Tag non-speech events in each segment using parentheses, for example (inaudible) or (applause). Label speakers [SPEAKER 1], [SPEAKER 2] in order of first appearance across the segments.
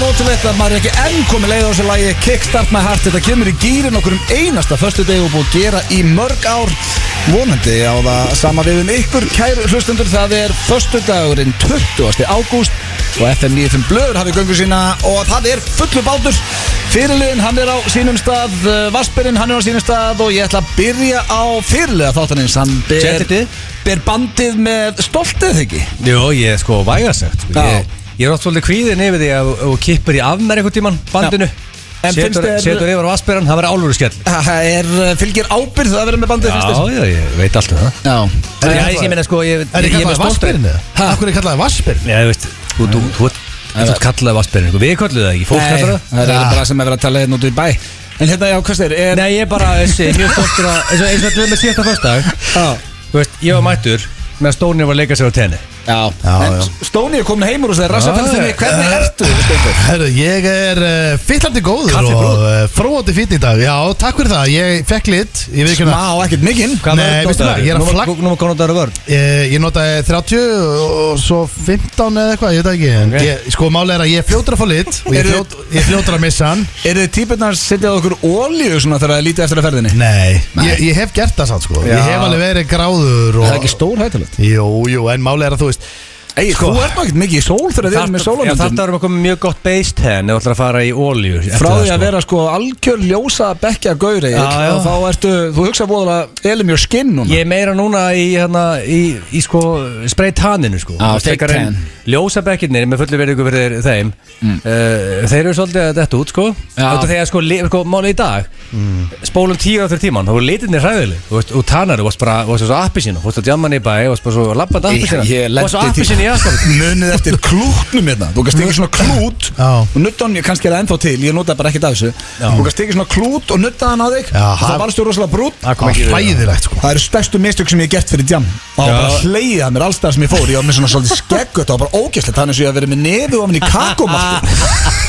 [SPEAKER 1] rosalegt að maður er ekki enn komið leið á þessu lagi Kickstart my heart, þetta kemur í gýrin okkur um einasta Föstu deg og búið að gera í mörg ár Vonandi á það sama við um ykkur Kæru hlustendur, það er Föstu dagurinn 20. ágúst Og FM 95 Blöður hafið göngu sína Og það er fullu bátur Fyrirliðin, hann er á sínum stað Vaspirinn, hann er á sínum stað Og ég ætla að byrja á fyrirliða þáttanins Hann ber,
[SPEAKER 2] Gentleman.
[SPEAKER 1] ber bandið með stoltið, ekki?
[SPEAKER 2] Jó, ég er sko vægasegt
[SPEAKER 1] Já.
[SPEAKER 2] ég, ég er oft svolítið kvíðin yfir því að þú kippur í afmer einhvern tíman bandinu
[SPEAKER 1] En finnst
[SPEAKER 2] Setur,
[SPEAKER 1] þér-
[SPEAKER 2] setur yfir á asperan, það verður álfur skell
[SPEAKER 1] Það er, eh, fylgir ábyrð að vera með bandið
[SPEAKER 2] Já, já, ég veit allt um það
[SPEAKER 1] Já
[SPEAKER 2] Já, ég, ég meina sko, ég, ég,
[SPEAKER 3] Er þið
[SPEAKER 2] ég
[SPEAKER 3] kallaði Vassbyrn eða?
[SPEAKER 1] Ha?
[SPEAKER 3] Akkur er kallaði Vassbyrn?
[SPEAKER 2] Já, þú veist, þú, þú, þú, ert- þú, þú kallaði asperan Við kalluðu það ekki, fólk
[SPEAKER 1] Nei, það
[SPEAKER 2] kallar
[SPEAKER 1] er
[SPEAKER 2] það
[SPEAKER 1] eiginlega bara sem er verið að tala hérna út í bæ En hérna, já, hvað styrir, er
[SPEAKER 2] Nei, ég er bara, þessi, mjög stoltur að eins og eins og allir með síðasta föstudag
[SPEAKER 1] Já,
[SPEAKER 2] Þú veist, ég var mættur með að Stóni var að leika sér á tenni
[SPEAKER 1] já, En
[SPEAKER 3] já.
[SPEAKER 1] Stóni er komin heimur og það er
[SPEAKER 2] Já,
[SPEAKER 1] rassafellfinni
[SPEAKER 2] já.
[SPEAKER 1] Hvernig ertu, Steinberg?
[SPEAKER 3] Herru, ég er uh, fyllandi góður
[SPEAKER 2] Kaffibrúð.
[SPEAKER 3] og uh, fróandi fýtt í dag Já, takk fyrir það, ég fekk lit Ég veit ekki
[SPEAKER 1] Má,
[SPEAKER 3] hérna
[SPEAKER 1] ekkert mikinn
[SPEAKER 3] Nei, veistu hvað, ég er að flagg-
[SPEAKER 2] Núma konar dagur vörn
[SPEAKER 3] Ég, ég notaði 30 og svo 15 eða eitthvað, ég veit það ekki en
[SPEAKER 2] Ok.
[SPEAKER 3] ég, Sko, máli er að ég er fljótur að fá lit og ég er
[SPEAKER 1] Eru-
[SPEAKER 3] fljót, ég er fljótur að missa hann
[SPEAKER 1] Eru þið típurnar setjað okkur ólíu svona þegar það er lítið eftir að ferðinni?
[SPEAKER 3] Nei Ég, ég hef gert það satt, sko
[SPEAKER 1] Já.
[SPEAKER 3] Ég hef alveg verið
[SPEAKER 1] Það
[SPEAKER 3] gráður og,
[SPEAKER 1] er ekki stór hættulegt
[SPEAKER 3] Jú, jú, en máli er að þú veist
[SPEAKER 1] Ei,
[SPEAKER 3] Sko-
[SPEAKER 1] þú ert nú ekkert mikið í sól þegar þið erum með
[SPEAKER 2] Já, þetta
[SPEAKER 1] sólamöndum
[SPEAKER 2] erum við komið mjög gott base 10 ef þú ætlar að fara í olíu eftir
[SPEAKER 1] Frá
[SPEAKER 2] það,
[SPEAKER 1] því
[SPEAKER 2] sko.
[SPEAKER 1] að vera sko algjör ljósa bekkja gauri
[SPEAKER 2] Já, já.
[SPEAKER 1] og þá ertu, þú hugsa voðalega elum your skin núna
[SPEAKER 2] Ég er meira núna í, hérna, í, í sko spray tanninu sko
[SPEAKER 1] Já, take
[SPEAKER 2] Frekar en
[SPEAKER 1] tan. Mm.
[SPEAKER 2] Ljósabekkirnir með fullu verið ykkur fyrir þeim uh, Þeir eru svolítið að detta út sko
[SPEAKER 1] Já.
[SPEAKER 2] Þetta þegar sko, li- sko máli í dag Spólum tíu á þurr tíman Þá voru litinni hræðileg Þú veist, og tannar, þú varst bara, þú varst svo appi sína Þú varst að djamman í bæ, þú varst bara svo labband appi sína
[SPEAKER 1] ég
[SPEAKER 2] Þú varst svo appi sína í aðstæðum
[SPEAKER 1] munið eftir klútnum hérna þú kannst ekki svona klút
[SPEAKER 3] Já.
[SPEAKER 1] og nutta hann, ég kannski er það ennþá til, ég nota bara ekkert af þessu þú kannst ekki svona klút og nutta hann að þig
[SPEAKER 3] Já,
[SPEAKER 1] og
[SPEAKER 3] ha-
[SPEAKER 1] það varstu rosalega brútt
[SPEAKER 2] Það kom
[SPEAKER 3] Það
[SPEAKER 2] ekki
[SPEAKER 3] er
[SPEAKER 2] við
[SPEAKER 3] hlæðilegt, sko
[SPEAKER 1] það eru stærstu mistök sem ég hef gert fyrir jam og það var
[SPEAKER 2] Já.
[SPEAKER 1] bara hleyið að mér allstað sem ég fór ég var með svona svolítið skeggut og bara ógæslegt þannig sem ég hef verið með nefi ofan í
[SPEAKER 2] (laughs)
[SPEAKER 1] kakomalti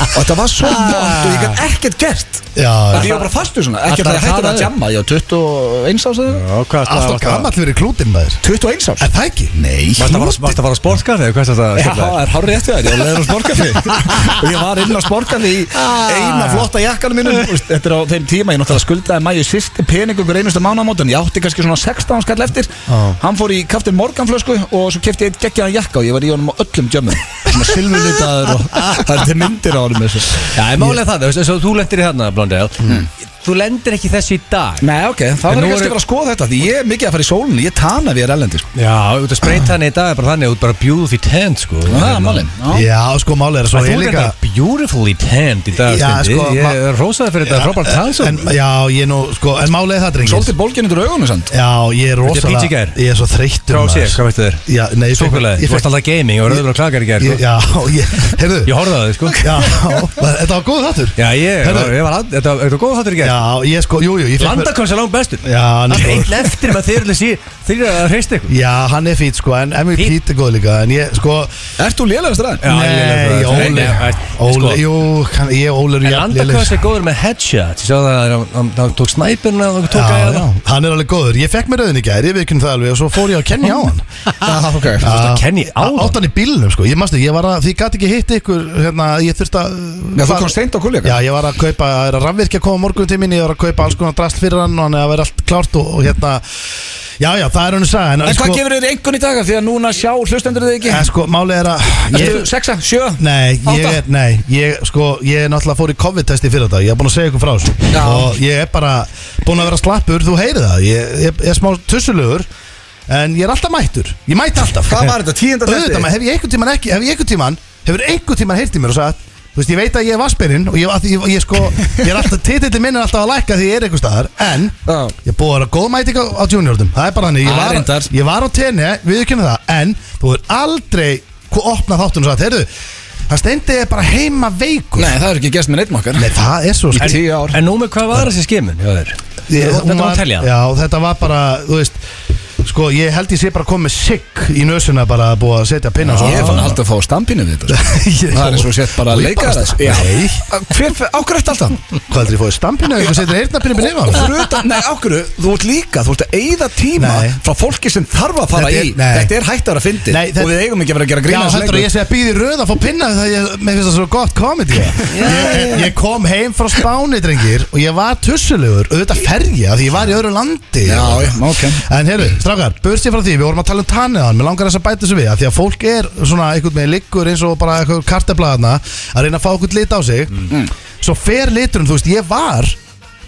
[SPEAKER 1] og þetta var svo mótt og ég gæt ekkert gert
[SPEAKER 3] Já,
[SPEAKER 1] Því ég var bara fastu svona, ekki að það
[SPEAKER 2] Ætlar að
[SPEAKER 1] hætti
[SPEAKER 2] tala
[SPEAKER 1] að
[SPEAKER 2] þig?
[SPEAKER 1] jamma Ég var 21 ás eða?
[SPEAKER 2] Já, hvað varstu að-
[SPEAKER 3] alltaf
[SPEAKER 2] varstu að-
[SPEAKER 3] gamall fyrir klútin maður
[SPEAKER 1] 21 ás?
[SPEAKER 3] Er það ekki?
[SPEAKER 1] Nei,
[SPEAKER 2] varstu að fara- Varstu að fara að sporka þig? Hvað er þetta að
[SPEAKER 1] Já,
[SPEAKER 2] skella þér?
[SPEAKER 1] það er hárið eftir þér, ég var leður á sporkafi
[SPEAKER 2] (laughs)
[SPEAKER 1] og ég var inn á sporkafi í
[SPEAKER 2] Ah.
[SPEAKER 1] eina flotta jakkanum mínum Þú veist, Þetta er á þeim tíma, ég náttúrulega skuldaði mæju sýsti pening ykkur einustu mánamót en ég átti kannski svona 16 skall eftir
[SPEAKER 3] Já.
[SPEAKER 1] Hann fór í kaftin morganflösku og svo kefti ég eitt geggjaðan jakka og ég var í honum á öllum djömmum Svona silfurlitaður
[SPEAKER 2] (laughs)
[SPEAKER 1] og það er til myndir á honum þessu
[SPEAKER 2] Já, ég málega það, þú veist, eins og þú lendir í þarna, Blondale Þú lendir ekki í þessu í dag
[SPEAKER 1] Nei, ok, þá var
[SPEAKER 2] En nú
[SPEAKER 1] ég kannski að
[SPEAKER 2] eru-
[SPEAKER 1] fara að skoða þetta því ég er mikið að fara í sólunni, ég tana við er ellendi sko.
[SPEAKER 2] Já, út að spreita hann í dag er bara þannig að þú ert bara beautifully tanned sko
[SPEAKER 1] Það er málin Já.
[SPEAKER 3] Já, sko, máli er að
[SPEAKER 2] Svo
[SPEAKER 3] svo
[SPEAKER 2] þú
[SPEAKER 3] er
[SPEAKER 2] er
[SPEAKER 3] líka
[SPEAKER 2] þetta beautifully tanned í dag
[SPEAKER 3] Já,
[SPEAKER 2] Steindi.
[SPEAKER 3] sko, ma-
[SPEAKER 2] Ég er rosaði fyrir þetta frábært
[SPEAKER 3] En-
[SPEAKER 2] tannsum
[SPEAKER 3] Já, ég nú, sko, en máli er það, drengir
[SPEAKER 1] Svolítið bólginn undir augunum samt
[SPEAKER 3] Já, ég er
[SPEAKER 2] Þetta er PG gær.
[SPEAKER 3] rosalega Ég er svo þreyttur
[SPEAKER 2] Frá sér,
[SPEAKER 3] maður.
[SPEAKER 2] hvað veistu þér?
[SPEAKER 3] Já, nei, svo
[SPEAKER 2] Svokkulega,
[SPEAKER 3] Ég
[SPEAKER 2] þú varst
[SPEAKER 3] fekk
[SPEAKER 2] alltaf gaming og rauður og klakar í gerð sko.
[SPEAKER 3] ég- Já, (laughs) ég, heyrðu
[SPEAKER 2] Ég horfði á þig sko
[SPEAKER 3] Já, var- þetta var góð þáttur
[SPEAKER 2] Já, ég,
[SPEAKER 3] Heyrðu.
[SPEAKER 2] ég var, að- þetta var- þetta var góð þáttur í gerð
[SPEAKER 3] Já, ég sko, jú, jú ég fekk-
[SPEAKER 2] Landakoms er langt bestur
[SPEAKER 3] Já, hann er
[SPEAKER 2] Einn
[SPEAKER 3] góð
[SPEAKER 2] eftir með þeir eru sí- þeir eru að hreist ykkur
[SPEAKER 3] Já, hann er fýt, sko, en Emil
[SPEAKER 2] Fínn.
[SPEAKER 3] Pít er góð líka En ég, sko,
[SPEAKER 1] Ert þú lélega stræðin?
[SPEAKER 2] Já, ég er
[SPEAKER 3] nei,
[SPEAKER 2] alveg-
[SPEAKER 3] Óli
[SPEAKER 2] Nei, nei,
[SPEAKER 3] Óli,
[SPEAKER 2] sko.
[SPEAKER 3] jú, kann- ég og Óli eru
[SPEAKER 2] En
[SPEAKER 3] jafn
[SPEAKER 2] Landakoms
[SPEAKER 3] lélegir.
[SPEAKER 2] er góður með headshot Ég sá það að hann- hann- hann tók snæpirna og tók
[SPEAKER 3] Já,
[SPEAKER 2] að
[SPEAKER 3] já, hann er alveg góður Ég fekk mér auðin í gær, ég veit það alveg Og svo fór ég að kenni á
[SPEAKER 2] (laughs)
[SPEAKER 3] hann
[SPEAKER 1] Ah, okay.
[SPEAKER 2] að kenna í- á hann?
[SPEAKER 3] Átt hann í bílnum, sko Ég manstu, ég var að, því ég gæti ekki hitt ykkur Hérna, ég þurfti að
[SPEAKER 1] Já, þú
[SPEAKER 3] fara-
[SPEAKER 1] komst seint á kulja
[SPEAKER 3] Já, ég var að kaupa, það er að rafvirkja að koma morgun til minni, ég var að kaupa alls konar drast fyrir hann og hann er að vera allt klárt og, og hérna, já, já, það er hann að sagja, en,
[SPEAKER 1] En hvað
[SPEAKER 3] sko,
[SPEAKER 1] gefur þér einhvern í dag af því að núna sjá hlustendur þið ekki?
[SPEAKER 3] en sko, málið er að,
[SPEAKER 1] Ertu
[SPEAKER 3] ég,
[SPEAKER 1] sexa, sjö?
[SPEAKER 3] nei, ég
[SPEAKER 1] Átta?
[SPEAKER 3] er, nei, ég, sko, ég er náttúrulega fór í COVID-testi fyrir þetta, ég er búin að segja ykkur frá þessu
[SPEAKER 1] Já.
[SPEAKER 3] og ég er bara búin að vera slappur, þú heyrið það, ég, ég, ég er smá tussulugur, en ég er alltaf mættur, ég mæti alltaf.
[SPEAKER 1] Hvað var þetta? Tíunda testi?
[SPEAKER 3] auðvitað maður, hef ég einhvern tíman ekki, hef ég einhvern tíman hefur einhvern tíman heyrt í mér og sagt þú veist, ég veit að ég er vassbyrinn og ég, að því- ég, ég sko, ég er alltaf, titillin minn er alltaf að lækka því ég er einhver staðar, en
[SPEAKER 1] Já.
[SPEAKER 3] ég er búið að vera góð mæting á, á juniorðum, það er bara þannig, ég
[SPEAKER 1] Það er
[SPEAKER 3] var,
[SPEAKER 1] reyndar.
[SPEAKER 3] ég var á tenni, við erum það en þú er aldrei hvað opnað þáttun og sagt, heyrðu, það steindi ég bara heima veikur,
[SPEAKER 1] Nei, það er ekki gæst með neitt makkar
[SPEAKER 3] Nei, það er svo
[SPEAKER 1] Í tíu ár
[SPEAKER 2] En nú með hvað var þessi skimun hjá þér?
[SPEAKER 3] Ég-
[SPEAKER 2] Þetta
[SPEAKER 3] hún
[SPEAKER 2] var að telja
[SPEAKER 3] Já, þetta var bara, þú veist Sko, ég held ég sé bara komið sigg í nösuna bara að búa að setja pinna
[SPEAKER 1] Ég er fann
[SPEAKER 3] (laughs)
[SPEAKER 1] alltaf að fá stampinu við þetta sko. Það er eins og sett bara að leika þess
[SPEAKER 3] Nei,
[SPEAKER 1] Hver, ákveð eftir alltaf?
[SPEAKER 3] hvað heldur ég fóðið stampinu eða eitthvað setur eyrnapinni byrni yfir hann?
[SPEAKER 1] Fruta, nei, ákveð, þú ert líka Þú ert að eyða tíma
[SPEAKER 3] Nei.
[SPEAKER 1] frá fólki sem þarf að fara
[SPEAKER 3] Þetta er-
[SPEAKER 1] í
[SPEAKER 3] nei.
[SPEAKER 1] Þetta er hægt að vera fyndið
[SPEAKER 3] Nei, þetta-
[SPEAKER 1] Og við eigum ekki að vera að gera
[SPEAKER 3] Já,
[SPEAKER 1] grína
[SPEAKER 3] heldur að ég sé að býði röð að fá pinna þegar ég, mér finnst það svo gott komedi ég, ég kom heim frá Spáni, drengir og ég var tussulegur, auðvitað ferja því ég var í öðru landi
[SPEAKER 1] Já, já, ok
[SPEAKER 3] En heyrðu, strákar, börst ég frá því, við vorum að tala um tanniðan, mér langar þess að bæta þessu við, að því að fólk er svona einhvern veginn liggur eins og bara eitthvað karteblaðarna að reyna að fá einhvern lit á sig,
[SPEAKER 1] Mm.
[SPEAKER 3] svo fer liturinn, þú veist, ég var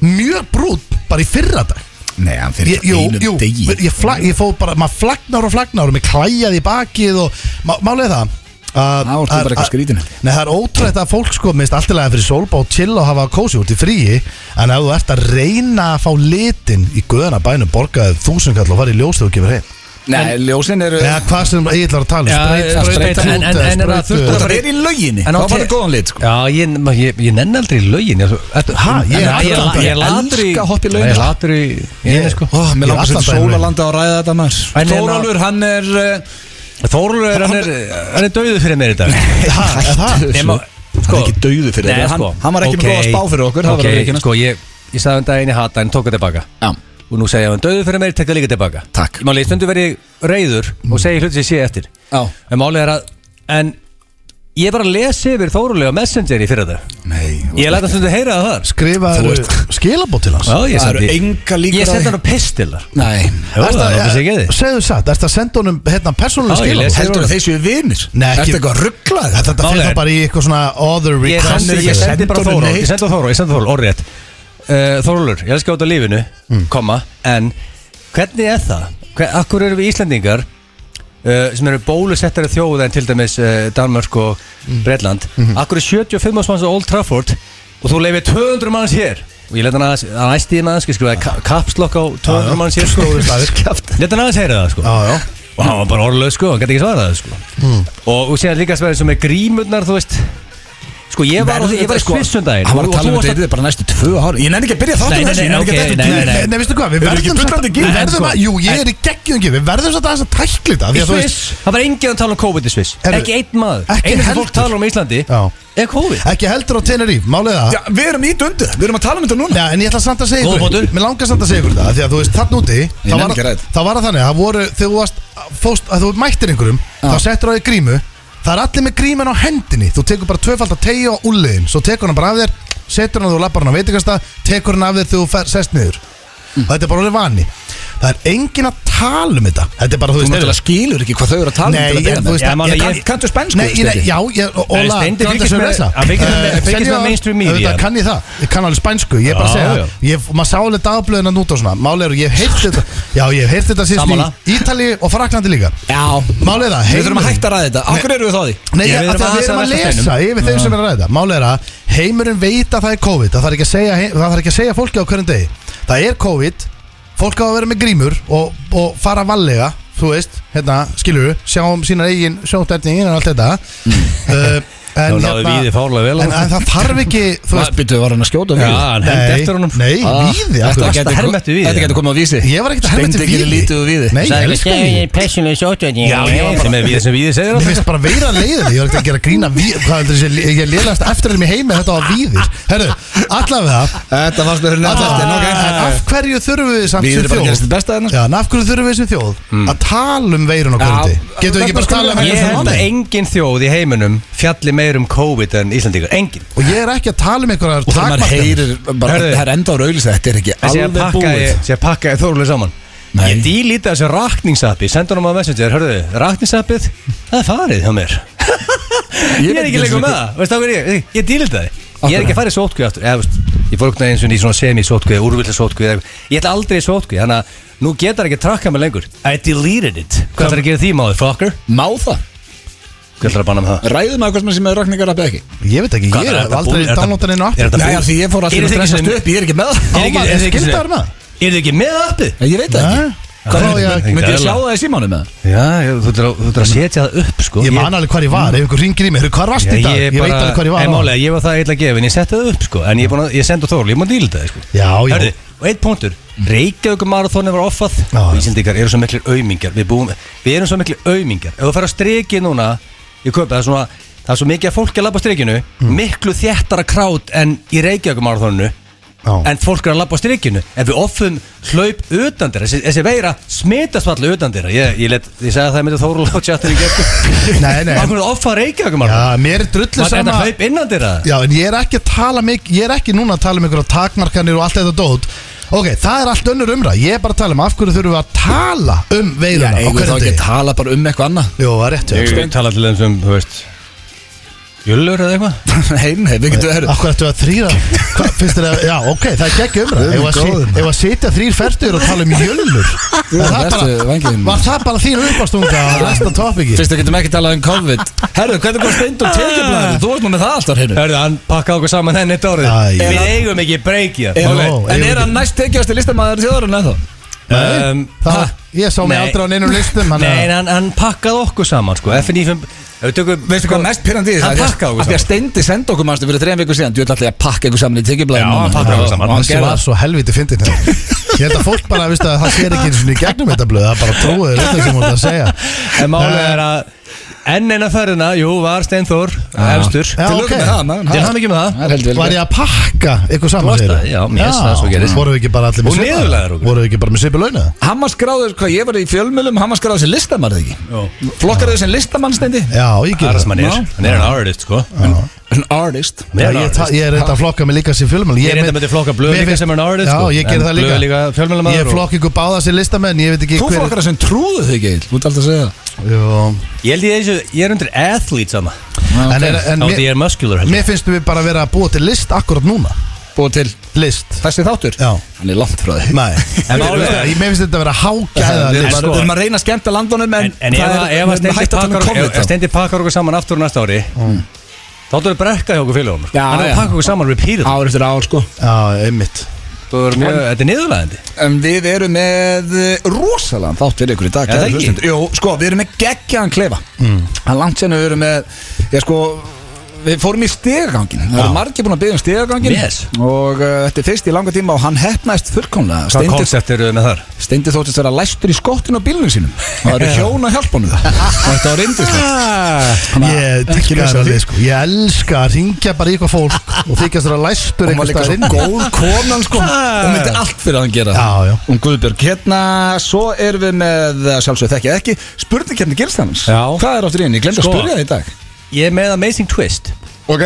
[SPEAKER 3] mjög brútt bara í fyrra dag.
[SPEAKER 1] Nei, hann fyrir
[SPEAKER 3] Ég,
[SPEAKER 1] ekki
[SPEAKER 3] jú,
[SPEAKER 1] einum
[SPEAKER 3] jú,
[SPEAKER 1] degi
[SPEAKER 3] ég, fla, ég fóð bara, maður flagnar og flagnar og mér klæjaði í bakið og má- málið er það.
[SPEAKER 1] Þá ert þú
[SPEAKER 3] að- að-
[SPEAKER 1] bara eitthvað
[SPEAKER 3] að-
[SPEAKER 1] skrítin.
[SPEAKER 3] Nei, það er ótrúlegt að fólk sko minnst alltaf lega fyrir sólbá og chill og hafa kósi út í fríi en ef þú ert að reyna að fá litin í guðana bænum borgaðið þúsundkall og farið í ljós þegar þú kemur heim
[SPEAKER 1] Nei, ljósin eru
[SPEAKER 3] eða hvað sem ég ætlar að tala um
[SPEAKER 2] Eh. Já,
[SPEAKER 3] spreyt-
[SPEAKER 2] spreyt-
[SPEAKER 3] spreyt-
[SPEAKER 2] en- en- en er það
[SPEAKER 3] spreytu-
[SPEAKER 2] þurft
[SPEAKER 1] Það er í lauginni
[SPEAKER 2] En
[SPEAKER 1] Þá var
[SPEAKER 2] á te-
[SPEAKER 1] það góðan lit, sko
[SPEAKER 2] Já, ég, ma- ég, ég nenn aldrei í laugin Hæ,
[SPEAKER 3] ég er
[SPEAKER 2] ég,
[SPEAKER 3] allan
[SPEAKER 2] la-
[SPEAKER 3] dag-
[SPEAKER 2] ég latur í
[SPEAKER 1] elska að hoppa í laugina. sko.
[SPEAKER 2] Ég latur í
[SPEAKER 3] Ég-
[SPEAKER 2] Ég, sko
[SPEAKER 1] Ó,
[SPEAKER 3] Ég
[SPEAKER 1] mér langar
[SPEAKER 3] allan
[SPEAKER 1] sér
[SPEAKER 3] daginn laugin.
[SPEAKER 1] sólalanda að ræða þetta maður
[SPEAKER 2] En en-
[SPEAKER 1] Þórólfur, hann er uh,
[SPEAKER 2] Þórlur, hann er, hann er döðu fyrir mér
[SPEAKER 1] (laughs)
[SPEAKER 2] í dag
[SPEAKER 3] Ha, er það?
[SPEAKER 2] Nema,
[SPEAKER 1] Hann er ekki dauður fyrir
[SPEAKER 2] Nei, sko.
[SPEAKER 1] þetta. Sko. Hann- hann var ekki með
[SPEAKER 2] ok.
[SPEAKER 1] góða spá fyrir okkur, það
[SPEAKER 2] Ok,
[SPEAKER 1] verður að viðurkennast.
[SPEAKER 2] sko, ég, ég sagði um daginn ég hata hann, tók það tilbaka
[SPEAKER 1] Já.
[SPEAKER 2] Og nú segja ég, hann döðu fyrir mér, tekka líka tilbaka
[SPEAKER 1] Takk.
[SPEAKER 2] Máli, stundu verið ég reyður og segi hluti sem ég sé eftir
[SPEAKER 1] Já.
[SPEAKER 2] En málið er að, en ég bara lesi yfir Þórlur á Messenger í fyrir það
[SPEAKER 1] Nei,
[SPEAKER 2] Ég læt hann stundu heyra það þar sko.
[SPEAKER 3] skrifaðu skilabót til hans
[SPEAKER 2] Já, ég
[SPEAKER 1] Það eru
[SPEAKER 2] sendi-
[SPEAKER 1] engar líkur
[SPEAKER 2] Ég
[SPEAKER 1] á
[SPEAKER 2] sendi
[SPEAKER 1] því.
[SPEAKER 2] hann á pistilar
[SPEAKER 1] nei
[SPEAKER 2] Jó, það
[SPEAKER 3] Ertu að- eh,
[SPEAKER 2] er okkur sem geði
[SPEAKER 3] segðu satt, ertu að senda honum hérna persónulega
[SPEAKER 2] Já, ég
[SPEAKER 3] skilabót
[SPEAKER 2] les-
[SPEAKER 1] Heldur að þeir séu vinir?
[SPEAKER 3] Nei, ekki-
[SPEAKER 1] Ertu eitthvað rugglað?
[SPEAKER 3] þetta þetta
[SPEAKER 2] Málið
[SPEAKER 3] fyrir
[SPEAKER 2] er-
[SPEAKER 3] það bara í eitthvað svona other
[SPEAKER 2] Ég
[SPEAKER 3] request
[SPEAKER 2] sendi, ég sendi bara
[SPEAKER 1] honum
[SPEAKER 2] Þóról
[SPEAKER 1] neitt.
[SPEAKER 2] Ég sendi á Þóról, ég sendi á Þóról, orðrétt uh, Þórólur, ég elska út á lífinu Komma, en Hvernig er það? Hver, akkur eru við Íslendingar uh, sem eru bólusettari þjóð en til dæmis uh, Danmörk og Bretland Akkur er 75 manns á Old Trafford og þú leifir 200 manns hér og ég leta hann aðeins, hann æsti hérna aðeins, ég skrifaði kapslokk á 200 manns hér sko,
[SPEAKER 3] Stóri staðir.
[SPEAKER 2] leta hann aðeins heyra það sko
[SPEAKER 3] Já, já.
[SPEAKER 2] og hann var bara orðlaug sko, hann gæti ekki svarað það sko
[SPEAKER 3] Hmm.
[SPEAKER 2] og, og síðan líka sverðin sem er grímurnar þú veist sko ég var, ég var í Svissundaginn
[SPEAKER 1] Hann var að tala um þetta í bara næstu tvö ára Ég nefn ekki að byrja þáttum
[SPEAKER 2] Nei, nei,
[SPEAKER 1] þessu, ég
[SPEAKER 2] nei,
[SPEAKER 1] nenni ekki
[SPEAKER 2] ok,
[SPEAKER 1] að
[SPEAKER 2] nei,
[SPEAKER 1] detta út
[SPEAKER 2] nei,
[SPEAKER 1] í-
[SPEAKER 2] nei.
[SPEAKER 3] Nei, nei, veistu hvað, við
[SPEAKER 1] Eru ekki
[SPEAKER 3] verðum samt
[SPEAKER 1] bullandi
[SPEAKER 3] að,
[SPEAKER 1] gýr?
[SPEAKER 3] við verðum
[SPEAKER 2] sko?
[SPEAKER 3] að, jú, ég er í geggjum gýr, við verðum samt aðeins að tækla þetta af því
[SPEAKER 2] í
[SPEAKER 3] að þú veist,
[SPEAKER 2] Sviss, það var enginn að tala um COVID í Sviss
[SPEAKER 3] Herru,
[SPEAKER 2] ekki einn maður,
[SPEAKER 3] ekki
[SPEAKER 2] einu sem
[SPEAKER 3] heldur.
[SPEAKER 2] fólk talar um í Íslandi
[SPEAKER 3] Já.
[SPEAKER 2] er COVID
[SPEAKER 3] ekki heldur á Teneríf, málið það
[SPEAKER 1] Já, Við erum ít undir, við erum að tala um þetta núna
[SPEAKER 3] Já, en ég ætla samt að segja
[SPEAKER 2] Góður
[SPEAKER 3] ykkur
[SPEAKER 2] punktur.
[SPEAKER 3] Mér langar samt að segja ykkur það af Því að þú veist, þann úti þá
[SPEAKER 1] nenni
[SPEAKER 3] var,
[SPEAKER 1] ekki að ræða.
[SPEAKER 3] þá var það þannig að voru, þegar þú varst fóst, að þú mættir einhverjum þá settur á þig grímu Það er allir með grímin á hendinni Þú tekur bara tvöfald að tegja á ulliðin Svo tekur hann bara af þér Setur hann og þú lappar hann á veitingasta Tekur hann af þér þegar þú fer, sest niður Og þetta er bara orðið vani Það er enginn að tala um þetta Þetta er bara, þú
[SPEAKER 1] Þú
[SPEAKER 3] veist,
[SPEAKER 1] náttúrulega skilur ekki hvað þau eru að tala um
[SPEAKER 3] Nei,
[SPEAKER 1] til að byrja
[SPEAKER 3] ég, þú
[SPEAKER 1] með.
[SPEAKER 3] veist,
[SPEAKER 2] Já, máli,
[SPEAKER 1] Kann-
[SPEAKER 2] ég-
[SPEAKER 1] Kanntu spænsku?
[SPEAKER 3] Nei, nei,
[SPEAKER 1] Steindi?
[SPEAKER 3] já, ég, og- Óla
[SPEAKER 2] Nei, Steindi
[SPEAKER 3] Granda
[SPEAKER 2] fylgist með-
[SPEAKER 3] Cerveza.
[SPEAKER 2] hann fylgist með-
[SPEAKER 3] Eh,
[SPEAKER 2] fylgist
[SPEAKER 3] Steindi
[SPEAKER 2] með
[SPEAKER 3] var-
[SPEAKER 2] mainstream media.
[SPEAKER 3] Auðvitað kann ég það, ég kann alveg spænsku Ég er bara að
[SPEAKER 2] Já,
[SPEAKER 3] segja,
[SPEAKER 2] já.
[SPEAKER 3] ég, maður sá alveg dagblöðin að núta og svona Málið er, ég hef heyrt þetta Já, ég hef heyrt þetta síðan í
[SPEAKER 2] Sammála.
[SPEAKER 3] Ítali og Fraklandi líka
[SPEAKER 1] Já,
[SPEAKER 3] Málið er það,
[SPEAKER 1] við þurfum að hætta að ræða þetta Akkur eru við þá að því?
[SPEAKER 3] Nei,
[SPEAKER 2] Ég,
[SPEAKER 3] ég,
[SPEAKER 2] við
[SPEAKER 3] að
[SPEAKER 2] erum
[SPEAKER 3] það
[SPEAKER 2] aðeins
[SPEAKER 3] við erum
[SPEAKER 2] að
[SPEAKER 3] að
[SPEAKER 2] velta
[SPEAKER 3] lesa yfir þeim sem er að ræða Málið er að heimurinn veit að það er COVID að það, er ekki að segja, heim- það þarf ekki að segja fólki á hverjum degi Það er COVID, fólk á að vera með grímur og, og fara vallega Þú veist, hérna, skilur við, sjáum sínar eigin sjónterning og allt þetta
[SPEAKER 2] (laughs)
[SPEAKER 3] uh, En,
[SPEAKER 2] Nú náðu Víði fárlega vel á
[SPEAKER 3] en, en það þarf ekki, þú veist
[SPEAKER 1] Býttu, var hann að skjóta
[SPEAKER 2] já, hann hefði eftir honum
[SPEAKER 3] nei,
[SPEAKER 1] Ah,
[SPEAKER 3] víði af
[SPEAKER 1] Þetta
[SPEAKER 3] hverju?
[SPEAKER 2] varstu
[SPEAKER 1] gæti-
[SPEAKER 2] að herma eftir Víði,
[SPEAKER 1] þetta getur
[SPEAKER 2] eða?
[SPEAKER 1] komið á vísi
[SPEAKER 3] Ég var ekkert að herma
[SPEAKER 1] Steindi
[SPEAKER 3] eftir
[SPEAKER 1] gerir lítið úr Víði.
[SPEAKER 3] víði Nei, ég elska víði
[SPEAKER 2] personally sort of já, ég var bara með Víði sem Víði segir
[SPEAKER 3] Mér
[SPEAKER 2] alltaf
[SPEAKER 3] finnst bara veira leiðið, ég var ekkert að gera grína víð, hvað heldur þessi, ég liðast eftir þeim í heimi þetta var víðir. Herru, allavega,
[SPEAKER 1] Þetta fannst mér hérna
[SPEAKER 3] Alla- En
[SPEAKER 2] Ah.
[SPEAKER 3] af hverju þurfum við samt
[SPEAKER 1] Við
[SPEAKER 3] sem
[SPEAKER 1] erum bara að gerast
[SPEAKER 3] þjóð
[SPEAKER 1] þitt besta þarna, sko.
[SPEAKER 3] Já, en af hverju þurfum við sem þjóð að tala um veirun á kvöldi
[SPEAKER 1] Já,
[SPEAKER 3] Getum við
[SPEAKER 1] þarna
[SPEAKER 3] ekki bara að tala um
[SPEAKER 1] skulum við
[SPEAKER 2] Ah. ég
[SPEAKER 1] Þetta er
[SPEAKER 2] held
[SPEAKER 1] þannig.
[SPEAKER 2] að engin þjóð í heiminum fjalli meir um COVID en Íslandingar, engin
[SPEAKER 3] Og ég er ekki að tala um einhverjar
[SPEAKER 1] Og þegar maður
[SPEAKER 3] takmarkanir.
[SPEAKER 1] heyrir bara,
[SPEAKER 2] Hörðu.
[SPEAKER 1] Það er enda á raulis Þetta er ekki
[SPEAKER 2] þessi að
[SPEAKER 1] alveg
[SPEAKER 2] pakkaði,
[SPEAKER 1] búið
[SPEAKER 2] þessi að pakkaði Þórlur saman
[SPEAKER 1] Nei.
[SPEAKER 2] ég dílítið þessu rakningsappi sendi honum á Messenger, hörðu, rakningsappið það er farið hjá (laughs) mér ég,
[SPEAKER 1] veit
[SPEAKER 2] er ekki lengur með það, veist það hver ég ég dílítið það, ég er ekki að fara í sótkvíð aftur eða, veist, ég fór okkur eins og í svona semi-sótkvíð úrvillis sótkvíð, ég ætla aldrei í sótkvíð þannig að nú getar ekki að trakka mig lengur I deleted it, hvað þarf að gera því máður, fucker
[SPEAKER 1] Má það?
[SPEAKER 2] hvað þarf að banna með það
[SPEAKER 1] Ræðum maður hvað sem er rakningar að ekki?
[SPEAKER 3] Ég veit ekki,
[SPEAKER 2] Hvað,
[SPEAKER 3] ég
[SPEAKER 2] er
[SPEAKER 3] er
[SPEAKER 2] þetta
[SPEAKER 3] aldrei
[SPEAKER 2] búið? Er
[SPEAKER 3] downloadan einu
[SPEAKER 2] er
[SPEAKER 3] aftur
[SPEAKER 2] þetta
[SPEAKER 1] Nei,
[SPEAKER 2] búið?
[SPEAKER 1] af því ég fór allir
[SPEAKER 2] Eru
[SPEAKER 1] að
[SPEAKER 2] þið ekki
[SPEAKER 1] stressast
[SPEAKER 2] sem-
[SPEAKER 1] upp Ég er ekki með það
[SPEAKER 2] Er ekki-
[SPEAKER 3] Ámar,
[SPEAKER 2] er
[SPEAKER 3] er
[SPEAKER 2] ekki-
[SPEAKER 3] skildaður með það?
[SPEAKER 2] Eru þið ekki með appið?
[SPEAKER 1] Ég veit það
[SPEAKER 3] Nei.
[SPEAKER 1] ekki
[SPEAKER 3] Hvað
[SPEAKER 1] Hvað
[SPEAKER 3] á ég
[SPEAKER 1] er
[SPEAKER 3] að-
[SPEAKER 1] Myndi ég sjá það í símanum með það?
[SPEAKER 2] Já, ég- þú þurftir að- þú þurftir að setja það upp sko.
[SPEAKER 3] Ég man alveg hvar ég var, ef einhver ringir í mig Hver varst í dag? Ég veit alveg hvar ég var
[SPEAKER 2] En
[SPEAKER 3] á.
[SPEAKER 2] málega, ég var það eitthvað að gefa En ég setti það upp sko En ég, er búinn að- ég sendi á Þorl, ég má díla það sko
[SPEAKER 3] Já, já.
[SPEAKER 2] Hörðu, og eitt punktur Reykjavík marathónu var offað
[SPEAKER 3] Já, já.
[SPEAKER 2] Ísindikar eru svo miklir aumingar Við, búum, við erum svo miklir aumingar Ef þú fer að streki núna í köpa, það, er svona, það er svo mikið að fólk er að labba á strikinu
[SPEAKER 3] Mm.
[SPEAKER 2] Miklu þéttara krát en í Reykjavík marathónu
[SPEAKER 3] Já.
[SPEAKER 2] En fólk er að labba á strikinu En við offum hlaup utan þeirra Þessi, þessi veira smitast allir utan þeirra Ég, ég, let, ég segi að það með Þóru Látjáttur í gerð
[SPEAKER 3] (laughs) Nei, nei.
[SPEAKER 2] Akkur offa Reykjavík
[SPEAKER 3] Já,
[SPEAKER 2] marathónu
[SPEAKER 3] mér er drullu
[SPEAKER 2] Var þetta
[SPEAKER 3] sama
[SPEAKER 2] hlaup innan þeirra?
[SPEAKER 3] Já, en ég er ekki að tala mikið Ég er ekki núna að tala um einhverja takmarkanir og allt þetta dót Ok, það er allt önnur umra Ég er bara að tala um af hverju þurfum við að tala um
[SPEAKER 1] Já,
[SPEAKER 3] veiruna á
[SPEAKER 1] eigum við þá ekki að
[SPEAKER 3] hverjum degi
[SPEAKER 1] tala bara um eitthvað annað (laughs)
[SPEAKER 3] Jó, það er rétt
[SPEAKER 2] Ég skal tala til þeim sem, þú veist Jullur eða eitthvað
[SPEAKER 1] Nei, nei, við getum verið
[SPEAKER 3] Akkur ættu að þrýra Hvað finnst þér að Já, ok, það er ekki umra
[SPEAKER 1] Guð
[SPEAKER 3] Ef að,
[SPEAKER 1] góður,
[SPEAKER 3] sit,
[SPEAKER 1] maður.
[SPEAKER 3] ef að sitja þrýr færtur og tala um jölnur
[SPEAKER 1] Guð, verstu vængirinn.
[SPEAKER 3] Var það bara þín uppastunga á næsta topiki?
[SPEAKER 1] Fyrst við getum ekki talað um COVID Herru, hvernig kom
[SPEAKER 2] (laughs)
[SPEAKER 1] steind og tekjublaður? Þú varst nú með það alltaf hérna
[SPEAKER 2] Hörðu, hann pakkaði okkur saman þenni eitt árið
[SPEAKER 3] Æ,
[SPEAKER 2] Við
[SPEAKER 3] já.
[SPEAKER 2] eigum ekki breyk í
[SPEAKER 1] Er-
[SPEAKER 2] það
[SPEAKER 3] Jó.
[SPEAKER 1] En er hann næst tekjast í listamæður þjóðarinn eða þá?
[SPEAKER 2] um,
[SPEAKER 3] Það,
[SPEAKER 2] ha?
[SPEAKER 3] ég sá mig
[SPEAKER 2] Nei.
[SPEAKER 3] aldrei á neinum listum hann,
[SPEAKER 2] Nei, en hann, hann pakkaði okkur saman sko FNI 5
[SPEAKER 1] Veistu hvað mest pyrrandi í
[SPEAKER 2] Hann
[SPEAKER 1] því að-
[SPEAKER 2] pakkaði Sko, okkur
[SPEAKER 1] Af því að
[SPEAKER 2] saman
[SPEAKER 1] Steindi sendi okkur mannstu fyrir þrejum viku síðan Þú ert alltaf að pakka ykkur saman í tekjublaðum
[SPEAKER 2] Já, hann pakkaði okkur saman.
[SPEAKER 1] Hann
[SPEAKER 3] Þessi
[SPEAKER 1] gerði
[SPEAKER 3] var
[SPEAKER 1] það
[SPEAKER 3] svo helviti fyndin þetta. Ég held að fólk bara, veistu, að það sér ekki eins og í gegnum þetta blöð Það bara trúið þetta sem hún var að segja
[SPEAKER 2] En málið er að Enn eina ferðina, jú, var Steinþór
[SPEAKER 1] Já.
[SPEAKER 2] Efstur
[SPEAKER 3] Já,
[SPEAKER 2] Til
[SPEAKER 3] ok.
[SPEAKER 1] með það, mann
[SPEAKER 2] Til hamingju með það.
[SPEAKER 1] Það er heldur vel
[SPEAKER 3] Var ég að pakka ykkur
[SPEAKER 2] Þú
[SPEAKER 3] saman
[SPEAKER 2] varst
[SPEAKER 3] segirðu?
[SPEAKER 2] það, já, mér finnst það svo gerist.
[SPEAKER 3] Voru við ekki bara allir
[SPEAKER 2] Og
[SPEAKER 3] svipað?
[SPEAKER 2] niðurlægðir okkur.
[SPEAKER 3] Voru við ekki bara með svipu launa?
[SPEAKER 1] Hann var skráður, hvað ég var í fjölmjölum Hann var skráður sem listamæður ekki Flokkar þau sem listamann Steindi?
[SPEAKER 3] Já,
[SPEAKER 2] Það
[SPEAKER 3] ég
[SPEAKER 2] er
[SPEAKER 3] gerði
[SPEAKER 2] það sem hann er
[SPEAKER 1] Já.
[SPEAKER 2] Hann er en artist sko
[SPEAKER 1] An artist
[SPEAKER 2] Hann
[SPEAKER 3] Já,
[SPEAKER 2] er
[SPEAKER 3] ég,
[SPEAKER 2] artist.
[SPEAKER 3] ta- ég er reynda að flokka mig líka sem fjölmjöl
[SPEAKER 2] Ég er enda myndi flokka blöð líka sem er en artist
[SPEAKER 3] Já,
[SPEAKER 2] sko.
[SPEAKER 3] ég
[SPEAKER 2] En
[SPEAKER 3] gerði það líka
[SPEAKER 2] Blöð líka
[SPEAKER 3] Ég
[SPEAKER 2] fjölmjölumaður og-
[SPEAKER 3] flokka ykkur báða sem listamenn Ég veit ekki
[SPEAKER 1] Þú flokkar þau sem trúðu þau ekki Þú ert alltaf að segja
[SPEAKER 3] Jú,
[SPEAKER 2] Ég held ég þessu- ég er undir athlete sama
[SPEAKER 1] það
[SPEAKER 3] En, er,
[SPEAKER 1] Ok,
[SPEAKER 3] en
[SPEAKER 2] Þá því
[SPEAKER 3] mér,
[SPEAKER 2] ég er muscular held ég.
[SPEAKER 3] mér finnst við bara vera að búa til list akkurat núna
[SPEAKER 1] Búið til
[SPEAKER 3] List
[SPEAKER 1] þessi þáttur
[SPEAKER 3] Já
[SPEAKER 1] Hann er langt frá þig
[SPEAKER 3] Nei
[SPEAKER 2] En
[SPEAKER 3] Mér
[SPEAKER 2] málið
[SPEAKER 3] finnst
[SPEAKER 2] er-
[SPEAKER 3] þetta- Mér finnst þetta að vera hágæða
[SPEAKER 1] Við
[SPEAKER 3] list
[SPEAKER 2] sko-
[SPEAKER 1] erum að reyna að skemmta landunum En,
[SPEAKER 2] En, en ef,
[SPEAKER 1] það
[SPEAKER 2] að-
[SPEAKER 1] er-
[SPEAKER 2] ef,
[SPEAKER 1] við erum
[SPEAKER 2] að
[SPEAKER 1] hætt að
[SPEAKER 2] Steindi
[SPEAKER 1] tala um
[SPEAKER 2] pakkar-
[SPEAKER 1] COVID
[SPEAKER 2] ef
[SPEAKER 1] þá.
[SPEAKER 2] Steindi pakkar okkur saman aftur á næsta ári Þá ætlum við brekka hjá okkur félagum
[SPEAKER 1] Já,
[SPEAKER 2] Hann er
[SPEAKER 1] já.
[SPEAKER 2] að pakka okkur saman repeated
[SPEAKER 1] Ár eftir ár sko
[SPEAKER 3] Já, einmitt
[SPEAKER 2] Þú er mjög- Þetta er niðurlæðandi
[SPEAKER 1] En við erum með eh, rosalega þátt fyrir ykkur í dag
[SPEAKER 2] Er það
[SPEAKER 1] kæru
[SPEAKER 2] ekki?
[SPEAKER 1] hlustendur. Jú, sko, við erum með geggjaðan klefa mm. Hann langt sérna við erum með Já, sko, við fórum í stegagangin Það eru margir búin að byggja um stegagangin
[SPEAKER 2] Yes.
[SPEAKER 1] Og uh, þetta er fyrst í langa tíma og hann hefnaðist fullkomlega
[SPEAKER 2] Hvað
[SPEAKER 1] Steindi,
[SPEAKER 2] koncept eru þið með þar?
[SPEAKER 1] Steindi þóttist vera læstur í skottinu á bílunum sínum Það eru hjón að hjálpa honum Þetta var reyndislegt
[SPEAKER 2] Ah!
[SPEAKER 3] Ég
[SPEAKER 1] ekki
[SPEAKER 3] dýrka
[SPEAKER 1] lesa því.
[SPEAKER 3] það alveg sko Ég elska að ringja bara í eitthvað fólk Og þykjast þér að læstur
[SPEAKER 1] Hún var
[SPEAKER 3] einhvers
[SPEAKER 1] líka
[SPEAKER 3] staðar
[SPEAKER 1] svo
[SPEAKER 3] inn
[SPEAKER 1] góð konan sko Hún myndi allt fyrir að hann gera það.
[SPEAKER 3] Já, já.
[SPEAKER 1] Hún Guðbjörg Hérna, svo erum við með eh, Sjálfsög þekkið ekki Spurningkjarni gilstannans
[SPEAKER 2] Já.
[SPEAKER 1] Hvað er áttur í henni? Ég glemdi að
[SPEAKER 2] Sko.
[SPEAKER 1] spurja það í dag
[SPEAKER 2] Ég er með Amazing Twist
[SPEAKER 1] Ok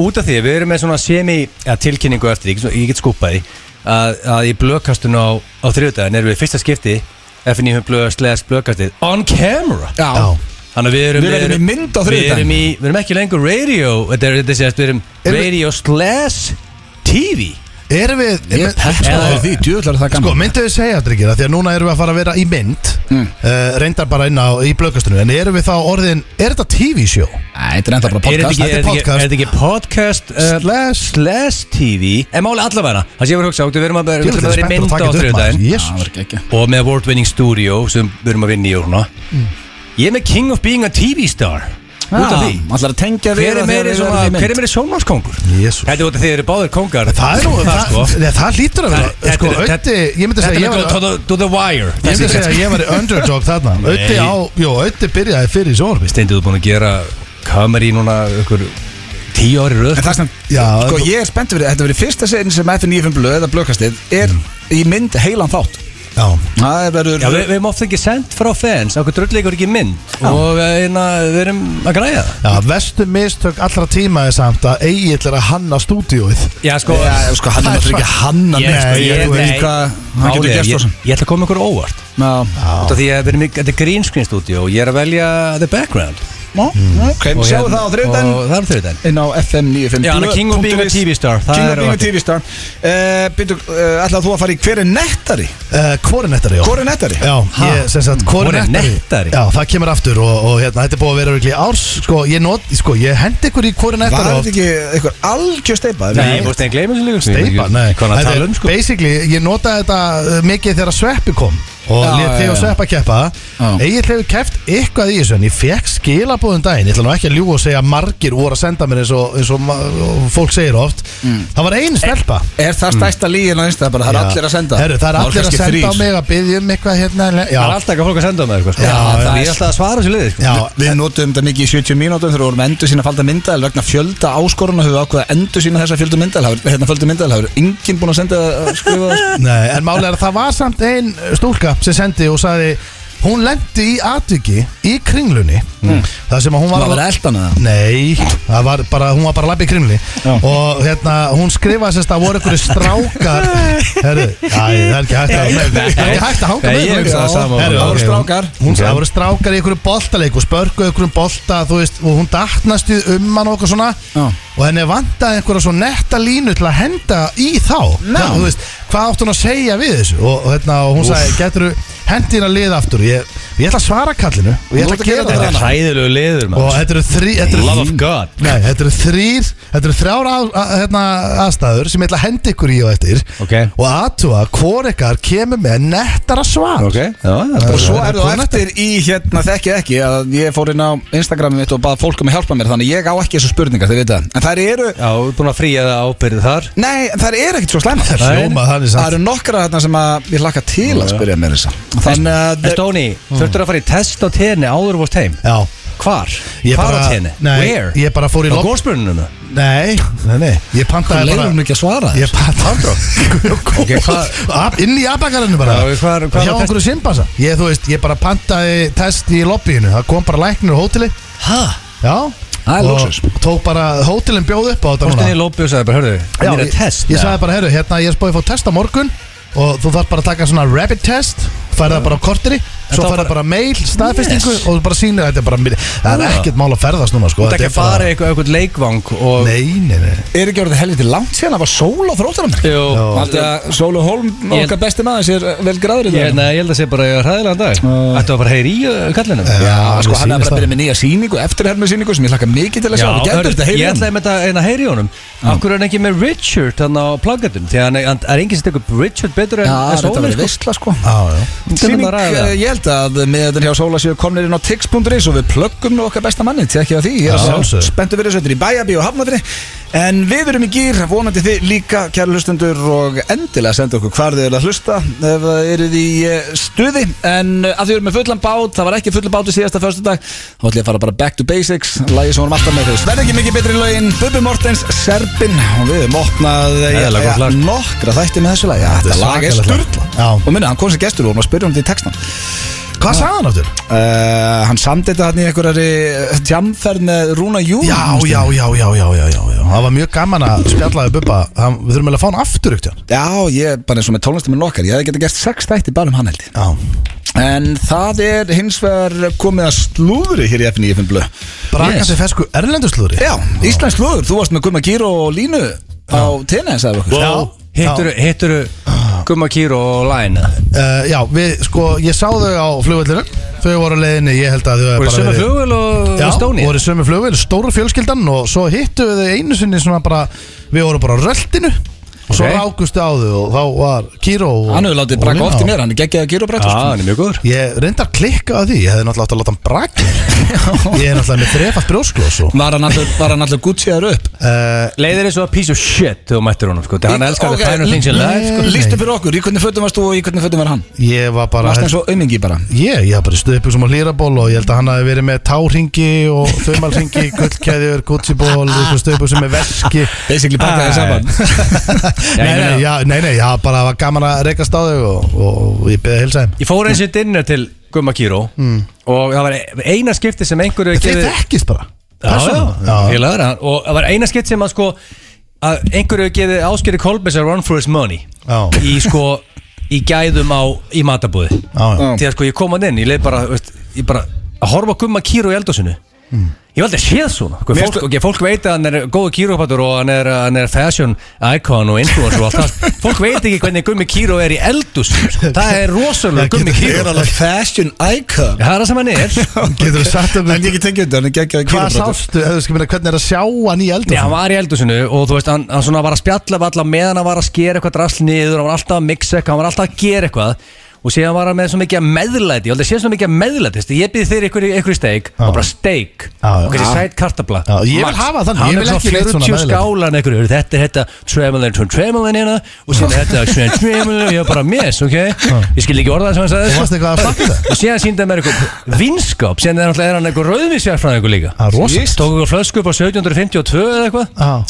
[SPEAKER 2] Út af því að við erum með svona semi ja, tilkynningu eftir Ég, get- ég get skúpað því að, að í blökkastun á, á þriðudaginn erum við fyrsta skipti FNI höfum blöðast leðast blökkastið On camera
[SPEAKER 1] Já,
[SPEAKER 3] Já
[SPEAKER 2] Þannig að við erum,
[SPEAKER 1] Við erum í mynd á
[SPEAKER 2] Við
[SPEAKER 1] þriðjudaginn.
[SPEAKER 2] erum, í, við erum ekki lengur radio Þetta er þetta sést, við erum
[SPEAKER 3] Erum við-
[SPEAKER 2] radio slash TV
[SPEAKER 3] Erum við
[SPEAKER 1] Ég sko.
[SPEAKER 3] ég-
[SPEAKER 1] pepsa
[SPEAKER 2] Eða-
[SPEAKER 1] það því, djúðlar það
[SPEAKER 3] Sko,
[SPEAKER 1] gaman
[SPEAKER 3] myndu við segja þetta ekki Því að núna erum við að fara að vera í mynd
[SPEAKER 1] Mm.
[SPEAKER 3] eh, Reyndar bara inn á í blöðkastunum En erum við þá orðin Er þetta TV-sjó?
[SPEAKER 1] Æ, Þetta er enda bara
[SPEAKER 2] Er þetta
[SPEAKER 1] podcast
[SPEAKER 2] ekki-
[SPEAKER 3] þetta
[SPEAKER 2] er
[SPEAKER 3] er
[SPEAKER 2] þetta ekki- er þetta ekki podcast uh,
[SPEAKER 3] Slash
[SPEAKER 2] Slash TV En máli allavega Það sé ég var að hugsa Við erum að við
[SPEAKER 3] Djöfull,
[SPEAKER 2] ætlum að
[SPEAKER 3] ég er
[SPEAKER 2] vera í
[SPEAKER 3] spenntur að
[SPEAKER 2] mynd á
[SPEAKER 3] taka þetta upp,
[SPEAKER 2] þriðudaginn
[SPEAKER 3] maður.
[SPEAKER 1] Já, það
[SPEAKER 3] Jesus.
[SPEAKER 1] var ekki
[SPEAKER 2] Og með award winning studio Sem við erum að vinna í og svona Ég er með King of Being a TV Star Út af því
[SPEAKER 1] Það Ah. er að tengja við
[SPEAKER 2] Hver er
[SPEAKER 1] að
[SPEAKER 2] meiri
[SPEAKER 1] þegar við
[SPEAKER 2] svona
[SPEAKER 1] erum í
[SPEAKER 2] Hver er
[SPEAKER 1] mynd.
[SPEAKER 2] meiri sjónvarskongur
[SPEAKER 3] Jesus.
[SPEAKER 2] Þetta er út af því þeir eru báðir kongar
[SPEAKER 3] Það er nú Það,
[SPEAKER 2] sko.
[SPEAKER 3] það, það lítur
[SPEAKER 2] Það-
[SPEAKER 3] að vera Sko,
[SPEAKER 2] þetta er-
[SPEAKER 3] Ötti Ég myndi
[SPEAKER 2] Þetta er
[SPEAKER 3] segja ég
[SPEAKER 2] með
[SPEAKER 3] var-
[SPEAKER 2] to, to, to the wire
[SPEAKER 3] Ég myndi segja að ég var underdog þarna Ötti á Jó, Ötti byrjaði fyrir í sjónvarpi
[SPEAKER 2] Steindið þú búin að gera Kameri núna Ykkur Tíu ári röð
[SPEAKER 1] En það sem,
[SPEAKER 3] Já,
[SPEAKER 1] sko
[SPEAKER 3] þú-
[SPEAKER 1] ég er spennt fyrir, þetta verið fyrsta sinn sem FN95 blöð eða blöðkastið er í mynd heilan þátt
[SPEAKER 3] Já
[SPEAKER 1] Það verður
[SPEAKER 2] Já, við, við erum ofta ekki sendt frá fans Okkur drullleikur ekki í mynd Og eh, hérna, við erum að græja það
[SPEAKER 3] Já, vestu mistök allra tíma er samt að Egil er að hanna stúdíóið
[SPEAKER 2] Já, sko
[SPEAKER 1] Já, sko, hann er náttúrulega ekki hann að
[SPEAKER 2] Ég-
[SPEAKER 1] neitt, sko,
[SPEAKER 2] ég-
[SPEAKER 1] ég veit
[SPEAKER 2] nei.
[SPEAKER 1] ekki hvað hann
[SPEAKER 2] Málið
[SPEAKER 1] getur
[SPEAKER 2] er,
[SPEAKER 1] gert
[SPEAKER 2] ég,
[SPEAKER 1] svo sem.
[SPEAKER 2] ég ætla að koma ykkur á óvart
[SPEAKER 1] Já,
[SPEAKER 2] Út af því að við erum í- Þetta er green screen studio Og ég er að velja the background
[SPEAKER 1] Ná, ok,
[SPEAKER 2] Og
[SPEAKER 1] sjáum það á
[SPEAKER 2] hérna-
[SPEAKER 1] þriðdæn
[SPEAKER 2] Og það er þriðdæn
[SPEAKER 1] inn á FM 95
[SPEAKER 2] Já, hann er King of Being a TV star, það
[SPEAKER 1] King
[SPEAKER 2] er
[SPEAKER 1] of Being a
[SPEAKER 2] áhætti.
[SPEAKER 1] TV Star uh, Býtu, uh, ætlaðu þú að fara í hver er nettari?
[SPEAKER 3] Uh, Kvorinnettari, já
[SPEAKER 1] Hvor er nettari?
[SPEAKER 3] Já,
[SPEAKER 2] Ha?
[SPEAKER 3] ég, sem sagt, hvor
[SPEAKER 2] Hvor
[SPEAKER 3] er
[SPEAKER 2] er
[SPEAKER 3] nettari?
[SPEAKER 2] nettari?
[SPEAKER 3] Já, það kemur aftur og, og hérna, þetta er búið að vera virkli árs Sko, ég, not, sko, ég hendi ykkur í hvor er
[SPEAKER 1] Var
[SPEAKER 3] nettari
[SPEAKER 1] þetta
[SPEAKER 3] oft.
[SPEAKER 1] ekki eitthvað algjör steipa?
[SPEAKER 2] Nei, ég búist einn gleyma þessu líka
[SPEAKER 3] Steypa, nei
[SPEAKER 1] um,
[SPEAKER 2] Hvað hann
[SPEAKER 3] Þetta
[SPEAKER 2] að
[SPEAKER 3] er
[SPEAKER 2] tala um, sko
[SPEAKER 3] Basically, ég notaði þetta uh, mikið þegar sveppi kom og
[SPEAKER 1] Já,
[SPEAKER 3] létt
[SPEAKER 1] já,
[SPEAKER 3] þig og
[SPEAKER 1] já.
[SPEAKER 3] sveppa keppa
[SPEAKER 1] Já.
[SPEAKER 3] Egil hefur keft eitthvað í þessu en ég fekk skilabóðum daginn ég ætla nú ekki að ljúga og segja að margir voru að senda mér eins og, eins og, ma- og fólk segir oft það var einu stelpa
[SPEAKER 1] Er Mm. það stærsta lígin á einstæða bara, það er
[SPEAKER 3] Já.
[SPEAKER 1] allir að senda
[SPEAKER 3] Herru, það er
[SPEAKER 1] voru
[SPEAKER 3] allir að
[SPEAKER 1] kannski
[SPEAKER 3] senda á
[SPEAKER 1] þrír.
[SPEAKER 3] mig að byggja um eitthvað hérna já,
[SPEAKER 2] Það er alltaf ekki að fólk að senda á mig eitthvað, sko.
[SPEAKER 3] Já,
[SPEAKER 2] Það
[SPEAKER 1] það
[SPEAKER 2] er
[SPEAKER 1] er-
[SPEAKER 2] alltaf að svara sér liði sko.
[SPEAKER 3] já,
[SPEAKER 1] Við notum þetta mikið í 70 mínútum þegar við vorum endur sína falda myndaðal vegna fjölda áskorun og höfum ákveða endur sína þessa fjölda myndaðal hérna fjölda myndaðal, það er enginn búin að senda að skrifa það sko.
[SPEAKER 3] Nei, en málega er að það var samt ein stúlka sem sendi og sagði hún lendi í atviki í kringlunni það sem að hún var
[SPEAKER 1] Mm. var verið eldan að
[SPEAKER 3] Nei, það var bara, hún var bara að labba í krimli Og hérna, hún skrifaði sérst að voru einhverju strákar Herru, æ, það er ekki hægt að Það er ekki hægt að hanga
[SPEAKER 2] Nei,
[SPEAKER 3] með
[SPEAKER 2] ég
[SPEAKER 3] honum.
[SPEAKER 2] hugsa það sama.
[SPEAKER 3] Herru,
[SPEAKER 1] Það voru
[SPEAKER 3] ok, hún-
[SPEAKER 1] strákar.
[SPEAKER 3] Hún
[SPEAKER 2] Ok.
[SPEAKER 3] það voru strákar í einhverju boltaleik og spörkuðu einhverjum bolta, þú veist og hún datnast í um hann og okkur svona
[SPEAKER 1] Já.
[SPEAKER 3] og henni vantaði einhverja svo netta línu til að henda í þá
[SPEAKER 1] Ná.
[SPEAKER 3] Það, þú veist, Hvað átt hún að segja við þessu og, og, hérna, og hún sagði, getur þú hendina lið aftur ég, ég ætla að svara kallinu og ég
[SPEAKER 1] Þú
[SPEAKER 3] ætla
[SPEAKER 1] ert
[SPEAKER 3] að gera
[SPEAKER 2] Þetta
[SPEAKER 3] það
[SPEAKER 2] er hræðilegu liður
[SPEAKER 3] og
[SPEAKER 2] maður.
[SPEAKER 3] þetta eru þrý þetta eru-
[SPEAKER 2] Love of God.
[SPEAKER 3] Nei, þetta eru þrýr Þetta eru þrjár að, að, hérna, aðstæður sem ég ætla að henda ykkur í og eftir
[SPEAKER 2] Ok.
[SPEAKER 3] og aðtúa hvor ykkar kemur með nettara svar
[SPEAKER 2] Ok, já, það
[SPEAKER 1] Og
[SPEAKER 2] er
[SPEAKER 1] svo
[SPEAKER 3] Það er
[SPEAKER 1] er þú
[SPEAKER 3] planeta.
[SPEAKER 1] eftir í hérna þekkið ekki að ég fór inn á Instagramið mitt og bað fólk um að hjálpa mér þannig ég á ekki þessu spurningar, þið veit það En þær eru,
[SPEAKER 2] Já, við erum búin að fríja það ábyrðið þar
[SPEAKER 1] nei, þær eru ekkit svo slæma
[SPEAKER 3] Það
[SPEAKER 2] Nei.
[SPEAKER 3] hljóma þannig
[SPEAKER 1] Það
[SPEAKER 3] samt
[SPEAKER 1] eru nokkra þarna sem að ég hlakka til að spyrja mér þessa Þannig að
[SPEAKER 2] En Stóni,
[SPEAKER 3] Mm.
[SPEAKER 2] þurftur að fara í test á tenni áður vorst heim
[SPEAKER 3] Já
[SPEAKER 2] Hvar?
[SPEAKER 3] Ég
[SPEAKER 2] Hvar á
[SPEAKER 3] bara-
[SPEAKER 2] tenni?
[SPEAKER 3] Nei,
[SPEAKER 2] Where?
[SPEAKER 3] ég bara fór í
[SPEAKER 2] Á
[SPEAKER 3] lobb-
[SPEAKER 2] góðspurnunum
[SPEAKER 3] Nei, nei, nei Ég pantaði
[SPEAKER 1] leiður hún
[SPEAKER 3] bara
[SPEAKER 1] ekki að svara
[SPEAKER 3] Ég (laughs) pantaði
[SPEAKER 2] Ok, hvað-
[SPEAKER 3] Ab- Inn í abakarinu bara
[SPEAKER 2] Já, hvar- hvar
[SPEAKER 3] Hjá
[SPEAKER 2] var
[SPEAKER 3] einhverju simpansa Ég, þú veist, ég bara pantaði test í lobbyinu Það kom bara læknir á hóteli
[SPEAKER 2] Hæ?
[SPEAKER 3] Já
[SPEAKER 1] Það er
[SPEAKER 3] Og
[SPEAKER 1] lúxus.
[SPEAKER 3] Tók bara hótelin bjóð upp á þetta
[SPEAKER 2] Fórstu
[SPEAKER 3] núna.
[SPEAKER 2] inn í lópi og sagði bara, hörðu,
[SPEAKER 3] Já,
[SPEAKER 2] hann er
[SPEAKER 3] ég-
[SPEAKER 2] að test
[SPEAKER 3] Ég sagði bara, herru, hérna ég er spóið að fá test á morgun Og þú þarf bara að taka svona rapid test Færða bara á korteri Svo
[SPEAKER 2] þá
[SPEAKER 3] færða
[SPEAKER 2] bara-
[SPEAKER 3] bara mail, staðfestingu
[SPEAKER 2] Yes.
[SPEAKER 3] Og þú bara sýnir þetta er bara mér- Það er
[SPEAKER 2] Já.
[SPEAKER 3] ekkert mál að ferðast núna sko
[SPEAKER 2] Þú ert
[SPEAKER 3] þetta
[SPEAKER 2] ekki
[SPEAKER 3] er
[SPEAKER 2] að fara í eitthvað, eitthvað leikvang og
[SPEAKER 3] Nei, nei, nei
[SPEAKER 1] Er ekki orðið helviti langt síðan að var sól á þróttaramir
[SPEAKER 2] Jú,
[SPEAKER 1] Haldi að Sólu Holm,
[SPEAKER 2] Ég-
[SPEAKER 1] okkar besti maður, sér eh, vel græður í
[SPEAKER 2] ég,
[SPEAKER 1] það
[SPEAKER 2] nei, ég held að sé bara hræðilegan dag Ættu að fara heyri í uh, kallinum
[SPEAKER 1] Já, sko hann er
[SPEAKER 3] mér sýnist
[SPEAKER 1] bara að
[SPEAKER 3] það.
[SPEAKER 1] byrja með nýja síningu Eftirhermið síningu sem ég hlakka mikið til að sjá Við
[SPEAKER 2] hörðu,
[SPEAKER 1] gerðum þetta um?
[SPEAKER 2] ég
[SPEAKER 1] heilum
[SPEAKER 2] ætlaði með þetta eina að heyri í honum Akkur er hann ekki með Richard hann á plaggatum Því að hann- hann- það er enginn sem tekur Richard betur en
[SPEAKER 1] Já,
[SPEAKER 2] en
[SPEAKER 1] þetta
[SPEAKER 2] Sólir,
[SPEAKER 1] verður
[SPEAKER 2] sko.
[SPEAKER 1] veistla sko
[SPEAKER 3] Já, já
[SPEAKER 2] Sýning,
[SPEAKER 1] Sýning,
[SPEAKER 2] eh,
[SPEAKER 1] eh, ég held að með þetta hjá Sóla séu komnir inn á tix.is og við plöggum nú okkar besta manni til ekki að því, ég
[SPEAKER 3] Já,
[SPEAKER 1] er svo
[SPEAKER 3] sjálfsögðu.
[SPEAKER 1] spenntu verið sötur í bæjabí og hafnafri en við erum í gýr, vonandi þið líka kæra hlustundur og endilega senda okkur hvar þið eru að hlusta ef það eruð í eh, stuði en eh, að þið eru með fullan bát, það var ekki fullan bát í síðasta föstudag, þá ætlum ég að fara bara back to basics, lagi sem vorum alltaf með þess verð ekki mikið betri lögin, Bubbi Mortens, Serbin og við erum opnað eh,
[SPEAKER 2] Eðlilega gott lag.
[SPEAKER 1] nokkra þætti með þessu lagi, Já, þetta lag er
[SPEAKER 3] svakalegt lag.
[SPEAKER 1] sturla
[SPEAKER 3] Já.
[SPEAKER 1] og minna, hann kom sem gestur og hann var að spyrja um þetta í textan
[SPEAKER 3] Hvað sagði hann áttur?
[SPEAKER 1] uh, Hann samdi þetta hann í einhverjari tjamferð með Rúna Júl
[SPEAKER 3] Já, já, já, já, já, já, já, já Það var mjög gaman að spjallaði Bubba Hann- Við þurfum eiginlega að fá hann aftur ykkur
[SPEAKER 1] Já, ég bara eins og með tónlistum með nokkar Ég hefði getið gert sex þætti bara um hann held ég.
[SPEAKER 3] Já
[SPEAKER 1] En það er hins vegar komið að slúðri hér í FNÍFN Blö
[SPEAKER 3] Brakan
[SPEAKER 2] Yes.
[SPEAKER 3] sem fesku erlenduslúðri
[SPEAKER 1] Já, Íslands slúður, þú varst með Gumma Gýr og Línu á tenni, sagði okkur
[SPEAKER 3] Já.
[SPEAKER 2] Hitturu, hitturu Gumma Kýr og Læn
[SPEAKER 3] Eh, Já, við, sko, ég sá þau á flugvöldinu Þau voru á leiðinni, ég held að þau hafi
[SPEAKER 2] Voru
[SPEAKER 3] bara
[SPEAKER 2] sömu
[SPEAKER 3] verið-
[SPEAKER 2] flugul og
[SPEAKER 3] Já,
[SPEAKER 2] Stóni
[SPEAKER 3] voru í sömu flugvél, stóru fjölskyldan og svo hittu við þau einu sinni svona bara, við vorum bara á röltinu og svo
[SPEAKER 2] Ok.
[SPEAKER 3] rákustu á þau og þá var Kíró og
[SPEAKER 1] Hann hefur látið
[SPEAKER 3] og
[SPEAKER 1] braka
[SPEAKER 3] Lína
[SPEAKER 1] oft í
[SPEAKER 3] og-
[SPEAKER 1] mér, hann er sko. geggjaði Gýr og
[SPEAKER 2] Já,
[SPEAKER 1] braka
[SPEAKER 2] hann er mjög góður
[SPEAKER 3] Ég reyndar klikka að því, ég hefði náttúrulega átt að láta hann braka
[SPEAKER 1] (laughs)
[SPEAKER 3] Ég er náttúrulega með þrefalt brjósklós og
[SPEAKER 1] Var hann allur- var hann allur gútsíðar upp
[SPEAKER 3] uh,
[SPEAKER 2] Leiðir eins og piece of shit þegar þú mættir honum sko. Þegar hann elskar
[SPEAKER 1] Ok,
[SPEAKER 2] okay. the final things in life sko.
[SPEAKER 1] Lýstu fyrir okkur, í hvernig fötum varst þú og í hvernig fötum var hann
[SPEAKER 3] Ég var bara
[SPEAKER 1] Varst hann svo aumingi bara
[SPEAKER 3] Ég, ég var bara stuðið byggsum á hlýraból og ég held að hann hafi verið með tárhingi og
[SPEAKER 1] (laughs)
[SPEAKER 3] þaumalringi, gullkæðjur, gucciból, stuðið byggsum með veski
[SPEAKER 1] Basically bakaði
[SPEAKER 2] Æ. (laughs)
[SPEAKER 1] saman
[SPEAKER 2] Já, ég
[SPEAKER 3] Nei, nei,
[SPEAKER 2] meina-
[SPEAKER 3] já, nei, nei, já, bara var gaman að reykast á þau og, og ég beðið að hilsa þeim
[SPEAKER 2] Ég fór eins og dinner til Gumma Kýr
[SPEAKER 3] Mm.
[SPEAKER 2] og það var eina skipti sem einhverju
[SPEAKER 3] Þeir þekkist bara Persónulega.
[SPEAKER 2] Já, félagar hann- og það var eina skeitt sem að sko að einhverju hefur gefið áskeri Kolbess að run for his money
[SPEAKER 3] Já.
[SPEAKER 2] í sko í gæðum á í matabúði
[SPEAKER 3] já, já.
[SPEAKER 2] því að sko ég kom hann inn ég leið bara, veist, ég bara að horfa á gumma kýru í eldhúsinu Ég hef aldrei séð svona Hver
[SPEAKER 1] Mér
[SPEAKER 2] fólk,
[SPEAKER 1] finnst-
[SPEAKER 2] okay, fólk veit að hann er góðu kýrópatur og hann er, hann er fashion icon og influencer og allt það Fólk veit ekki hvernig gummi kýró er í eldhúsinu sko. Það er rosalega
[SPEAKER 3] Já,
[SPEAKER 2] gummi
[SPEAKER 3] getur-
[SPEAKER 1] er
[SPEAKER 2] kýró
[SPEAKER 1] alveg fashion icon
[SPEAKER 2] Það er það sem hann er
[SPEAKER 3] Getur þú sagt um
[SPEAKER 1] En ég ekki tekið undir, hann er geggjaði
[SPEAKER 3] Hvað sástu, eða þú skil meina, hvernig er að sjá hann í
[SPEAKER 2] Nei, hann
[SPEAKER 3] eldur
[SPEAKER 2] var í eldhúsinu og þú veist, hann, hann svona var að spjalla við alla meðan hann var að skera eitthvað drasl niður, hann var alltaf að mixa eitthvað, hann var alltaf að gera eitthvað og síðan var hann með svo mikið af meðlæti ég aldrei séð svo mikið af meðlæti Þú veist, ég býði þeir ykkur, ykkur steik
[SPEAKER 3] Já.
[SPEAKER 2] og bara steik
[SPEAKER 3] Já, já.
[SPEAKER 2] og kannski
[SPEAKER 3] Já.
[SPEAKER 2] sæt kartabla
[SPEAKER 3] Já, ég vil hafa þannig, ég
[SPEAKER 2] hann
[SPEAKER 3] vil
[SPEAKER 2] er
[SPEAKER 3] ekki
[SPEAKER 2] svo
[SPEAKER 3] neitt svona
[SPEAKER 2] 40
[SPEAKER 3] meðlæti.
[SPEAKER 2] skálan ykkur heyrðu, þetta er þetta tremelin tón tremelin hérna og síðan er þetta tón tremelin og ég var bara miss ok ég skil ekki orða það sem hann
[SPEAKER 3] Þú
[SPEAKER 2] sagði
[SPEAKER 3] varst
[SPEAKER 2] sko.
[SPEAKER 3] eitthvað að slappa það
[SPEAKER 2] og síðan síndi hann mér ykkur vinskap síðan er náttúrulega- er hann ykkur rauðvísjárfræðingur líka
[SPEAKER 3] Það er Ah. rosa
[SPEAKER 1] Víst.
[SPEAKER 2] tók ykkur flösku upp á 1752 eða eitthvað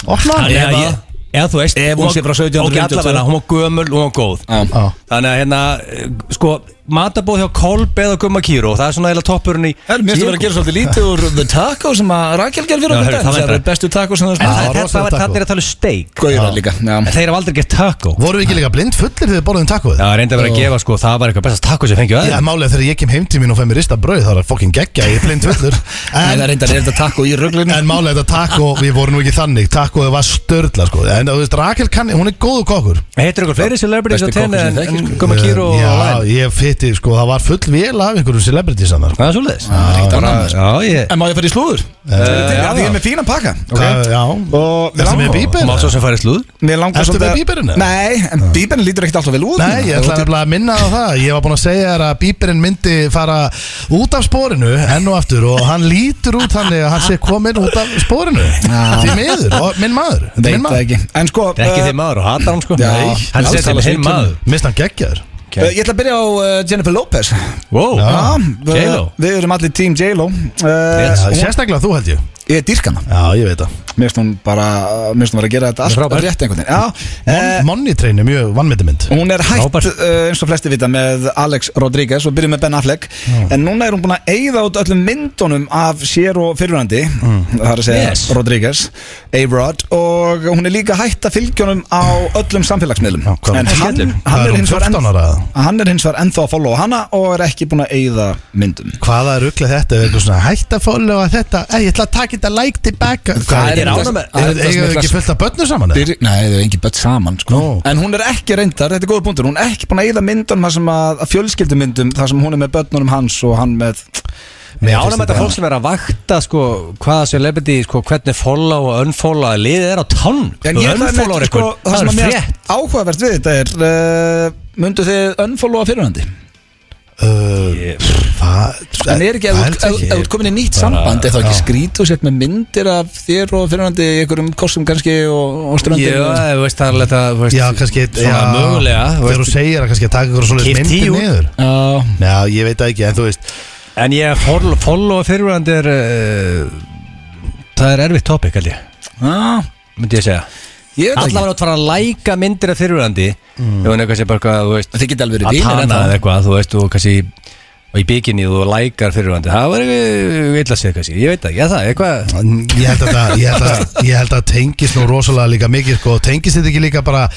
[SPEAKER 3] Opna hann
[SPEAKER 2] Já,
[SPEAKER 1] Ef
[SPEAKER 2] já,
[SPEAKER 1] að-
[SPEAKER 2] ég- Eða þú veist
[SPEAKER 1] Ef hún sé frá 1792.
[SPEAKER 2] Ok, allavega, hún var gömul og hún var góð
[SPEAKER 1] Já.
[SPEAKER 3] Já.
[SPEAKER 2] Þannig að hérna, eh, sko, matabóð hjá Kolb eða Gumma Kíró Það er svona eða toppurinn í
[SPEAKER 1] Herru, mér finnst að vera að gera svolítið lítið úr The Taco sem að Rakel gerði fyrir
[SPEAKER 2] Já,
[SPEAKER 1] okkur dag.
[SPEAKER 2] herru, það
[SPEAKER 1] Það
[SPEAKER 2] veit
[SPEAKER 1] er
[SPEAKER 2] ég.
[SPEAKER 1] bestu taco sem það
[SPEAKER 2] En
[SPEAKER 1] smakað.
[SPEAKER 2] það-
[SPEAKER 3] það var
[SPEAKER 2] þetta
[SPEAKER 3] rosalega
[SPEAKER 2] var,
[SPEAKER 3] taco.
[SPEAKER 2] þannig er að tala um steak
[SPEAKER 1] Gauðra líka, já.
[SPEAKER 2] En þeir hafa aldrei gert taco
[SPEAKER 3] Vorum við ekki líka blind fullir þegar við borðum tacoð?
[SPEAKER 2] Já, reyndi að vera að gefa, sko, það var eitthvað bestast taco sem fengið
[SPEAKER 3] Já,
[SPEAKER 2] aðeins
[SPEAKER 3] málið er þegar ég kem heim til mín og fæ mér rista brauð þá er það fokkin geggja, ég er blind
[SPEAKER 2] (laughs)
[SPEAKER 3] fullur
[SPEAKER 1] Nei, það
[SPEAKER 3] En,
[SPEAKER 1] er reyndar er þetta taco í ruglinu.
[SPEAKER 3] en málið er þetta taco, við vorum nú ekki þannig Tacoð var störla, sko En þú veist, Rakel kann, hún er góðu kokkur Eh,
[SPEAKER 2] Heitir ykkur fleiri celebrities
[SPEAKER 1] Besti
[SPEAKER 2] á
[SPEAKER 1] kokkur
[SPEAKER 2] tenni
[SPEAKER 1] sem ég
[SPEAKER 2] en
[SPEAKER 1] þekki,
[SPEAKER 2] en
[SPEAKER 1] sko.
[SPEAKER 2] Gumma Kíró og
[SPEAKER 3] Já,
[SPEAKER 2] Lion?
[SPEAKER 3] ég fytti, sko, það var full vel af einhverjum celebrities sko. annar
[SPEAKER 2] Það er svolítið
[SPEAKER 1] ekkert annað,
[SPEAKER 2] Já, ég
[SPEAKER 1] En má ég fara í slúður? Það er ég er með fínan pakka.
[SPEAKER 3] okay. Já,
[SPEAKER 1] Eh, Og
[SPEAKER 3] Ertu með
[SPEAKER 1] langar-
[SPEAKER 3] bíber?
[SPEAKER 2] Má svo sem farið slúð
[SPEAKER 1] Mér langar
[SPEAKER 3] Ertu
[SPEAKER 1] svolítið
[SPEAKER 3] með
[SPEAKER 1] að-
[SPEAKER 3] bíberinn, eða?
[SPEAKER 1] Nei, en bíberinn lítur ekkert alltaf vel út
[SPEAKER 3] Nei, ég ætla nefnilega að minna á það Ég var búinn að segja þér að bíberinn myndi fara út af spórinu enn og aftur og hann lítur út þannig að hann sé kominn út af spórinu Því miður, og minn maður þetta er
[SPEAKER 1] Veit
[SPEAKER 3] minn
[SPEAKER 1] það
[SPEAKER 3] maður.
[SPEAKER 1] ekki En sko
[SPEAKER 2] Ekki
[SPEAKER 1] eh,
[SPEAKER 2] þeim maður og hatar hann, sko
[SPEAKER 1] Já.
[SPEAKER 2] Hann
[SPEAKER 1] Alls
[SPEAKER 2] setja
[SPEAKER 1] tala
[SPEAKER 2] með heim
[SPEAKER 1] svikinn.
[SPEAKER 2] maður
[SPEAKER 3] Mist hann geggjaður
[SPEAKER 1] eh, Ég ætla að byrja á eh, Jennifer Lopez
[SPEAKER 2] Wow,
[SPEAKER 1] Já, við-
[SPEAKER 2] Ah, J-Lo
[SPEAKER 1] Við erum allir team J-Lo
[SPEAKER 2] Rétt.
[SPEAKER 1] Eh,
[SPEAKER 3] Já, Sérstaklega þú held ég
[SPEAKER 1] Ég er dýrkana
[SPEAKER 3] Já, ég veit það
[SPEAKER 1] Mér finnst hún bara Mér finnst hún vera að gera þetta
[SPEAKER 2] Hún er
[SPEAKER 1] allt
[SPEAKER 2] frábær.
[SPEAKER 1] rétt einhvern veginn Já, eh,
[SPEAKER 3] Money Train er mjög vannmyndi mynd
[SPEAKER 1] Hún er hætt
[SPEAKER 2] Frábært.
[SPEAKER 1] uh, eins og flesti vita með Alex Rodriguez og byrjuð með Ben Affleck en núna er hún búin að eyða út öllum myndunum af sér og fyrirhandi
[SPEAKER 3] Mm.
[SPEAKER 1] það er að segja
[SPEAKER 2] Yes.
[SPEAKER 1] Rodriguez A-Rod og hún er líka hætt að fylgjónum á öllum samfélagsmiðlum
[SPEAKER 3] Já, hvað er
[SPEAKER 1] en
[SPEAKER 3] hún?
[SPEAKER 1] hann,
[SPEAKER 2] Skellur.
[SPEAKER 1] hann,
[SPEAKER 3] Hvað er
[SPEAKER 1] er
[SPEAKER 3] hún,
[SPEAKER 1] hins vegar
[SPEAKER 3] 14 ára
[SPEAKER 1] enn,
[SPEAKER 3] eða?
[SPEAKER 1] hann er hins vegar ennþá að followa hana og er ekki búin að eyða myndum
[SPEAKER 3] Hvaða er rugglega þetta? Er eitthvað svona hætt að followa þetta? Æ, ég ætla að taka þetta like tilbaka
[SPEAKER 1] Hvað er
[SPEAKER 2] þetta?
[SPEAKER 3] Er þetta
[SPEAKER 1] Þetta er
[SPEAKER 3] ekki fullt af börnum saman? eða?
[SPEAKER 1] Byr, nei, það er engin börn saman sko.
[SPEAKER 3] Nú.
[SPEAKER 1] En hún er ekki reyndar, þetta er góður punktur Hún er ekki búin að eyða myndunum þar sem að, að fjölskyldumyndum þar sem hún er með börnunum hans og hann með
[SPEAKER 2] Ég
[SPEAKER 3] Mér finnst
[SPEAKER 2] ánum þetta fólk sem er að vakta sko, hvaða celebrity, sko, hvernig follow og unfollow að liðið er á tann
[SPEAKER 1] En ég ætlaði
[SPEAKER 2] unfollow
[SPEAKER 1] með, sko, það
[SPEAKER 2] það
[SPEAKER 1] sem
[SPEAKER 2] er
[SPEAKER 1] að mér
[SPEAKER 2] frétt
[SPEAKER 1] áhugavert við þetta er uh, Mundu þið unfollowa fyrirhandi?
[SPEAKER 3] Uh, það-
[SPEAKER 1] En er ekki,
[SPEAKER 3] það
[SPEAKER 1] ef
[SPEAKER 3] held
[SPEAKER 1] þú-
[SPEAKER 3] ég
[SPEAKER 1] ef- ef þú ert komin í nýtt samband Er þá ekki skrít og sett með myndir af þér og fyrirhandi í einhverjum kostum kannski og, og ströndin
[SPEAKER 2] Já,
[SPEAKER 1] og-
[SPEAKER 2] þú veist, það er alveg þetta, þú veist,
[SPEAKER 3] Já, kannski
[SPEAKER 2] svona
[SPEAKER 3] já,
[SPEAKER 2] mögulega þú
[SPEAKER 3] Þegar þú
[SPEAKER 2] veist.
[SPEAKER 3] segir að kannski að taka ykkur svoleiðis
[SPEAKER 2] Keypt
[SPEAKER 3] myndir
[SPEAKER 2] tíu.
[SPEAKER 3] niður
[SPEAKER 1] Já,
[SPEAKER 3] Já, ég veit það ekki, en þú veist
[SPEAKER 2] En ég follow, follow fyrirvændi er uh, það er erfitt topic, held ég
[SPEAKER 1] já
[SPEAKER 2] myndi ég segja
[SPEAKER 1] Ég veit
[SPEAKER 2] Allavega
[SPEAKER 1] ekki
[SPEAKER 2] átt fara að læka myndir af fyrirvændi ef hann eitthvað sé bara eitthvað, þú veist
[SPEAKER 1] Þið geta alveg
[SPEAKER 2] að
[SPEAKER 1] verið vinir
[SPEAKER 2] tana
[SPEAKER 1] ennþá.
[SPEAKER 2] eða eitthvað, þú veist, og kannski og í bikini þú lækar fyrirvændi það var eitthvað illa sér kannski, ég veit það, ég það, eitthvað
[SPEAKER 3] Ég held að það, ég held að, ég held að tengist nú rosalega líka mikið sko, og tengist þetta ekki líka bara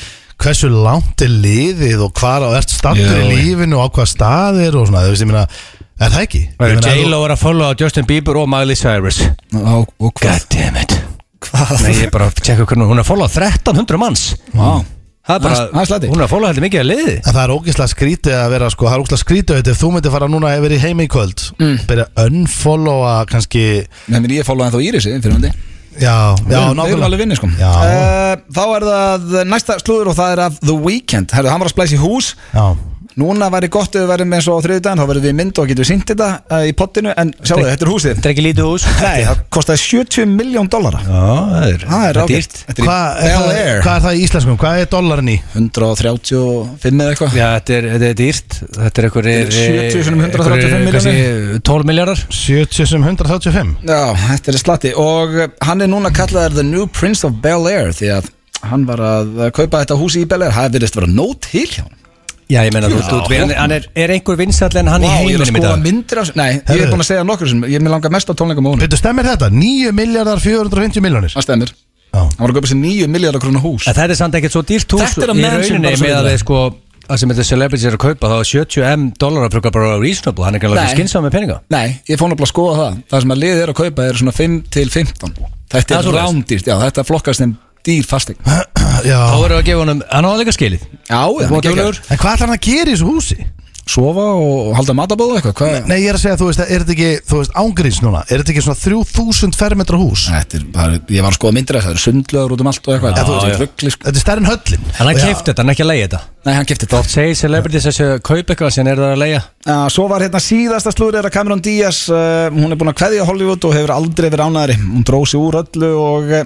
[SPEAKER 3] hversu langt er liðið og hvar og ert stattur
[SPEAKER 1] Jú.
[SPEAKER 3] í lífinu og á hvað stað er og svona, þú veist, ég meina er það ekki? Ég meina, ef
[SPEAKER 2] J-Lo er að followa Justin Bieber og Miley Cyrus
[SPEAKER 1] Já, Og hvað?
[SPEAKER 2] Goddammit
[SPEAKER 1] Hvað?
[SPEAKER 2] Nei, ég bara tjekka hvernig hún er að followa 1300 manns
[SPEAKER 1] Vá.
[SPEAKER 2] Það er bara,
[SPEAKER 1] Það er- það er slatti.
[SPEAKER 2] hún er að followa heldur mikið að liði
[SPEAKER 3] En það er ógeðslega skrítið að vera sko, það er ógeðslega skrítið auðvitað ef þú myndir fara núna yfir í heimi í kvöld mm. byrja að unfollowa kannski
[SPEAKER 1] Nei, menn ég followa ennþá Írisi fyrirhandi
[SPEAKER 3] Já, já,
[SPEAKER 1] Við erum alveg vinni sko
[SPEAKER 3] Já.
[SPEAKER 1] Eh, Þá er það næsta slúður og það er af The Weeknd Herðu, hann var að splæsa í hús
[SPEAKER 3] Já,
[SPEAKER 1] Núna væri gott ef við verðum eins og á þriðudaginn þá verðum við í mynd og getum við syngt þetta eh, í pottinu en sjáu þetta er húsið
[SPEAKER 2] Þetta er ekki lítið hús
[SPEAKER 1] Nei, það kostaði 70 miljón dollara
[SPEAKER 2] Já, það
[SPEAKER 1] Það er eh,
[SPEAKER 2] er, það er
[SPEAKER 1] ágætt.
[SPEAKER 2] dýrt
[SPEAKER 1] Þetta er í
[SPEAKER 3] Hvað er,
[SPEAKER 1] Bel
[SPEAKER 3] það-
[SPEAKER 1] Air
[SPEAKER 3] hvað er það í íslenskum? Hvað er dollarinn í?
[SPEAKER 1] 135 eða eitthvað
[SPEAKER 2] Já, þetta er, þetta er dýrt Þetta er einhverjir
[SPEAKER 1] Þetta er 70 sinnum 135
[SPEAKER 2] einhverjir, kannski 12 miljardar
[SPEAKER 3] 70 sem 135
[SPEAKER 1] Já, þetta er slatti og eh, hann er núna kallaðar The New Prince of Bel Air því að hann var að eh, kaupa þetta húsi í Bel Air það verðist vera nót til hjá hann
[SPEAKER 2] Já, ég meina, þú þú- þú- hann er- hann er, er einhver vinsall en hann í
[SPEAKER 1] ég er að
[SPEAKER 2] heiminum í
[SPEAKER 1] skoða
[SPEAKER 2] dag
[SPEAKER 1] myndir af Nei, ég er
[SPEAKER 3] Herðu.
[SPEAKER 1] búin að segja nokkur sem ég er mér langar mest á tónleikum á hún
[SPEAKER 3] Veitu, stemmir þetta? 9 miljardar 450 miljonir
[SPEAKER 1] Það stemmir
[SPEAKER 3] Já,
[SPEAKER 1] Hann var að kaupa sér 9 miljardar krónu hús
[SPEAKER 2] En þetta er samt ekkert svo dýrt hús
[SPEAKER 1] Þetta er að
[SPEAKER 2] í
[SPEAKER 1] mansion
[SPEAKER 2] rauninni
[SPEAKER 1] bara svo
[SPEAKER 2] með
[SPEAKER 1] við
[SPEAKER 2] að
[SPEAKER 1] það.
[SPEAKER 2] þeir sko að sem þetta celebrities er að kaupa þá er 70m dólarar frukar bara reasonable, hann er ekki alveg
[SPEAKER 1] Nei.
[SPEAKER 2] skynsam með peninga
[SPEAKER 1] Nei, ég fór náttúrulega að skoða það Það sem að liðið er að kaupa er svona 5 til 15 Þetta
[SPEAKER 2] Það er
[SPEAKER 1] er
[SPEAKER 2] svoleiðis.
[SPEAKER 1] rándýrt, já, þetta flokkast sem dýr fasteign Já,
[SPEAKER 3] Ah, já
[SPEAKER 2] Þá verður að gefa honum, Ah. hann á það líka skilið
[SPEAKER 1] já,
[SPEAKER 2] Búið
[SPEAKER 1] ekki
[SPEAKER 2] duglegur.
[SPEAKER 3] En hvað ætlar hann að gera í þessu húsi?
[SPEAKER 1] Sofa og halda matabóðu eitthvað hvað?
[SPEAKER 3] Nei, ég er að segja, þú veist, er þetta ekki, þú veist, ángríns núna Er þetta ekki svona 3000 fermetra hús?
[SPEAKER 1] Þetta er bara, ég var að skoða myndir þess Það eru sundlöður út um allt og eitthvað
[SPEAKER 2] Já,
[SPEAKER 1] Þetta er
[SPEAKER 2] já.
[SPEAKER 1] ruggli, sko.
[SPEAKER 3] Þetta er stærri en höllin
[SPEAKER 2] En hann
[SPEAKER 3] Og já,
[SPEAKER 2] keifti þetta, hann er ekki að leiði þetta
[SPEAKER 1] Nei, hann gifti
[SPEAKER 2] Þú
[SPEAKER 1] þetta
[SPEAKER 2] oft segir celebrities þessu kaup eitthvað sem er það að leia
[SPEAKER 1] Uh, svo var hérna síðasta slúrið er að Cameron Diaz, uh, hún er búin að kveðja Hollywood og hefur aldrei verið ánæðri hún dró sig úr öllu og uh,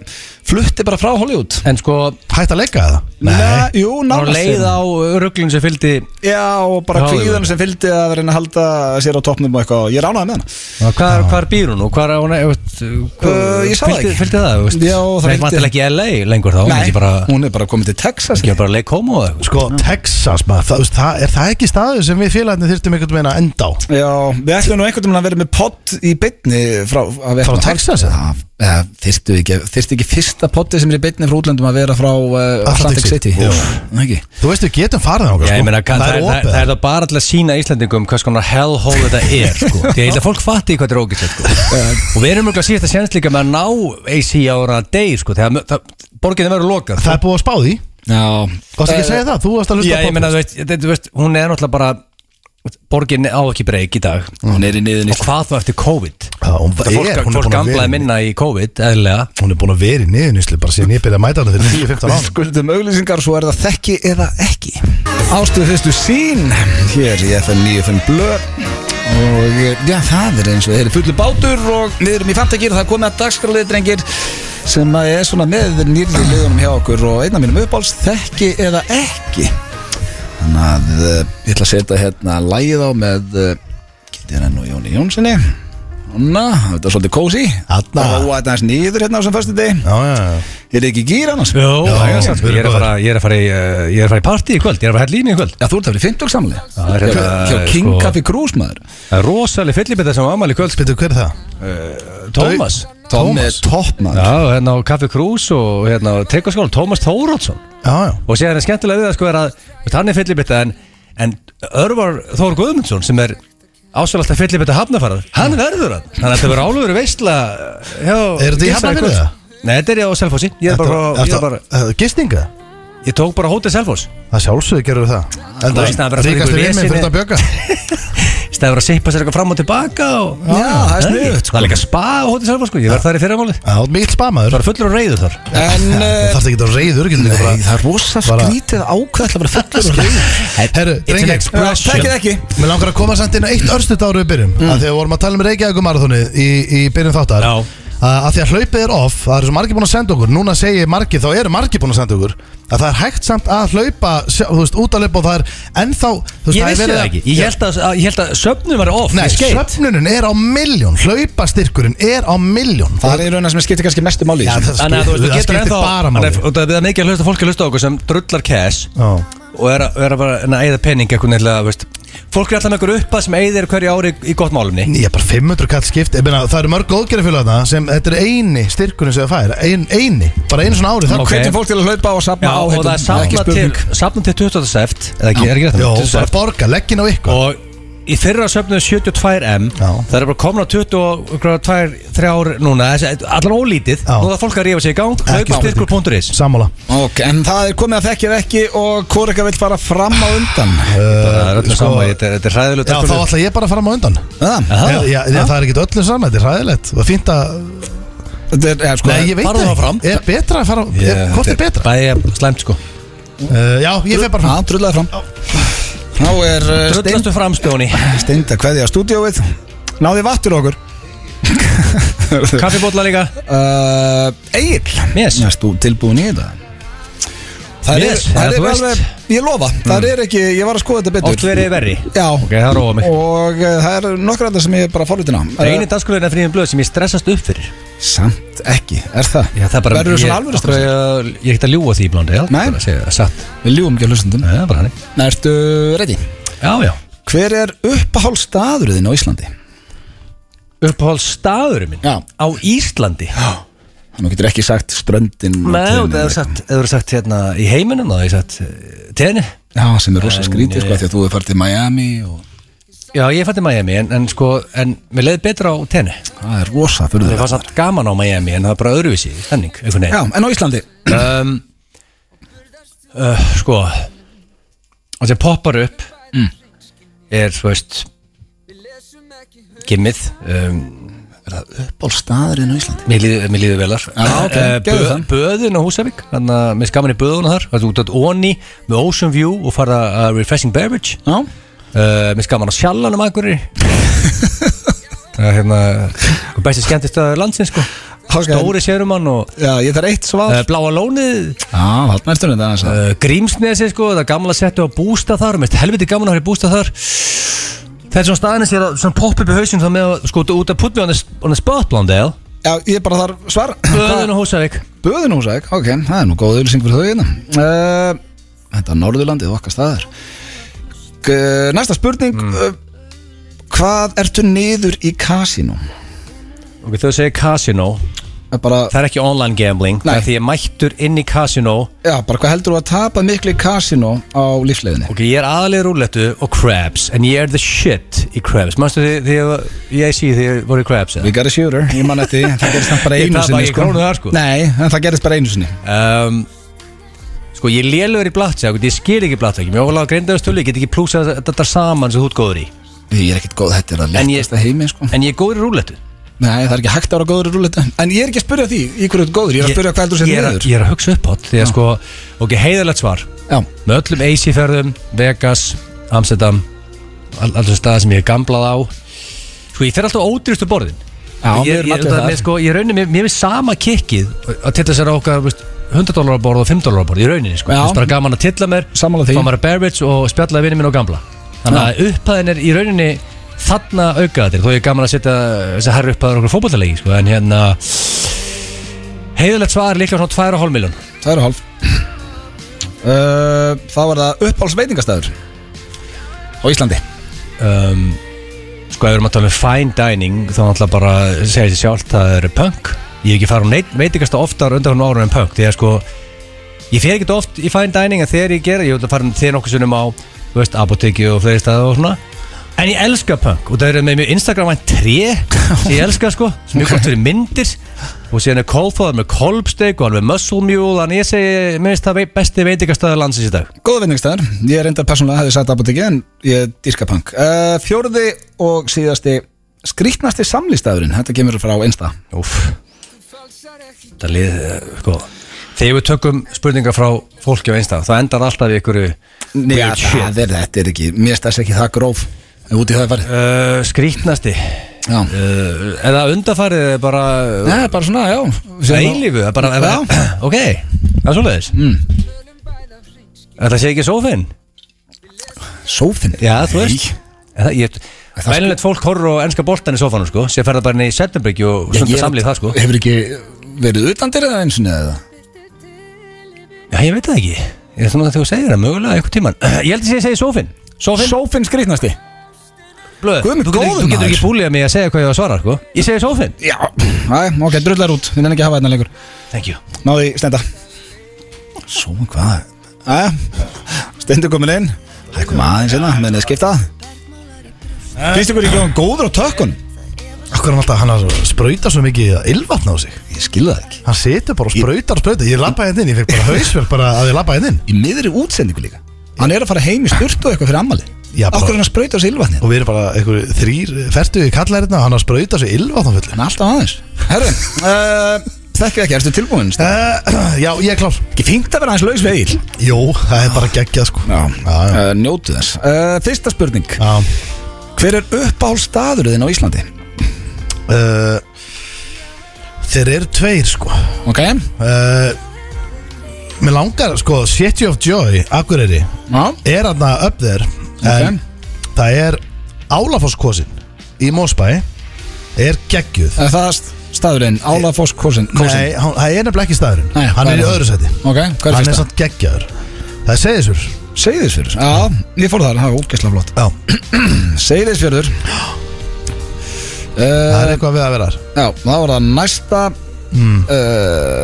[SPEAKER 1] flutti bara frá Hollywood
[SPEAKER 2] En sko,
[SPEAKER 3] Hætt að leika það?
[SPEAKER 1] Na, Jú,
[SPEAKER 2] hann
[SPEAKER 1] nánast
[SPEAKER 2] leið
[SPEAKER 1] hérna.
[SPEAKER 2] á ruglun sem fylgdi
[SPEAKER 1] Já, og bara
[SPEAKER 2] Hollywood.
[SPEAKER 1] kvíðan sem fylgdi að reyna að halda sér á toppnum og eitthvað og ég ránaði með hana
[SPEAKER 2] Hvar, hvar býr hún og hvar á hún eh, veist,
[SPEAKER 1] Uh, ég sá það
[SPEAKER 2] fylgdi,
[SPEAKER 1] ekki.
[SPEAKER 2] fylgdi það, þú veist
[SPEAKER 1] Já, það
[SPEAKER 2] Nei,
[SPEAKER 1] fylgdi.
[SPEAKER 2] vantilega ekki LA lengur þá Hún er
[SPEAKER 1] Nei,
[SPEAKER 2] ekki bara,
[SPEAKER 1] hún er bara komin til Texas
[SPEAKER 2] ekki bara leik homo eða eitthvað.
[SPEAKER 3] Sko, Texas, maður, það, þú veist, það, er það ekki staður sem við félagarnir þyrftum einhvern veginn að enda á?
[SPEAKER 1] Já, við ætlum nú einhvern veginn að vera með podd í bytni frá,
[SPEAKER 3] Frá Texas,
[SPEAKER 1] Ah,
[SPEAKER 3] eða?
[SPEAKER 1] eða? Þyrstu ekki, þyrstu ekki fyrsta poddi sem er í bytni frá útlöndum að vera frá uh, Atlantic
[SPEAKER 3] Atlantic
[SPEAKER 1] City
[SPEAKER 3] City.
[SPEAKER 1] Já, það ekki
[SPEAKER 3] Þú veist, við getum farið á
[SPEAKER 2] Já, ég meina, kann,
[SPEAKER 3] Sko, það er
[SPEAKER 2] það,
[SPEAKER 3] opið
[SPEAKER 2] það er það bara alltaf að sína Íslandingum hvers konar hellhole þetta er
[SPEAKER 1] (laughs)
[SPEAKER 2] sko. Því að ég held að fólk fatti hvað þetta er ógæsett sko. og við erum mjög að síðast að sénast líka með að ná AC ára deg sko, þegar mö- það- borginni verður lokað
[SPEAKER 3] Það er búið að spá því
[SPEAKER 1] Já,
[SPEAKER 3] Varst ekki að segja það? Þú varst að
[SPEAKER 2] Eh, Já,
[SPEAKER 3] hlusta á
[SPEAKER 2] ég meina, þú veist, þetta- þú veist, hún er náttúrulega bara borginni á ekki breyk í dag
[SPEAKER 3] Mm.
[SPEAKER 1] hún er í niðurni
[SPEAKER 2] og hvað þú eftir COVID
[SPEAKER 3] Já, hún
[SPEAKER 2] Það fólk,
[SPEAKER 3] er- hún er
[SPEAKER 2] fólk
[SPEAKER 3] búin að vera
[SPEAKER 2] gamlaði
[SPEAKER 3] í-
[SPEAKER 2] minna í COVID, eðlilega
[SPEAKER 3] Hún er búin að vera í niðurníslu bara síðan ég byrjaði að mæta hana fyrir 10-15
[SPEAKER 1] Við
[SPEAKER 3] ára
[SPEAKER 1] skuldum auglýsingar, svo er það þekki eða ekki Ástuðu fyrstu sín Hér í FM 95 Blö Og já, það er eins og þeir eru fullu bátur Og við erum í fantagýr, það er komið að dagskralið, drengir Sem að er svona með nýrði liðunum hjá okkur Og einn af mínum uppáls, þekki eða ekki Þannig að uh, ég ætla að setja hérna lægið á með uh, Getið hérna nú Jóni Jónssoni Hanna, þetta er svolítið kósi
[SPEAKER 3] Þarna.
[SPEAKER 1] Og þetta er nýður hérna á sem föstu deg
[SPEAKER 3] Já, já, já
[SPEAKER 1] Er þið ekki gýr annars?
[SPEAKER 2] Jó,
[SPEAKER 3] Já,
[SPEAKER 2] já, já, sko,
[SPEAKER 3] við
[SPEAKER 2] ég, er
[SPEAKER 3] erum
[SPEAKER 2] að fara, ég, er að fara í, uh, ég er að fara í partí í kvöld, ég er að fara í hellínu í kvöld
[SPEAKER 1] Já, þú ert að vera í 50 samlega
[SPEAKER 2] það er
[SPEAKER 1] Hjá
[SPEAKER 2] þetta,
[SPEAKER 1] hjá King
[SPEAKER 2] sko-
[SPEAKER 1] Café Cruise maður
[SPEAKER 2] Það er rosalega fyllibita sem ámæli í kvöld
[SPEAKER 3] Spytu, hver er það?
[SPEAKER 2] Tómas
[SPEAKER 1] Tommy er topp maður
[SPEAKER 2] Já, hérna á Kaffi Krús og hérna á Tryggvaskólan, Tómas Þórótsson
[SPEAKER 3] Já, já
[SPEAKER 2] og séðan er skemmtilega við það sko er að veist, hann er fyllibitta en, en Örvar Þór Guðmundsson sem er ásvöld alltaf fyllibitta hafnafarað hann verður hann, þannig að þetta verður álöfur veistla eh, hjá
[SPEAKER 3] Er þetta í
[SPEAKER 2] Gilsa
[SPEAKER 3] Hafnarfirði
[SPEAKER 2] kvöld.
[SPEAKER 3] eða?
[SPEAKER 2] Nei, þetta er ég á Selfossi, ég, er bara,
[SPEAKER 3] Ertu-
[SPEAKER 2] ég, er
[SPEAKER 3] ertu-
[SPEAKER 2] bara,
[SPEAKER 3] ertu- Gistinga?
[SPEAKER 2] ég tók bara hótið Selfoss
[SPEAKER 3] Það sjálfsögur gerur það En
[SPEAKER 2] veist, það er bara
[SPEAKER 3] það er
[SPEAKER 2] fyrir
[SPEAKER 3] ríkast
[SPEAKER 2] ykkur
[SPEAKER 3] við
[SPEAKER 2] veseni.
[SPEAKER 3] mig fyrir að bjöka
[SPEAKER 2] stæður að seipa sér eitthvað fram og tilbaka og,
[SPEAKER 1] Já, það er sniðugt, sko.
[SPEAKER 2] Það er líka spa á hótið Selfoss sko, ég verð þar í fyrramáli
[SPEAKER 3] Já, þú ert mikill
[SPEAKER 2] Það
[SPEAKER 3] spamaður
[SPEAKER 2] var fullur og reyður þar
[SPEAKER 1] En
[SPEAKER 3] Þú
[SPEAKER 1] eh,
[SPEAKER 3] þarfst ekki að reyður, getur
[SPEAKER 1] Nei,
[SPEAKER 3] líka
[SPEAKER 1] það
[SPEAKER 3] bara
[SPEAKER 1] er rosa
[SPEAKER 3] bara-
[SPEAKER 1] skrítið ákveðall að vera fullur og
[SPEAKER 2] Sko,
[SPEAKER 1] skrítið
[SPEAKER 3] Herru,
[SPEAKER 2] an
[SPEAKER 3] drengir,
[SPEAKER 2] expression.
[SPEAKER 1] Tekkið ekki
[SPEAKER 3] Mér langar að koma samt inn á eitt örstuð ára við byrjum mm. Þegar við vorum að tala um Reykjavíkumarðunni í, í byrjun þáttar
[SPEAKER 2] Já.
[SPEAKER 3] að að því að hlaupið er off, það eru svo margir búin að senda okkur núna segi ég margir, þá eru margir búin að senda okkur að það er hægt samt að hlaupa sjá- þú veist, út að hlaupa og það er ennþá þú veist,
[SPEAKER 2] Ég
[SPEAKER 3] er
[SPEAKER 2] vissi
[SPEAKER 3] verið
[SPEAKER 2] það
[SPEAKER 3] að-
[SPEAKER 2] ekki, ég held að, að, ég held að söfnum var off,
[SPEAKER 3] Nei,
[SPEAKER 2] ég skeit
[SPEAKER 3] söfnunin er á miljón, hlaupastyrkurinn er á miljón
[SPEAKER 1] Það er í raunar sem skiptir kannski mestu máli í þessu.
[SPEAKER 2] Þannig að þú veist, þú
[SPEAKER 3] það
[SPEAKER 2] getur
[SPEAKER 3] skiptir
[SPEAKER 2] ennþá
[SPEAKER 3] bara
[SPEAKER 2] Þannig
[SPEAKER 3] máli
[SPEAKER 2] að- og það er við að mikið að hlusta fólk að hlusta á okkur sem drullar cash
[SPEAKER 3] Já.
[SPEAKER 2] og er að, er að bara en að eyða pening eitthvað nefnilega, veist Fólk er alltaf með einhver uppað sem eyðir hverju ári í gott málumni
[SPEAKER 3] Ég er bara 500 kall skipt ég meina, Það eru mörg góðgerðarfélag þarna sem þetta er eini styrkurinn sem það fær ein, Eini, bara einu svona ári
[SPEAKER 1] Og
[SPEAKER 3] það,
[SPEAKER 2] Ok.
[SPEAKER 1] Hvernig fólk til að hlaupa og
[SPEAKER 2] Já,
[SPEAKER 1] safna
[SPEAKER 2] og
[SPEAKER 1] áhengum
[SPEAKER 2] það er safna til, safna til 20. seft eða ekki, er ekki
[SPEAKER 3] Jó,
[SPEAKER 2] rétt
[SPEAKER 3] bara borga, leggin á ykkur
[SPEAKER 2] Og í fyrra söfnuðu 72M
[SPEAKER 3] Já.
[SPEAKER 2] Það er bara komin á 22-3 ár núna þessi- Allan ólítið,
[SPEAKER 3] Já.
[SPEAKER 2] nú það fólk að rífa sig í gang
[SPEAKER 3] Ekki spurning.
[SPEAKER 2] Hlaupastyrkur.is
[SPEAKER 3] Sammála
[SPEAKER 1] Ok, en það er komið að þekkið ekki og hvort eitthvað vil fara fram á undan
[SPEAKER 2] Það er öllu
[SPEAKER 3] sko-
[SPEAKER 2] sama, þetta er- þetta er hræðilegt
[SPEAKER 3] Já, þá ætla ég bara að fara á undan
[SPEAKER 1] Það,
[SPEAKER 2] Aha.
[SPEAKER 3] Já, já, já, það er ekkert öllu saman, þetta er hræðilegt og fínt að,
[SPEAKER 1] þetta er, ja, sko
[SPEAKER 3] nei ég veit
[SPEAKER 2] farðu
[SPEAKER 3] það
[SPEAKER 2] þá fram.
[SPEAKER 3] er betra að fara, yeah, hvort er betra?
[SPEAKER 2] Bæja slæmt sko
[SPEAKER 3] Uh, já, ég fer bara
[SPEAKER 1] Já,
[SPEAKER 3] fram
[SPEAKER 1] drullar fram Þá er eh, Steind-
[SPEAKER 2] Drullastu framstjóni
[SPEAKER 1] Steind að kveðja stúdíóið Náði vattur okkur
[SPEAKER 2] (laughs) Kaffibótla líka
[SPEAKER 1] uh, Egil
[SPEAKER 2] Yes.
[SPEAKER 1] Næst þú tilbúin í þetta Það
[SPEAKER 2] Yes,
[SPEAKER 1] er, það
[SPEAKER 2] eða
[SPEAKER 1] er
[SPEAKER 2] þú veist. Mm.
[SPEAKER 1] alveg, ég lofa, það er ekki, ég var að skoða þetta betur
[SPEAKER 2] Oft verið verri
[SPEAKER 1] Já,
[SPEAKER 2] Ok, það róa mig
[SPEAKER 1] og uh, það er nokkra þetta sem ég er bara fórlutin á
[SPEAKER 2] Það er eini dagskurinn af fríðin blöð sem ég stressast upp fyrir
[SPEAKER 1] Uh, Samt ekki, er það?
[SPEAKER 2] Já, það er bara
[SPEAKER 1] Verður þú
[SPEAKER 2] ég-
[SPEAKER 1] svona alveg
[SPEAKER 2] af hverju
[SPEAKER 1] stressað?
[SPEAKER 2] Ég ég er ekkert að ljúa því í blóndi Já,
[SPEAKER 1] Nei.
[SPEAKER 2] bara að segja það Satt
[SPEAKER 1] Við ljúum ekki að hlustundum
[SPEAKER 2] Það er bara hannig
[SPEAKER 1] Ertu ready?
[SPEAKER 2] Já, já
[SPEAKER 1] Hver er uppahálstaðurðin á Íslandi?
[SPEAKER 2] Uppáhald staðurum minn
[SPEAKER 1] Já.
[SPEAKER 2] Á Íslandi
[SPEAKER 1] Nú getur ekki sagt ströndin og sko.
[SPEAKER 2] Nei,
[SPEAKER 1] tíminn
[SPEAKER 2] og það
[SPEAKER 1] og-
[SPEAKER 2] er sagt Eða eru sagt hérna í heiminum Það er sagt eh, Tenni
[SPEAKER 1] Já, sem er rosa
[SPEAKER 2] En,
[SPEAKER 1] skrítið sko,
[SPEAKER 2] eh,
[SPEAKER 1] því að þú er farið til Miami og
[SPEAKER 2] Já, ég fætti Miami En, en sko En mér leiði betra á tenni
[SPEAKER 1] það er rosa fyrir
[SPEAKER 2] Mér fannst samt gaman á Miami En það er bara öðruvísi Stemning Einhvern veginn
[SPEAKER 1] Já, en á Íslandi?
[SPEAKER 2] um, uh, Sko Það sem poppar upp Er, þú veist Gimmið um,
[SPEAKER 1] Er það uppból staðurinn á Íslandi?
[SPEAKER 2] Mér líður, mér líður velar
[SPEAKER 1] Já, ok,
[SPEAKER 2] Eh,
[SPEAKER 1] gerðu það.
[SPEAKER 2] Böðin á Húsavík Þannig að með skaman í böðuna þar Það er út að Oni með Ocean View og fara að Refreshing Beverage
[SPEAKER 1] Já,
[SPEAKER 2] uh, Með skaman á Sjallanum aðgurri Það er hérna hvað Besti skemmtist að landsins sko
[SPEAKER 1] Ok.
[SPEAKER 2] Stóri sérumann og
[SPEAKER 1] já ég þarf eitt svar
[SPEAKER 2] uh, Bláa lónið
[SPEAKER 1] Já, haldum eftir þetta aðeins að-
[SPEAKER 2] uh, Grímsnesi sko, það er gamla settu á bústa þar Mest helviti gaman að hafa í bústa þar Það er svona staðinni sér að svona poppa upp í hausinn þá með að sko út að put me on the, on the spot Blondale
[SPEAKER 1] Já, ég bara þarf svar
[SPEAKER 2] Böðun og Húsavík
[SPEAKER 1] Böðun húsæk, ok, það er nú góð auðlýsing fyrir þau hérna uh, Þetta er Norðurlandið og okkar staðar G Næsta spurning uh, Hvað ertu niður í kasínum?
[SPEAKER 2] Ok, þau segir casino
[SPEAKER 1] Það er Eh, Bara,
[SPEAKER 2] Það er ekki online gambling Það
[SPEAKER 1] Nei.
[SPEAKER 2] er því ég er mættur inn í casino
[SPEAKER 1] já, bara hvað heldur þú að tapa miklu í kasínum á lífsleiðinni?
[SPEAKER 2] Ok, ég er aðalega rúletu og crabs En ég er the shit í crabs Manstu því, því ég, ég sé því ég voru í crabs eða?
[SPEAKER 1] We got a shooter, ég man eftir því, en Það gerist samt bara
[SPEAKER 2] Ég
[SPEAKER 1] einu
[SPEAKER 2] tapa
[SPEAKER 1] sinni
[SPEAKER 2] ekki krónu þar, sko.
[SPEAKER 1] Nei, en það gerist bara einu sinni
[SPEAKER 2] um, Sko, ég er lélögur í blattja Ég skil ekki blattja Mér var alveg að grinda stölu Ég get ekki plúsað þetta saman sem þú ert góður í
[SPEAKER 1] Ég er ekkert góð, þetta er að
[SPEAKER 2] En ég-
[SPEAKER 1] lettast að heimi sko.
[SPEAKER 2] En ég er góður í rúletu
[SPEAKER 1] Nei, það er ekki hægt að vera góður í rúletu En ég er ekki að spyrja því, í hverju þú ert góður Ég er að spyrja hvað heldur þú sér
[SPEAKER 2] ég, er-
[SPEAKER 1] niður
[SPEAKER 2] ég er að hugsa upp átt Því að sko, ok, heiðalegt svar
[SPEAKER 1] Já,
[SPEAKER 2] með öllum AC-ferðum, Vegas, Amsterdam all- allir staðar sem ég er gamblað á sko ég fer alltaf á ódýrustu borðin
[SPEAKER 1] Já, við
[SPEAKER 2] ég,
[SPEAKER 1] erum
[SPEAKER 2] ég,
[SPEAKER 1] allir
[SPEAKER 2] það,
[SPEAKER 1] þar.
[SPEAKER 2] með, sko, ég raunin, mér, mér er sama kikkið að tilla sér á okkar veist, 100 dólar borð og 5 dólar borð í rauninni sko.
[SPEAKER 1] Já.
[SPEAKER 2] það er bara gaman að tilla mér
[SPEAKER 1] Sammála því.
[SPEAKER 2] fá mér að beverage og spjalla vinnin minn og gamla þannig að upphæðin er í rauninni þarna aukaðir, þó ég er gaman að setja þess að herra upphæðin okkur fótballalegi sko, en hérna heiðilegt svar er líklega svona 2,5 miljón
[SPEAKER 1] Tvær og hálf uh, Það var það uppáhaldsveitingastæður Á Íslandi
[SPEAKER 2] um, sko ef við erum að tala um fine dining þá náttúrulega bara segja þessi sjálft það eru punk ég hef ekki farið á neitt veitingast oftar undan hún árum en punk því að sko ég fer ekkert oft í fine dining en þegar ég gera ég vil að fara þér nokkuð sunnum á þú veist, apoteki og fleiri staði og svona en ég elska punk og það eru með mjög Instagram-vænt tré sem ég elska sko sem mjög gott fyrir myndir og síðan er kólfóðar með kolbsteik og hann með muscle mule en ég segi minnst það vei- besti veitingastæður landsins í dag
[SPEAKER 1] Góða veitingastæður Ég reyndar persónulega hefði sagt apotekki en ég dýrka punk uh, Fjórði og síðasti skrýtnasti samlistæðurinn Þetta kemur frá einsta
[SPEAKER 2] Úf Þetta lið, eh, sko Þegar við tökum spurningar frá fólki á einstað þá endar alltaf í ykkur
[SPEAKER 1] Nei, ja, það er, þetta er ekki, mér stæðs ekki það gróf ef Út í það farið
[SPEAKER 2] uh, Skrítnasti
[SPEAKER 1] Já
[SPEAKER 2] uh, Eða undarfarið er bara
[SPEAKER 1] Nei, bara svona, já
[SPEAKER 2] Það eilífu það er bara,
[SPEAKER 1] Já.
[SPEAKER 2] (clears throat) Ok, það er svoleiðis mm. Það sé ekki sófinn
[SPEAKER 1] Sófinn
[SPEAKER 2] Já, þú veist Það, ég,
[SPEAKER 1] Það sko-
[SPEAKER 2] Vænilegt fólk horfur á enska boltan í sófanum sko Sér ferða bara inn í Settenbryggju og
[SPEAKER 1] Ég
[SPEAKER 2] stundar
[SPEAKER 1] er-
[SPEAKER 2] samlið það sko
[SPEAKER 1] Hefur ekki verið utan til það eins og neða
[SPEAKER 2] Já, ég veit það ekki Ég er svona að þú segir það mögulega einhvern tíman (clears throat) Ég held að ég segi sófinn Sófinn
[SPEAKER 1] Sófinn skrýtnasti
[SPEAKER 2] Blöð,
[SPEAKER 1] Guð minn
[SPEAKER 2] þú getur,
[SPEAKER 1] góður
[SPEAKER 2] þú getur
[SPEAKER 1] maður.
[SPEAKER 2] ekki búlið mig að segja hvað ég var að svara sko. Ég segi sófinn
[SPEAKER 1] Já, Æ, ok, drullar út, við nefnum ekki að hafa þetta lengur
[SPEAKER 2] Thank you
[SPEAKER 1] Náði í stenda Svo hvað? Æja, stendur komin inn Það er komið aðeins hérna, menn er skiptað Finnst ykkur ekki hann góður á tökkun?
[SPEAKER 3] Akkur er hann alltaf, hann að sprauta svo mikið að ylvatna á sig
[SPEAKER 1] Ég skilði það ekki
[SPEAKER 3] Hann situr bara og sprautar og sprautar Ég lappa hérna inn, ég fekk bara hausverk bara að ég lappa hérna inn
[SPEAKER 1] Í miðri útsendingu líka Hann er að fara heim í sturt og eitthvað fyrir ammali
[SPEAKER 3] Já, bara-
[SPEAKER 1] Akkur er hann að sprauta þessu ylvatni
[SPEAKER 3] Og við erum bara einhver þrýr fertu í kallarina hérna og hann að sprauta svo ylvatna fullu
[SPEAKER 1] Hann er alltaf aðeins Herru, uh, þekkið ekki, ertu tilbúin? Steindi? (clears throat)
[SPEAKER 3] uh, Já, ég er klár
[SPEAKER 1] Ekki fínt að vera aðeins laus veil
[SPEAKER 3] Jó, það er bara geggjað sko já, já.
[SPEAKER 1] uh, njótu þess uh, Fyrsta spurning
[SPEAKER 3] já.
[SPEAKER 1] Hver er uppáhaldstadurinn á Íslandi?
[SPEAKER 3] Uh, Þeir eru tveir sko
[SPEAKER 1] Ok,
[SPEAKER 3] uh, Mér langar sko City of Joy, Akureyri
[SPEAKER 1] já,
[SPEAKER 3] Er hann upp þér En það er Álafosskosin í Mósbæ Er geggjuð
[SPEAKER 1] Er það st- staðurinn, Álafoss Eh, kosin
[SPEAKER 3] Nei, hann, það er nefnilega ekki staðurinn
[SPEAKER 1] Nei,
[SPEAKER 3] Hann
[SPEAKER 1] hvað
[SPEAKER 3] er
[SPEAKER 1] er
[SPEAKER 3] í
[SPEAKER 1] það?
[SPEAKER 3] öðru sæti
[SPEAKER 1] Ok, hvað er
[SPEAKER 3] Hann er
[SPEAKER 1] fyrsta?
[SPEAKER 3] samt geggjaður Það er Seyðisfjörður
[SPEAKER 1] Seyðisfjörður Já, ég fór þar, það var ógeðslega flott
[SPEAKER 3] Já,
[SPEAKER 1] Seyðisfjörður
[SPEAKER 3] það
[SPEAKER 1] uh,
[SPEAKER 3] er eitthvað við að vera þar.
[SPEAKER 1] Já, það var það næsta
[SPEAKER 3] Hmm.
[SPEAKER 1] mm.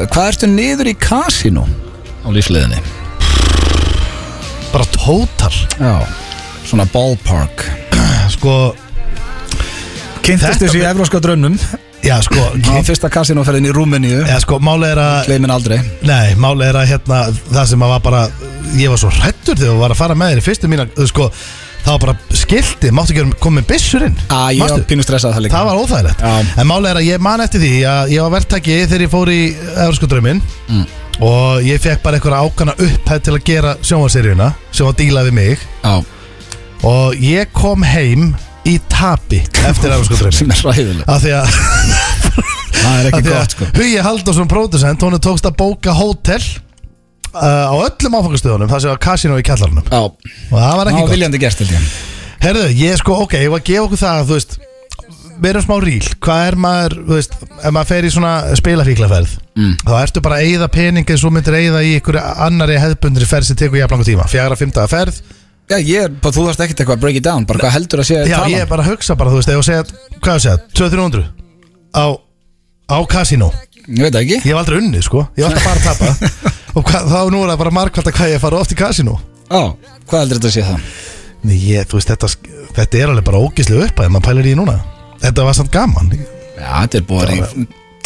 [SPEAKER 1] Hvað ertu niður í kasinu á lífsliðinni?
[SPEAKER 3] Bara tótar
[SPEAKER 1] Já, svona ballpark Eh.
[SPEAKER 3] Sko,
[SPEAKER 1] Kynntist
[SPEAKER 3] Þetta
[SPEAKER 1] þessu í evróska draunum
[SPEAKER 3] já sko
[SPEAKER 1] á fyrsta kasinoferðin í Rúmeníu
[SPEAKER 3] Já sko, máli er að
[SPEAKER 1] Gleimin aldrei
[SPEAKER 3] Nei, máli er að hérna Það sem að var bara Ég var svo hrættur þegar þú var að fara með þér í fyrstu mína Sko, það var bara skilti, máttu ekki vera- koma með byssur inn
[SPEAKER 1] Að ég var
[SPEAKER 3] Manstu?
[SPEAKER 1] pínu stressað það líka
[SPEAKER 3] Það var óþægilegt
[SPEAKER 1] Já.
[SPEAKER 3] En málið er að ég man eftir því að ég var verktaki þegar ég fór í Evropsku drauminn
[SPEAKER 1] Mm.
[SPEAKER 3] Og ég fekk bara einhverja ákana upphæð til að gera sjónvarseríuna Sem var dílað við mig
[SPEAKER 1] Já,
[SPEAKER 3] Og ég kom heim í tapi eftir Evropsku drauminn
[SPEAKER 1] (laughs) sem er ræðileg
[SPEAKER 3] Af því að,
[SPEAKER 1] Það er
[SPEAKER 3] af
[SPEAKER 1] ekki
[SPEAKER 3] því
[SPEAKER 1] gott
[SPEAKER 3] að
[SPEAKER 1] sko
[SPEAKER 3] Hugi Halldórsson pródusent Hún tókst að bóka hótel uh, Á öllum áfangastöðunum Það sem var kasino í kjallarunum
[SPEAKER 1] Já,
[SPEAKER 3] Og það var
[SPEAKER 1] það
[SPEAKER 3] ekki
[SPEAKER 1] var
[SPEAKER 3] gott
[SPEAKER 1] viljandi gert held ég
[SPEAKER 3] Herðu, ég sko, ok, ég var að gefa okkur það að þú veist Við erum smá ríl, hvað er maður, þú veist, ef maður fer í svona spilafíklaferð mm. Þá ertu bara að eyða pening eins og þú myndir eyða í einhverju annari hefðbundri ferð sem tekur jafnlangu tíma Fjara, fymtaða ferð
[SPEAKER 1] Já, ég er, bara, þú varst ekkert eitthvað að break it down Bara hvað heldur að sé
[SPEAKER 3] Já, ég er bara að hugsa bara, þú veist, ef ég segja, hvað ég segja, 200-300 á, á kasínó
[SPEAKER 1] Ég veit það ekki
[SPEAKER 3] Ég hef aldrei unnið, sko, ég hef alltaf bara að tapa Og hvað, þá nú er það bara markvælt að hvað ég fara oft í kasínó
[SPEAKER 1] Já, hvað heldur þetta að sé það?
[SPEAKER 3] Nei, ég, þú veist, þetta, sk- þetta er alveg bara ógislega upphæð, maður pælir í því núna Þetta var samt gaman,
[SPEAKER 1] Já, þetta er búið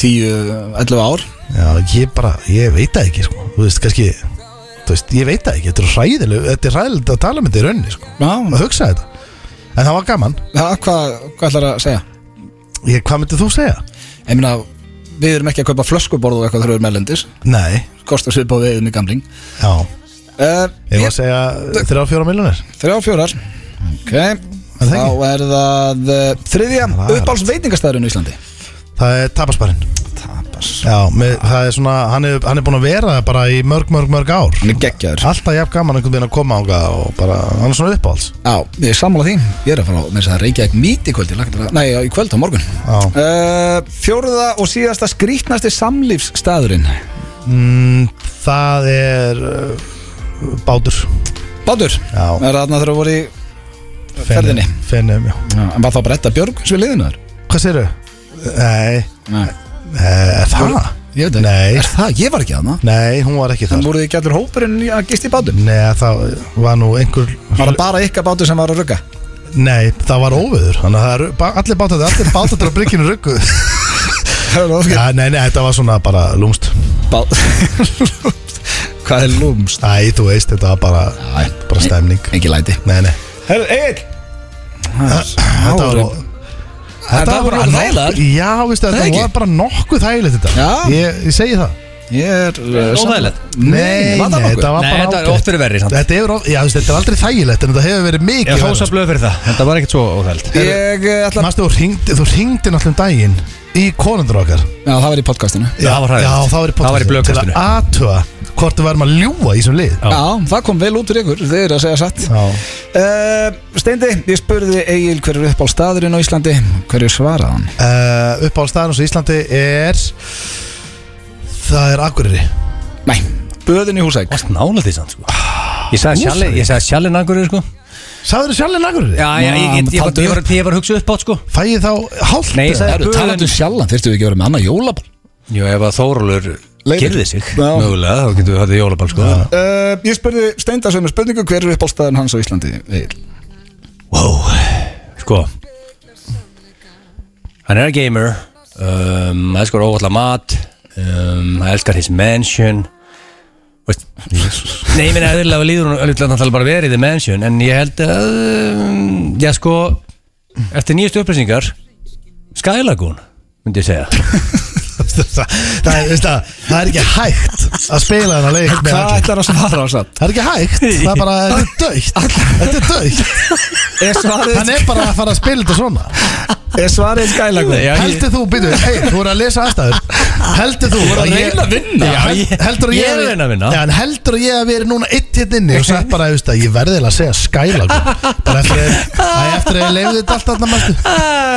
[SPEAKER 1] í 10-11 ár
[SPEAKER 3] Já, ég bara, ég veit það ekki sko. Þú veist, kannski þú veist, Ég veit það ekki, þetta er ræðileg Þetta er ræðileg að tala með þetta í raunni sko.
[SPEAKER 1] Já,
[SPEAKER 3] Að hugsa þetta En það var gaman,
[SPEAKER 1] já hvað, hvað ætlar að segja?
[SPEAKER 3] ég, hvað myndir þú segja?
[SPEAKER 1] Ég meina, við erum ekki að kaupa flöskuborð og eitthvað þrjóður meðlendis
[SPEAKER 3] Nei,
[SPEAKER 1] Kostar sér bá veiðum í gamling
[SPEAKER 3] já
[SPEAKER 1] uh,
[SPEAKER 3] Ég var að segja þrjá fjóra miljonir
[SPEAKER 1] Þrjá fjórar Ok,
[SPEAKER 3] það
[SPEAKER 1] þá
[SPEAKER 3] ekki?
[SPEAKER 1] er það uh, þriðja
[SPEAKER 3] Það er-
[SPEAKER 1] uppáls veitingastæðurinn í Íslandi
[SPEAKER 3] Það er tapasparinn
[SPEAKER 1] Tapas
[SPEAKER 3] Já, með, það er svona, hann er, hann er búin að vera það bara í mörg, mörg, mörg ár
[SPEAKER 1] Hann er geggjaður
[SPEAKER 3] Alltaf jafn gaman einhvern veginn að koma á og bara, hann er svona uppáhalds
[SPEAKER 1] Já, ég er sammála því Ég er að fara á með þess að reykja ekki mít í kvöld ég lagt þetta- Nei, í kvöld á morgun
[SPEAKER 3] Já,
[SPEAKER 1] uh, Fjórða og síðasta skrýtnasti samlífsstaðurinn
[SPEAKER 3] mm, það er uh, bátur
[SPEAKER 1] Bátur,
[SPEAKER 3] Já.
[SPEAKER 1] er þarna þegar þú voru í ferðinni
[SPEAKER 3] Fennum, já
[SPEAKER 1] Já, En var þá bara Edda Björg sem við liðinu þar?
[SPEAKER 3] Hvað segirðu? Nei,
[SPEAKER 1] Nei,
[SPEAKER 3] eh, er það?
[SPEAKER 1] ég veit ekki
[SPEAKER 3] Nei.
[SPEAKER 1] Er það, ég var ekki þarna
[SPEAKER 3] Nei, hún var ekki
[SPEAKER 1] En
[SPEAKER 3] þar
[SPEAKER 1] voruð þið ekki allir hópurinn í- að gist í bátum?
[SPEAKER 3] Nei, það var nú einhver
[SPEAKER 1] Var það bara ykkar bátur sem var að (laughs) rugga?
[SPEAKER 3] Nei, það var óveður Þannig að það eru- ba- allir bátar (laughs) Allir bátar á bryggjunu ruggu (laughs) ja, Nei, nei, þetta var svona bara lúmst
[SPEAKER 1] Bá... (laughs) Hvað er lúmst?
[SPEAKER 3] Æ, þú veist, þetta var bara, bara stemning
[SPEAKER 1] Ekki læti
[SPEAKER 3] Nei, nei
[SPEAKER 1] Herru, Egil
[SPEAKER 3] Þetta var
[SPEAKER 1] voru- Þetta voru
[SPEAKER 3] nokkuð-
[SPEAKER 1] þægilegar.
[SPEAKER 3] Já, veistu,
[SPEAKER 1] Það
[SPEAKER 3] þetta
[SPEAKER 1] ekki?
[SPEAKER 3] var bara nokkuð þægilegt þetta
[SPEAKER 1] Já.
[SPEAKER 3] ég, ég segi það
[SPEAKER 1] Ég er uh,
[SPEAKER 2] Óþægilegt.
[SPEAKER 1] sammála.
[SPEAKER 3] Nei,
[SPEAKER 1] var það
[SPEAKER 3] nei,
[SPEAKER 1] nokkuð?
[SPEAKER 3] þetta var
[SPEAKER 2] Nei,
[SPEAKER 3] bara
[SPEAKER 2] þetta er
[SPEAKER 3] ágætt.
[SPEAKER 2] oft verið verri samt.
[SPEAKER 3] Þetta hefur of- já, þú veist, þetta er aldrei þægilegt En þetta hefur verið mikið
[SPEAKER 2] Ég
[SPEAKER 3] verra,
[SPEAKER 2] hósa blöð fyrir það, þetta var ekkert svo óþælt
[SPEAKER 1] Ég eh, ætla
[SPEAKER 3] Mastu, þú ringdi, þú ringdi náttúrulega um daginn í konundur okkar
[SPEAKER 1] Já, það var í podcastinu Já,
[SPEAKER 2] Það var hræðilegt.
[SPEAKER 3] Já, það var í
[SPEAKER 2] Það var í
[SPEAKER 3] podcastinu Til
[SPEAKER 2] blöðkastinu.
[SPEAKER 3] að aðtöa hvort við værum að ljúa í þessum lið
[SPEAKER 2] Já.
[SPEAKER 1] það kom vel út úr ykkur Þið eru að segja satt
[SPEAKER 3] Já
[SPEAKER 1] uh, Steindi, ég spurði Egil hver er upp á staðurinn á Íslandi Hverju svaraði hann?
[SPEAKER 3] uh, Uppáhaldstaðan hos Íslandi er Það er Akureyri
[SPEAKER 1] Nei, böðin í húsæk
[SPEAKER 2] Vast nála því sann sko Ég sagði
[SPEAKER 3] Húsavík.
[SPEAKER 2] sjalli, ég sagði sjalli nangur sko
[SPEAKER 3] Sagður þú sjálfinn Akureyri?
[SPEAKER 2] Já, já, ég, ég, ég, ég, var- ég, var- ég var að hugsa upp átt sko
[SPEAKER 3] Fæ ég þá hálft
[SPEAKER 2] Nei, ég sagði-
[SPEAKER 1] Herru,
[SPEAKER 2] Böðin-
[SPEAKER 1] talandu sjallan, þyrftu við ekki að vera með annað jólaból
[SPEAKER 2] Jú, ef að Þórólur
[SPEAKER 1] Leifur.
[SPEAKER 2] gerði sig
[SPEAKER 1] Já.
[SPEAKER 2] Mögulega, þá getum við höfðið jólabal sko
[SPEAKER 1] uh, Ég spurði Steinda sem er spurningu Hver er upp á staðurinn hans á Íslandi, Egil?
[SPEAKER 2] Wow, sko Hann er gamer um, Hann elskar óvallar mat um, Hann elskar his mansion Veist Nei, ég minna eðlilega líður hún auðvitað náttúrulega bara verið í the mansion En ég held að um, Já, sko Eftir nýjustu upplýsingar Sky Lagoon, myndi ég segja
[SPEAKER 3] það, er, veist það, það er ekki hægt að spila þennan leik með
[SPEAKER 1] Hvað
[SPEAKER 3] allir
[SPEAKER 1] ætlar að svara á satt?
[SPEAKER 3] Það er ekki hægt, það er bara,
[SPEAKER 2] (laughs)
[SPEAKER 3] þetta er dögt Þetta er dögt
[SPEAKER 1] Er svarið,
[SPEAKER 3] Hann er bara að fara að spila þetta svona
[SPEAKER 1] er svarið skælagun?
[SPEAKER 2] Já, ég-
[SPEAKER 3] Heldur þú, býtu, hei, þú voru að lesa aðstæður Heldur þú Þú voru
[SPEAKER 1] að reyna að vinna.
[SPEAKER 3] Já,
[SPEAKER 2] ég-
[SPEAKER 3] heldur að
[SPEAKER 2] ég
[SPEAKER 3] ég
[SPEAKER 2] er að reyna að vinna.
[SPEAKER 3] Já, en heldur að ég að vera núna eitt hitt inni og sagt bara, veist það, ég verði eiginlega að segja skælagun bara eftir að æ, eftir að ég leiði þetta allt þarna mæstu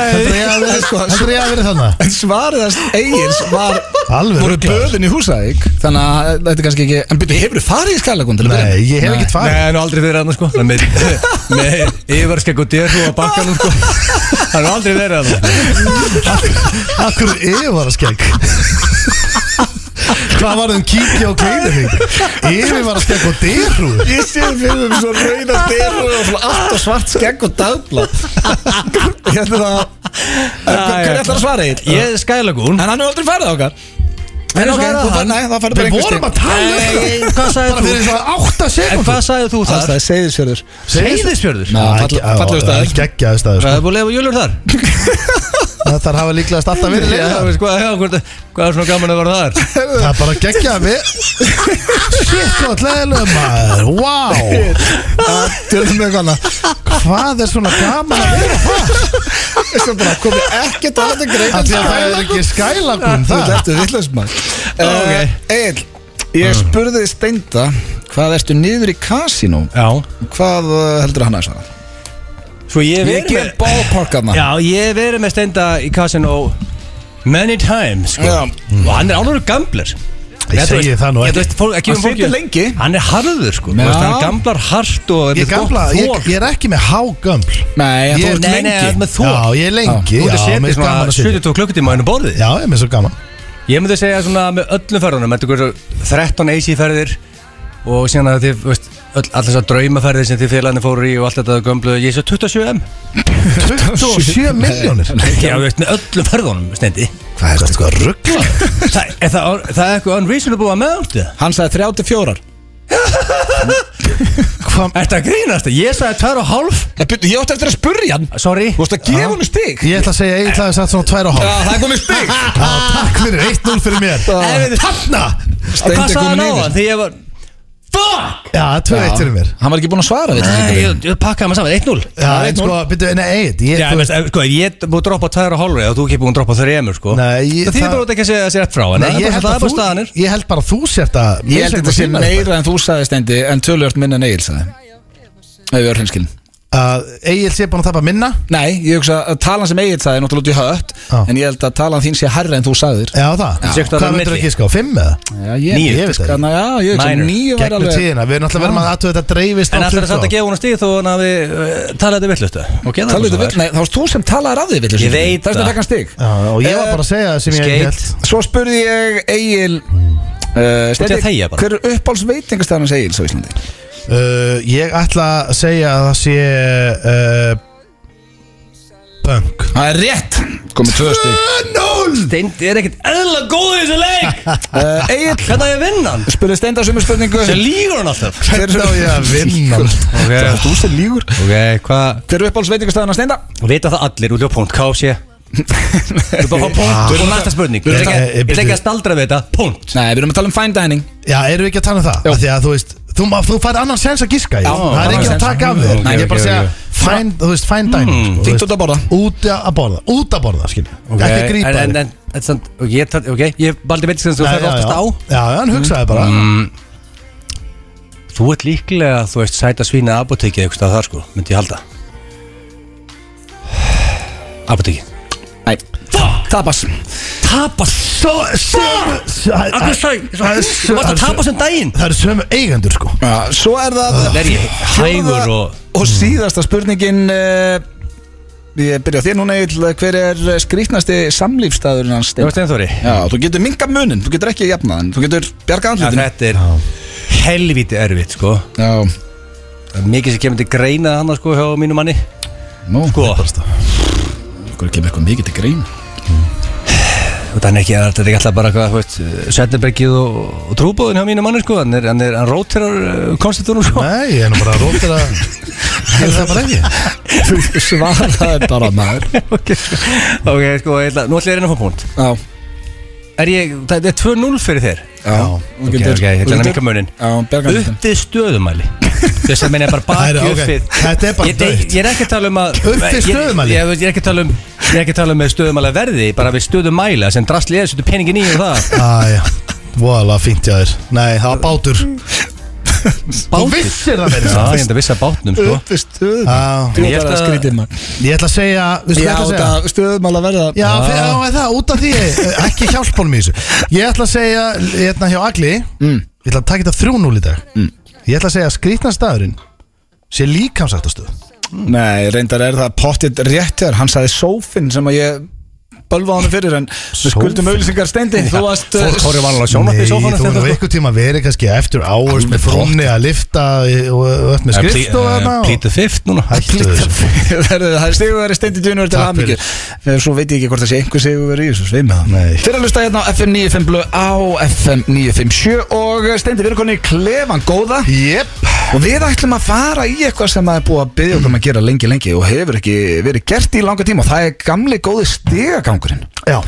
[SPEAKER 3] Heldur að ég að vera,
[SPEAKER 1] Sko,
[SPEAKER 3] heldur að ég að vera þarna
[SPEAKER 1] En svarið að Egil var
[SPEAKER 3] Alveg
[SPEAKER 1] voru
[SPEAKER 3] ruglaður.
[SPEAKER 1] böðin í Húsavík þannig að þetta er kannski ekki en byrju, hefur þú farið í Skælagund?
[SPEAKER 3] Nei, ég hef ekkert farið
[SPEAKER 2] Nei, nú aldrei verið hann sko Með, með yfarskegg og derhú á bakkanum sko Hann er aldrei verið hann
[SPEAKER 3] Akkur yfirvara skegg Hvað var þeim kíkja og kleinu þig? Yfirvara skegg og dyrrúð
[SPEAKER 1] Ég sé fyrir þeim svo rauða styr og svona allt og svart skegg og dagblad Hérna það Hvernig ætlar að svara Egil?
[SPEAKER 2] Ég er Sky Lagoon
[SPEAKER 1] En hann er aldrei farið okkar En
[SPEAKER 2] svo
[SPEAKER 1] ok,
[SPEAKER 2] er
[SPEAKER 1] þú
[SPEAKER 2] það
[SPEAKER 1] fær-
[SPEAKER 2] hann.
[SPEAKER 1] nei, það færðu bara
[SPEAKER 3] Við
[SPEAKER 1] einhver
[SPEAKER 3] vorum
[SPEAKER 1] stig.
[SPEAKER 3] að tala um
[SPEAKER 2] Nei,
[SPEAKER 3] þetta
[SPEAKER 2] hvað sagðir
[SPEAKER 3] Bara
[SPEAKER 2] þú?
[SPEAKER 3] fyrir þess að 8
[SPEAKER 2] En hvað
[SPEAKER 3] sekund
[SPEAKER 2] sagðið þú þar?
[SPEAKER 1] Aðstæði Seyðisfjörður
[SPEAKER 2] Seyðisfjörður?
[SPEAKER 1] Ná, fall- fallegur staður.
[SPEAKER 3] Geggjaði
[SPEAKER 2] Það
[SPEAKER 3] staður sko.
[SPEAKER 2] er búin að lefa júlur þar
[SPEAKER 3] Það þarf hafa líklegast alltaf verið
[SPEAKER 2] Já,
[SPEAKER 3] leið
[SPEAKER 2] þú veist, Hvað já, hvort- hvað er svona gaman að vera þar?
[SPEAKER 3] Það er bara geggjaði við Shit, hvað leðilega maður Wow
[SPEAKER 1] Tjörnum Ah, með eitthvað annað
[SPEAKER 3] Hvað er svona gaman að vera
[SPEAKER 1] Þessi er bara komið ekki um talað til greina
[SPEAKER 3] Af því að það er ekki skælakun
[SPEAKER 1] Þú
[SPEAKER 3] það
[SPEAKER 1] ertu villasmæð
[SPEAKER 2] Ok.
[SPEAKER 1] Eh, Egil, ég spurði Steinda Hvað ertu niður í kasínó?
[SPEAKER 2] Já
[SPEAKER 1] Hvað eh, heldur hann að svara?
[SPEAKER 2] Svo Sko,
[SPEAKER 1] Ég
[SPEAKER 2] ég hef verið
[SPEAKER 1] gef
[SPEAKER 2] með
[SPEAKER 1] ballparkarna
[SPEAKER 2] Já, ég hef verið með steinda í kassin og Many times sko.
[SPEAKER 1] Já.
[SPEAKER 2] Og hann er alveg gambler
[SPEAKER 3] Ég
[SPEAKER 2] Þú
[SPEAKER 3] segi
[SPEAKER 2] veist-
[SPEAKER 3] það nú
[SPEAKER 2] ég-
[SPEAKER 3] ekki.
[SPEAKER 2] þú veist, fólk- ekki
[SPEAKER 1] Hann
[SPEAKER 2] um fólki-
[SPEAKER 1] situr lengi.
[SPEAKER 2] Hann er harður sko Þú
[SPEAKER 1] Já.
[SPEAKER 2] veist, Hann gamblar hart og er
[SPEAKER 3] Ég,
[SPEAKER 2] með gott
[SPEAKER 3] gamla, ég,
[SPEAKER 2] þor.
[SPEAKER 3] ég er ekki með hágömbl
[SPEAKER 1] Nei, en
[SPEAKER 3] Ég-
[SPEAKER 1] þú ert
[SPEAKER 2] Nei, nei,
[SPEAKER 1] lengi
[SPEAKER 2] hann er með þor
[SPEAKER 3] Já, ég er lengi
[SPEAKER 2] Þú ert
[SPEAKER 3] Já,
[SPEAKER 2] að setja
[SPEAKER 3] mér er gaman
[SPEAKER 2] svona
[SPEAKER 3] að setja
[SPEAKER 2] 72 klukkutíma hennu borðið
[SPEAKER 3] Já, ég með svo gaman
[SPEAKER 2] Ég myndi segja svona með öllum ferðunum Þetta er hversu 13 AC ferðir Og síðan að þið, veist öll, Allt þessar draumaferðir sem þið félagarnir fóru í Og allt þetta gömblu Ég sé 27M
[SPEAKER 3] 27 miljónir
[SPEAKER 2] Já, þú veist, með öllum ferðunum stendi
[SPEAKER 3] Hvað er þetta sko að ruggla?
[SPEAKER 2] Það er, það, það er eitthvað unreasonable amount eða?
[SPEAKER 1] Hann sagði 34
[SPEAKER 3] Hvað?
[SPEAKER 2] Ertu að grínast? Ég sagði tvær og hálf
[SPEAKER 1] Ég byrju, Ég átti eftir að spurja hann
[SPEAKER 2] Sorry
[SPEAKER 1] Þú veist að gefa hann stig
[SPEAKER 3] Ég ætla að segja, ég ætla að setja svona 2 og
[SPEAKER 1] Já,
[SPEAKER 3] hálf
[SPEAKER 1] það er komið stig
[SPEAKER 3] Já, takk fyrir, 1-0 fyrir mér
[SPEAKER 2] En við-
[SPEAKER 3] Þarna!
[SPEAKER 2] Og Hvað
[SPEAKER 1] Steindi
[SPEAKER 2] sagði hann
[SPEAKER 1] kominn
[SPEAKER 2] á
[SPEAKER 1] yfir.
[SPEAKER 2] hann? Því ég var Fuck
[SPEAKER 3] Já, 2-1 fyrir mér
[SPEAKER 1] (laughs) Hann var ekki búinn að svara við
[SPEAKER 2] Nei, ég, ég pakkaði maður saman 1-0
[SPEAKER 3] Já, en sko, byrju, nei, eitt ég,
[SPEAKER 2] Já,
[SPEAKER 3] þú
[SPEAKER 2] þú
[SPEAKER 3] veist-
[SPEAKER 2] veist, ef- sko, ef ég er búið að droppa tvær og hálfri og þú ekki búið að droppa þrjumur, sko
[SPEAKER 3] Nei, ég-
[SPEAKER 2] Það þýðir
[SPEAKER 3] það-
[SPEAKER 2] bara út ekki að segja sér eftir frá en
[SPEAKER 3] Nei,
[SPEAKER 2] það er
[SPEAKER 3] ég
[SPEAKER 2] bara-
[SPEAKER 3] held
[SPEAKER 2] Það
[SPEAKER 3] að
[SPEAKER 2] er bara staðanir
[SPEAKER 3] þú Ég held bara að þú sért að
[SPEAKER 1] Ég held þetta sé meira en þú sagði Steindi En tölvjört minna en Egil sagði Ef við erum hinskilin
[SPEAKER 3] að Egil sé búin að tapa minna
[SPEAKER 1] Nei, ég hugsa að talan sem Egil sagði er Náttúrulega út í hött
[SPEAKER 3] Já.
[SPEAKER 1] En ég held að talan þín sé hærra en þú sagðir
[SPEAKER 3] Já, það
[SPEAKER 2] Sé hvað það er
[SPEAKER 3] Hvað
[SPEAKER 2] á
[SPEAKER 3] myndir
[SPEAKER 2] milli. sko
[SPEAKER 3] ekki sko, 5 eða?
[SPEAKER 1] Já, ég,
[SPEAKER 2] Níu,
[SPEAKER 1] ég
[SPEAKER 3] ég veit það
[SPEAKER 1] hana, Já, ég hugsa
[SPEAKER 2] Minor.
[SPEAKER 1] Níu væri
[SPEAKER 3] Gegnum
[SPEAKER 1] alveg
[SPEAKER 3] tíðina, við erum alltaf verið að athuga þetta dreifist á
[SPEAKER 2] En það er
[SPEAKER 3] 20
[SPEAKER 2] samt að
[SPEAKER 3] ár.
[SPEAKER 2] gefa hún stíð þó hann hafi uh, talað þetta villustu Ok, það er
[SPEAKER 1] Talaðu
[SPEAKER 2] bara
[SPEAKER 1] þetta
[SPEAKER 2] svo
[SPEAKER 1] vill, um nei, það varst þú sem talaði af því vill
[SPEAKER 2] Ég
[SPEAKER 1] það
[SPEAKER 2] veit það.
[SPEAKER 1] Það er þetta stig
[SPEAKER 3] Já, og ég var bara að segja það sem ég
[SPEAKER 2] Skate.
[SPEAKER 3] held
[SPEAKER 1] Svo spurði ég Egil uh,
[SPEAKER 2] Þú ert að þegja bara.
[SPEAKER 1] hver er uppáhalds veitingastæðan hans Egils á Íslandi?
[SPEAKER 3] uh, Ég ætla að segja að það sé uh, Punk
[SPEAKER 1] Það er rétt Komið tvö (laughs) stig
[SPEAKER 3] 0
[SPEAKER 2] Steind er ekkert eðla góð í þessu leik (laughs)
[SPEAKER 1] uh, Egil
[SPEAKER 2] Hvernig á ég að vinna hann?
[SPEAKER 1] spurði Steinda sömu spurningu
[SPEAKER 2] Þessi lígur hann alltaf
[SPEAKER 1] Hver
[SPEAKER 3] Hvernig á ég að vinna?
[SPEAKER 2] Ok,
[SPEAKER 1] Það er þú sem lígur
[SPEAKER 2] ok, hvað
[SPEAKER 1] Hver er uppáhalds veitingastæðan hans Steinda?
[SPEAKER 2] Vita það allir, út á punkt, KFC Þú bara fá punkt og næsta spurning Ég
[SPEAKER 3] Við
[SPEAKER 2] ætla
[SPEAKER 3] erum
[SPEAKER 2] ekki- ég
[SPEAKER 3] að-
[SPEAKER 2] ætla ekki Ah. að staldra við þetta, punkt
[SPEAKER 1] Nei, við erum að tala um fine dining
[SPEAKER 3] Já, erum við ekki að tala um það?
[SPEAKER 1] Jú.
[SPEAKER 3] Af Því að þú veist, þú, ma- þú fær annan sens að giska ég.
[SPEAKER 1] Já,
[SPEAKER 3] Það er
[SPEAKER 1] annan
[SPEAKER 3] ekki að
[SPEAKER 1] séns.
[SPEAKER 3] taka af þér
[SPEAKER 2] Ok,
[SPEAKER 3] Nei, ég er
[SPEAKER 2] ok,
[SPEAKER 3] bara að segja
[SPEAKER 2] ok. Mm.
[SPEAKER 3] fine, Þú veist, fine dining sko, þú
[SPEAKER 1] Fínt
[SPEAKER 3] veist.
[SPEAKER 1] út að borða
[SPEAKER 3] Út að borða, út að borða, skilja Ekki að grípa
[SPEAKER 2] en, en,
[SPEAKER 3] þér
[SPEAKER 2] en, en, samt, ok, ég, tar- ok, ég valdi veitir sem þú
[SPEAKER 3] Nei,
[SPEAKER 2] ferð
[SPEAKER 3] já,
[SPEAKER 2] oftast
[SPEAKER 3] já.
[SPEAKER 2] á Mm.
[SPEAKER 3] Já, já, hann hugsaði bara
[SPEAKER 2] Þú ert líklega, þú veist, sæta svína apotekið eitthvað þar sko, myndi ég halda Apotekið
[SPEAKER 1] Nei Tapas
[SPEAKER 2] Tapa svo, svo
[SPEAKER 3] Það
[SPEAKER 2] Akkur sæk,
[SPEAKER 3] það er
[SPEAKER 2] þú varst að tapa sem daginn
[SPEAKER 3] það eru sömu eigendur, sko
[SPEAKER 1] Já, Svo er það
[SPEAKER 2] Er ég hægur og
[SPEAKER 1] Og Mm. síðasta spurningin uh, Ég byrja á þér núna Egil Hver er skrýtnasti samlífstæðurinn hans
[SPEAKER 2] Þú
[SPEAKER 1] Steinda?
[SPEAKER 2] veist einþóri
[SPEAKER 1] Já, þú getur minga munin, þú getur ekki jafna en þú getur bjarga andlutin
[SPEAKER 2] Þetta er helviti erfitt sko
[SPEAKER 1] Já,
[SPEAKER 2] Það er Mikið sem kemur til greina hann sko hjá mínu manni
[SPEAKER 1] nú,
[SPEAKER 2] Sko,
[SPEAKER 1] okkur kemur eitthvað mikið til grein
[SPEAKER 2] þannig ekki, þetta er ekki alltaf bara hvað, þú veist, Settenbergið og, og trúbóðin hjá mínu manni sko, hann er, hann er, hann rótirar uh, konstitúrnum sko
[SPEAKER 3] Nei, ég er nú bara að rótir að Ég er það bara ekki
[SPEAKER 1] (laughs) Þú svaraði bara maður
[SPEAKER 2] (laughs) ok, sko, ok, sko, ég ætla, nú ætla ég að reyna að fá punkt
[SPEAKER 1] Já,
[SPEAKER 2] Er ég, það er 2-0 fyrir þér
[SPEAKER 1] já,
[SPEAKER 2] Ok, ok, ég um ætla að minka munin
[SPEAKER 1] Já, bjarga andlutin
[SPEAKER 2] Uppið stöðumæli Þess að minna bara
[SPEAKER 3] (laughs) Það
[SPEAKER 2] baki
[SPEAKER 3] er- ok,
[SPEAKER 2] uppið
[SPEAKER 3] þetta er bara
[SPEAKER 2] Ég- ég-
[SPEAKER 3] dautt.
[SPEAKER 2] Ég er ekki að tala um að
[SPEAKER 3] Uppið
[SPEAKER 2] ég-
[SPEAKER 3] stöðumæli?
[SPEAKER 2] Ég ég er ekki að tala um Ég er ekki að tala um með stöðumæla verði Bara við stöðumæla sem drastli er Settu peningin í og
[SPEAKER 3] (laughs)
[SPEAKER 2] það
[SPEAKER 3] Æja, voðalega fínt hjá þér Nei, það var bátur Þú
[SPEAKER 2] Bátur
[SPEAKER 3] vissir það verið
[SPEAKER 2] Já, ég enda viss að bátnum sko
[SPEAKER 1] Uppi stöðum
[SPEAKER 3] Já,
[SPEAKER 1] Þú
[SPEAKER 2] Ég
[SPEAKER 1] ætlar
[SPEAKER 2] ætla
[SPEAKER 1] að
[SPEAKER 2] að-
[SPEAKER 1] skrítið maður
[SPEAKER 3] ég ætla að segja Vistu
[SPEAKER 1] Já,
[SPEAKER 3] hvað ég ætla að segja?
[SPEAKER 1] það stöðum alveg verða
[SPEAKER 3] Já, fyrir, já, er það, út af því eh, Ekki hjálpunum í þessu Ég ætla að segja, ég ætla hjá Agli
[SPEAKER 1] Mm.
[SPEAKER 3] Ég ætla að taka þetta 3-0 í dag Ég ætla að segja að skrýtna staðurinn Sé líkamsættastöð
[SPEAKER 1] Nei, reyndar er það pottit rétt hér Hann sagði sófinn sem að ég bölvað honum fyrir en við skuldum auðlýsingar steindi þú varst uh,
[SPEAKER 2] Fólk horfir vanlega á sjónvarpið í
[SPEAKER 3] Nei, þú
[SPEAKER 2] sófanum
[SPEAKER 3] verður
[SPEAKER 2] þetta,
[SPEAKER 3] á
[SPEAKER 2] sko.
[SPEAKER 3] einhver tíma að vera kannski eftir hours með frúnni að lifta eh, og öll með
[SPEAKER 2] Eh, plea-
[SPEAKER 3] skrift og
[SPEAKER 2] eh,
[SPEAKER 3] þarna og-
[SPEAKER 2] Plead the fifth núna
[SPEAKER 3] Hættu þessu.
[SPEAKER 1] (laughs) Verðu, það er sigurveri steindi djunur til
[SPEAKER 3] Takk
[SPEAKER 1] hamingju Eh, Svo veit ég ekki hvort það sé einhver sigurveri í þessu sveið með það
[SPEAKER 3] Nei.
[SPEAKER 1] Fyrir að lusta hérna á FM 95 blöð á FM 957 og eh, steindi við erum konið í klefan góða
[SPEAKER 3] Jep
[SPEAKER 1] og við ætlum að fara í eitthvað sem það er búið að byggja okkur um að gera lengi lengi og hefur ekki verið gert í langa tíma og það er gamli góði stigagangurinn Eh,
[SPEAKER 3] Já,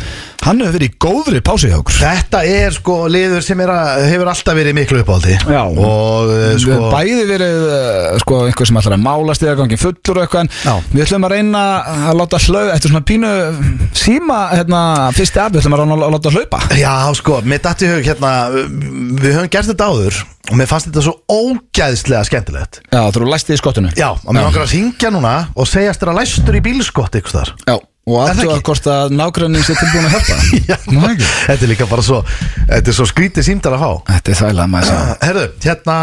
[SPEAKER 1] Hann hefur verið í góðri pásu hjá okkur
[SPEAKER 3] þetta er sko liður sem er að, hefur alltaf verið í miklu uppáldi
[SPEAKER 1] Já.
[SPEAKER 3] Og eh, sko
[SPEAKER 1] bæði verið eh, sko, einhver sem ætlar að mála stigagangin fullur og eitthvað en
[SPEAKER 3] Já.
[SPEAKER 1] við ætlum að reyna að láta hlaupa eftir svona pínu síma hérna, fyrsti af, við ætlum að reyna að láta hlaupa
[SPEAKER 3] Já, sko, mér datt í hug hérna Við höfum gert þetta áður Og mér fannst þetta svo ógæðslega skemmtilegt
[SPEAKER 1] Já, þú eru læst í skottinu
[SPEAKER 3] Já, og mér langar að hringja núna Og segjast þér að læstur í bílskott ykkur þar
[SPEAKER 1] Já, og
[SPEAKER 3] Er það
[SPEAKER 1] aftur að
[SPEAKER 3] ekki?
[SPEAKER 1] hvort að nágrunning sé tilbúin að (laughs)
[SPEAKER 3] (laughs)
[SPEAKER 1] hjálpa Nú, ekki.
[SPEAKER 3] Þetta er líka bara svo Þetta er svo skrítið símdal að fá
[SPEAKER 1] Þetta er þægilega maður að segja.
[SPEAKER 3] Herðu, hérna,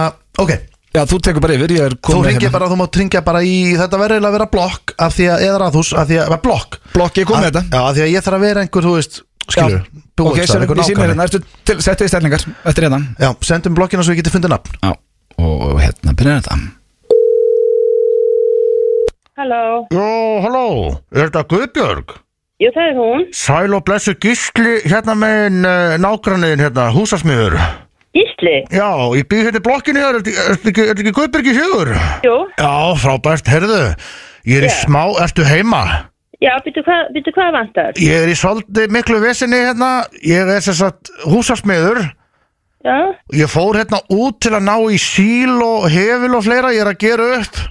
[SPEAKER 3] ok
[SPEAKER 1] Já, þú tekur bara yfir, ég er hérna.
[SPEAKER 3] Þú
[SPEAKER 1] komin
[SPEAKER 3] ringir bara, þú mátt ringja bara í Þetta verður eiginlega að vera blokk Af því að, eða ráðhús, af því að, blokk
[SPEAKER 1] Blokk, ég kom með
[SPEAKER 3] Af-
[SPEAKER 1] þetta.
[SPEAKER 3] Já, af því að ég þarf að vera einhver, þú veist, skilur
[SPEAKER 1] Ok, sér upp í símur hérna, ertu til- settu í stellingar Þetta er hérna
[SPEAKER 3] Já, sendum blokkina svo ég geti fundið nafn
[SPEAKER 1] Já, og hérna byrjar þetta
[SPEAKER 4] Halló,
[SPEAKER 3] Jó, halló, er þetta Guðbjörg?
[SPEAKER 4] jú það er hún.
[SPEAKER 3] Sæl og blessu gísli hérna megin uh, nágrannin hérna, húsasmiður.
[SPEAKER 4] Gísli,
[SPEAKER 3] Já, ég býð hérna í blokkinni hér, er þetta ekki, er þetta ekki Guðbjörgi Sigur?
[SPEAKER 4] jú,
[SPEAKER 3] Já, frábært, herðu, ég er í
[SPEAKER 4] Já.
[SPEAKER 3] smá, ertu heima?
[SPEAKER 4] já, býttu hvað, býttu hvað vantar?
[SPEAKER 3] Ég er í svolítið miklu vesinni hérna, ég er þess að húsasmiður.
[SPEAKER 4] Já,
[SPEAKER 3] Ég fór hérna út til að ná í síl og hefil og fleira, ég er að gera upp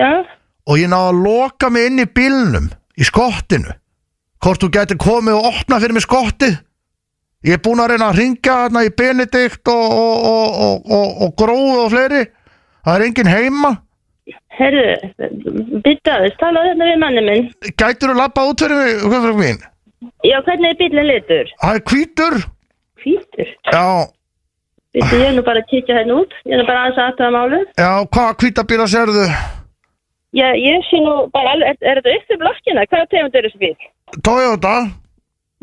[SPEAKER 4] já,
[SPEAKER 3] og ég náði að loka mig inn í bílnum, í skottinu. Hvort þú gæti komið og opna fyrir mig skottið? Ég er búin að reyna að ringja þarna í Benedikt og, og, og, og, og, og gróðu og fleiri. Það er enginn heima.
[SPEAKER 4] herru, býttu aðeins, talaðu hérna við manni minn.
[SPEAKER 3] Gætur þú lappa út fyrir mig, Guðfrú mín?
[SPEAKER 4] Já, hvernig er bílinn litur?
[SPEAKER 3] Það er hvítur.
[SPEAKER 4] Hvítur.
[SPEAKER 3] Já,
[SPEAKER 4] Býttu, ég er nú bara að kíkja hérna út, ég er nú bara aðeins að aðtöða málu.
[SPEAKER 3] já, hvað hvítabíla sérðu?
[SPEAKER 4] Já, ég sé nú bara alveg, er, er þetta upp til blokkina? Hvaða tegund er þessi bíl?
[SPEAKER 3] Toyota?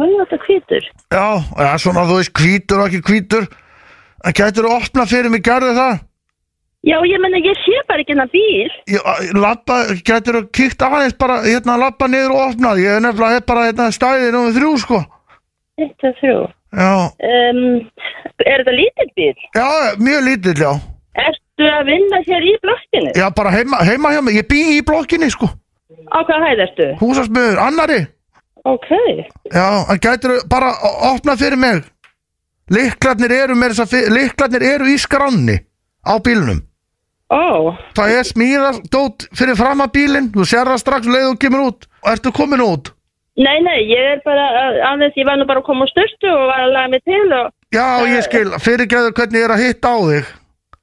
[SPEAKER 4] Hvað er þetta hvítur?
[SPEAKER 3] Já, já, svona þú veist hvítur og ekki hvítur. Gætur þú opna fyrir mig, gerðu það?
[SPEAKER 4] Já, ég menna, ég sé bara ekki hérna bíl.
[SPEAKER 3] Ég- ég labba, getur þú kíkt aðeins bara hérna labba niður og opnað ég er nefnilega hef bara hérna stæðið númið þrjú sko
[SPEAKER 4] Eitt og þrjú.
[SPEAKER 3] já,
[SPEAKER 4] Um, er þetta lítill bíl?
[SPEAKER 3] já, mjög lítill já
[SPEAKER 4] Ertu að vinna hér í blokkinu?
[SPEAKER 3] já, bara heima, heima hjá mig, ég bý í blokkinni sko
[SPEAKER 4] Á hvað hæð ertu?
[SPEAKER 3] húsasmiður, annari
[SPEAKER 4] Ok,
[SPEAKER 3] já, en getur þú bara o- opnað fyrir mig liklarnir eru með þess að fi- liklarnir eru í skránni á bílnum
[SPEAKER 4] ó,
[SPEAKER 3] það er smíðardót fyrir fram að bílinn þú sér það strax um leið og þú kemur út og ertu komin út
[SPEAKER 4] Nei, nei, ég er bara, að- aðeins, ég var nú bara að koma á styrstu og var að laga mig til og
[SPEAKER 3] já, ég skil, fyrirgeðu hvernig ég er að hitta á þig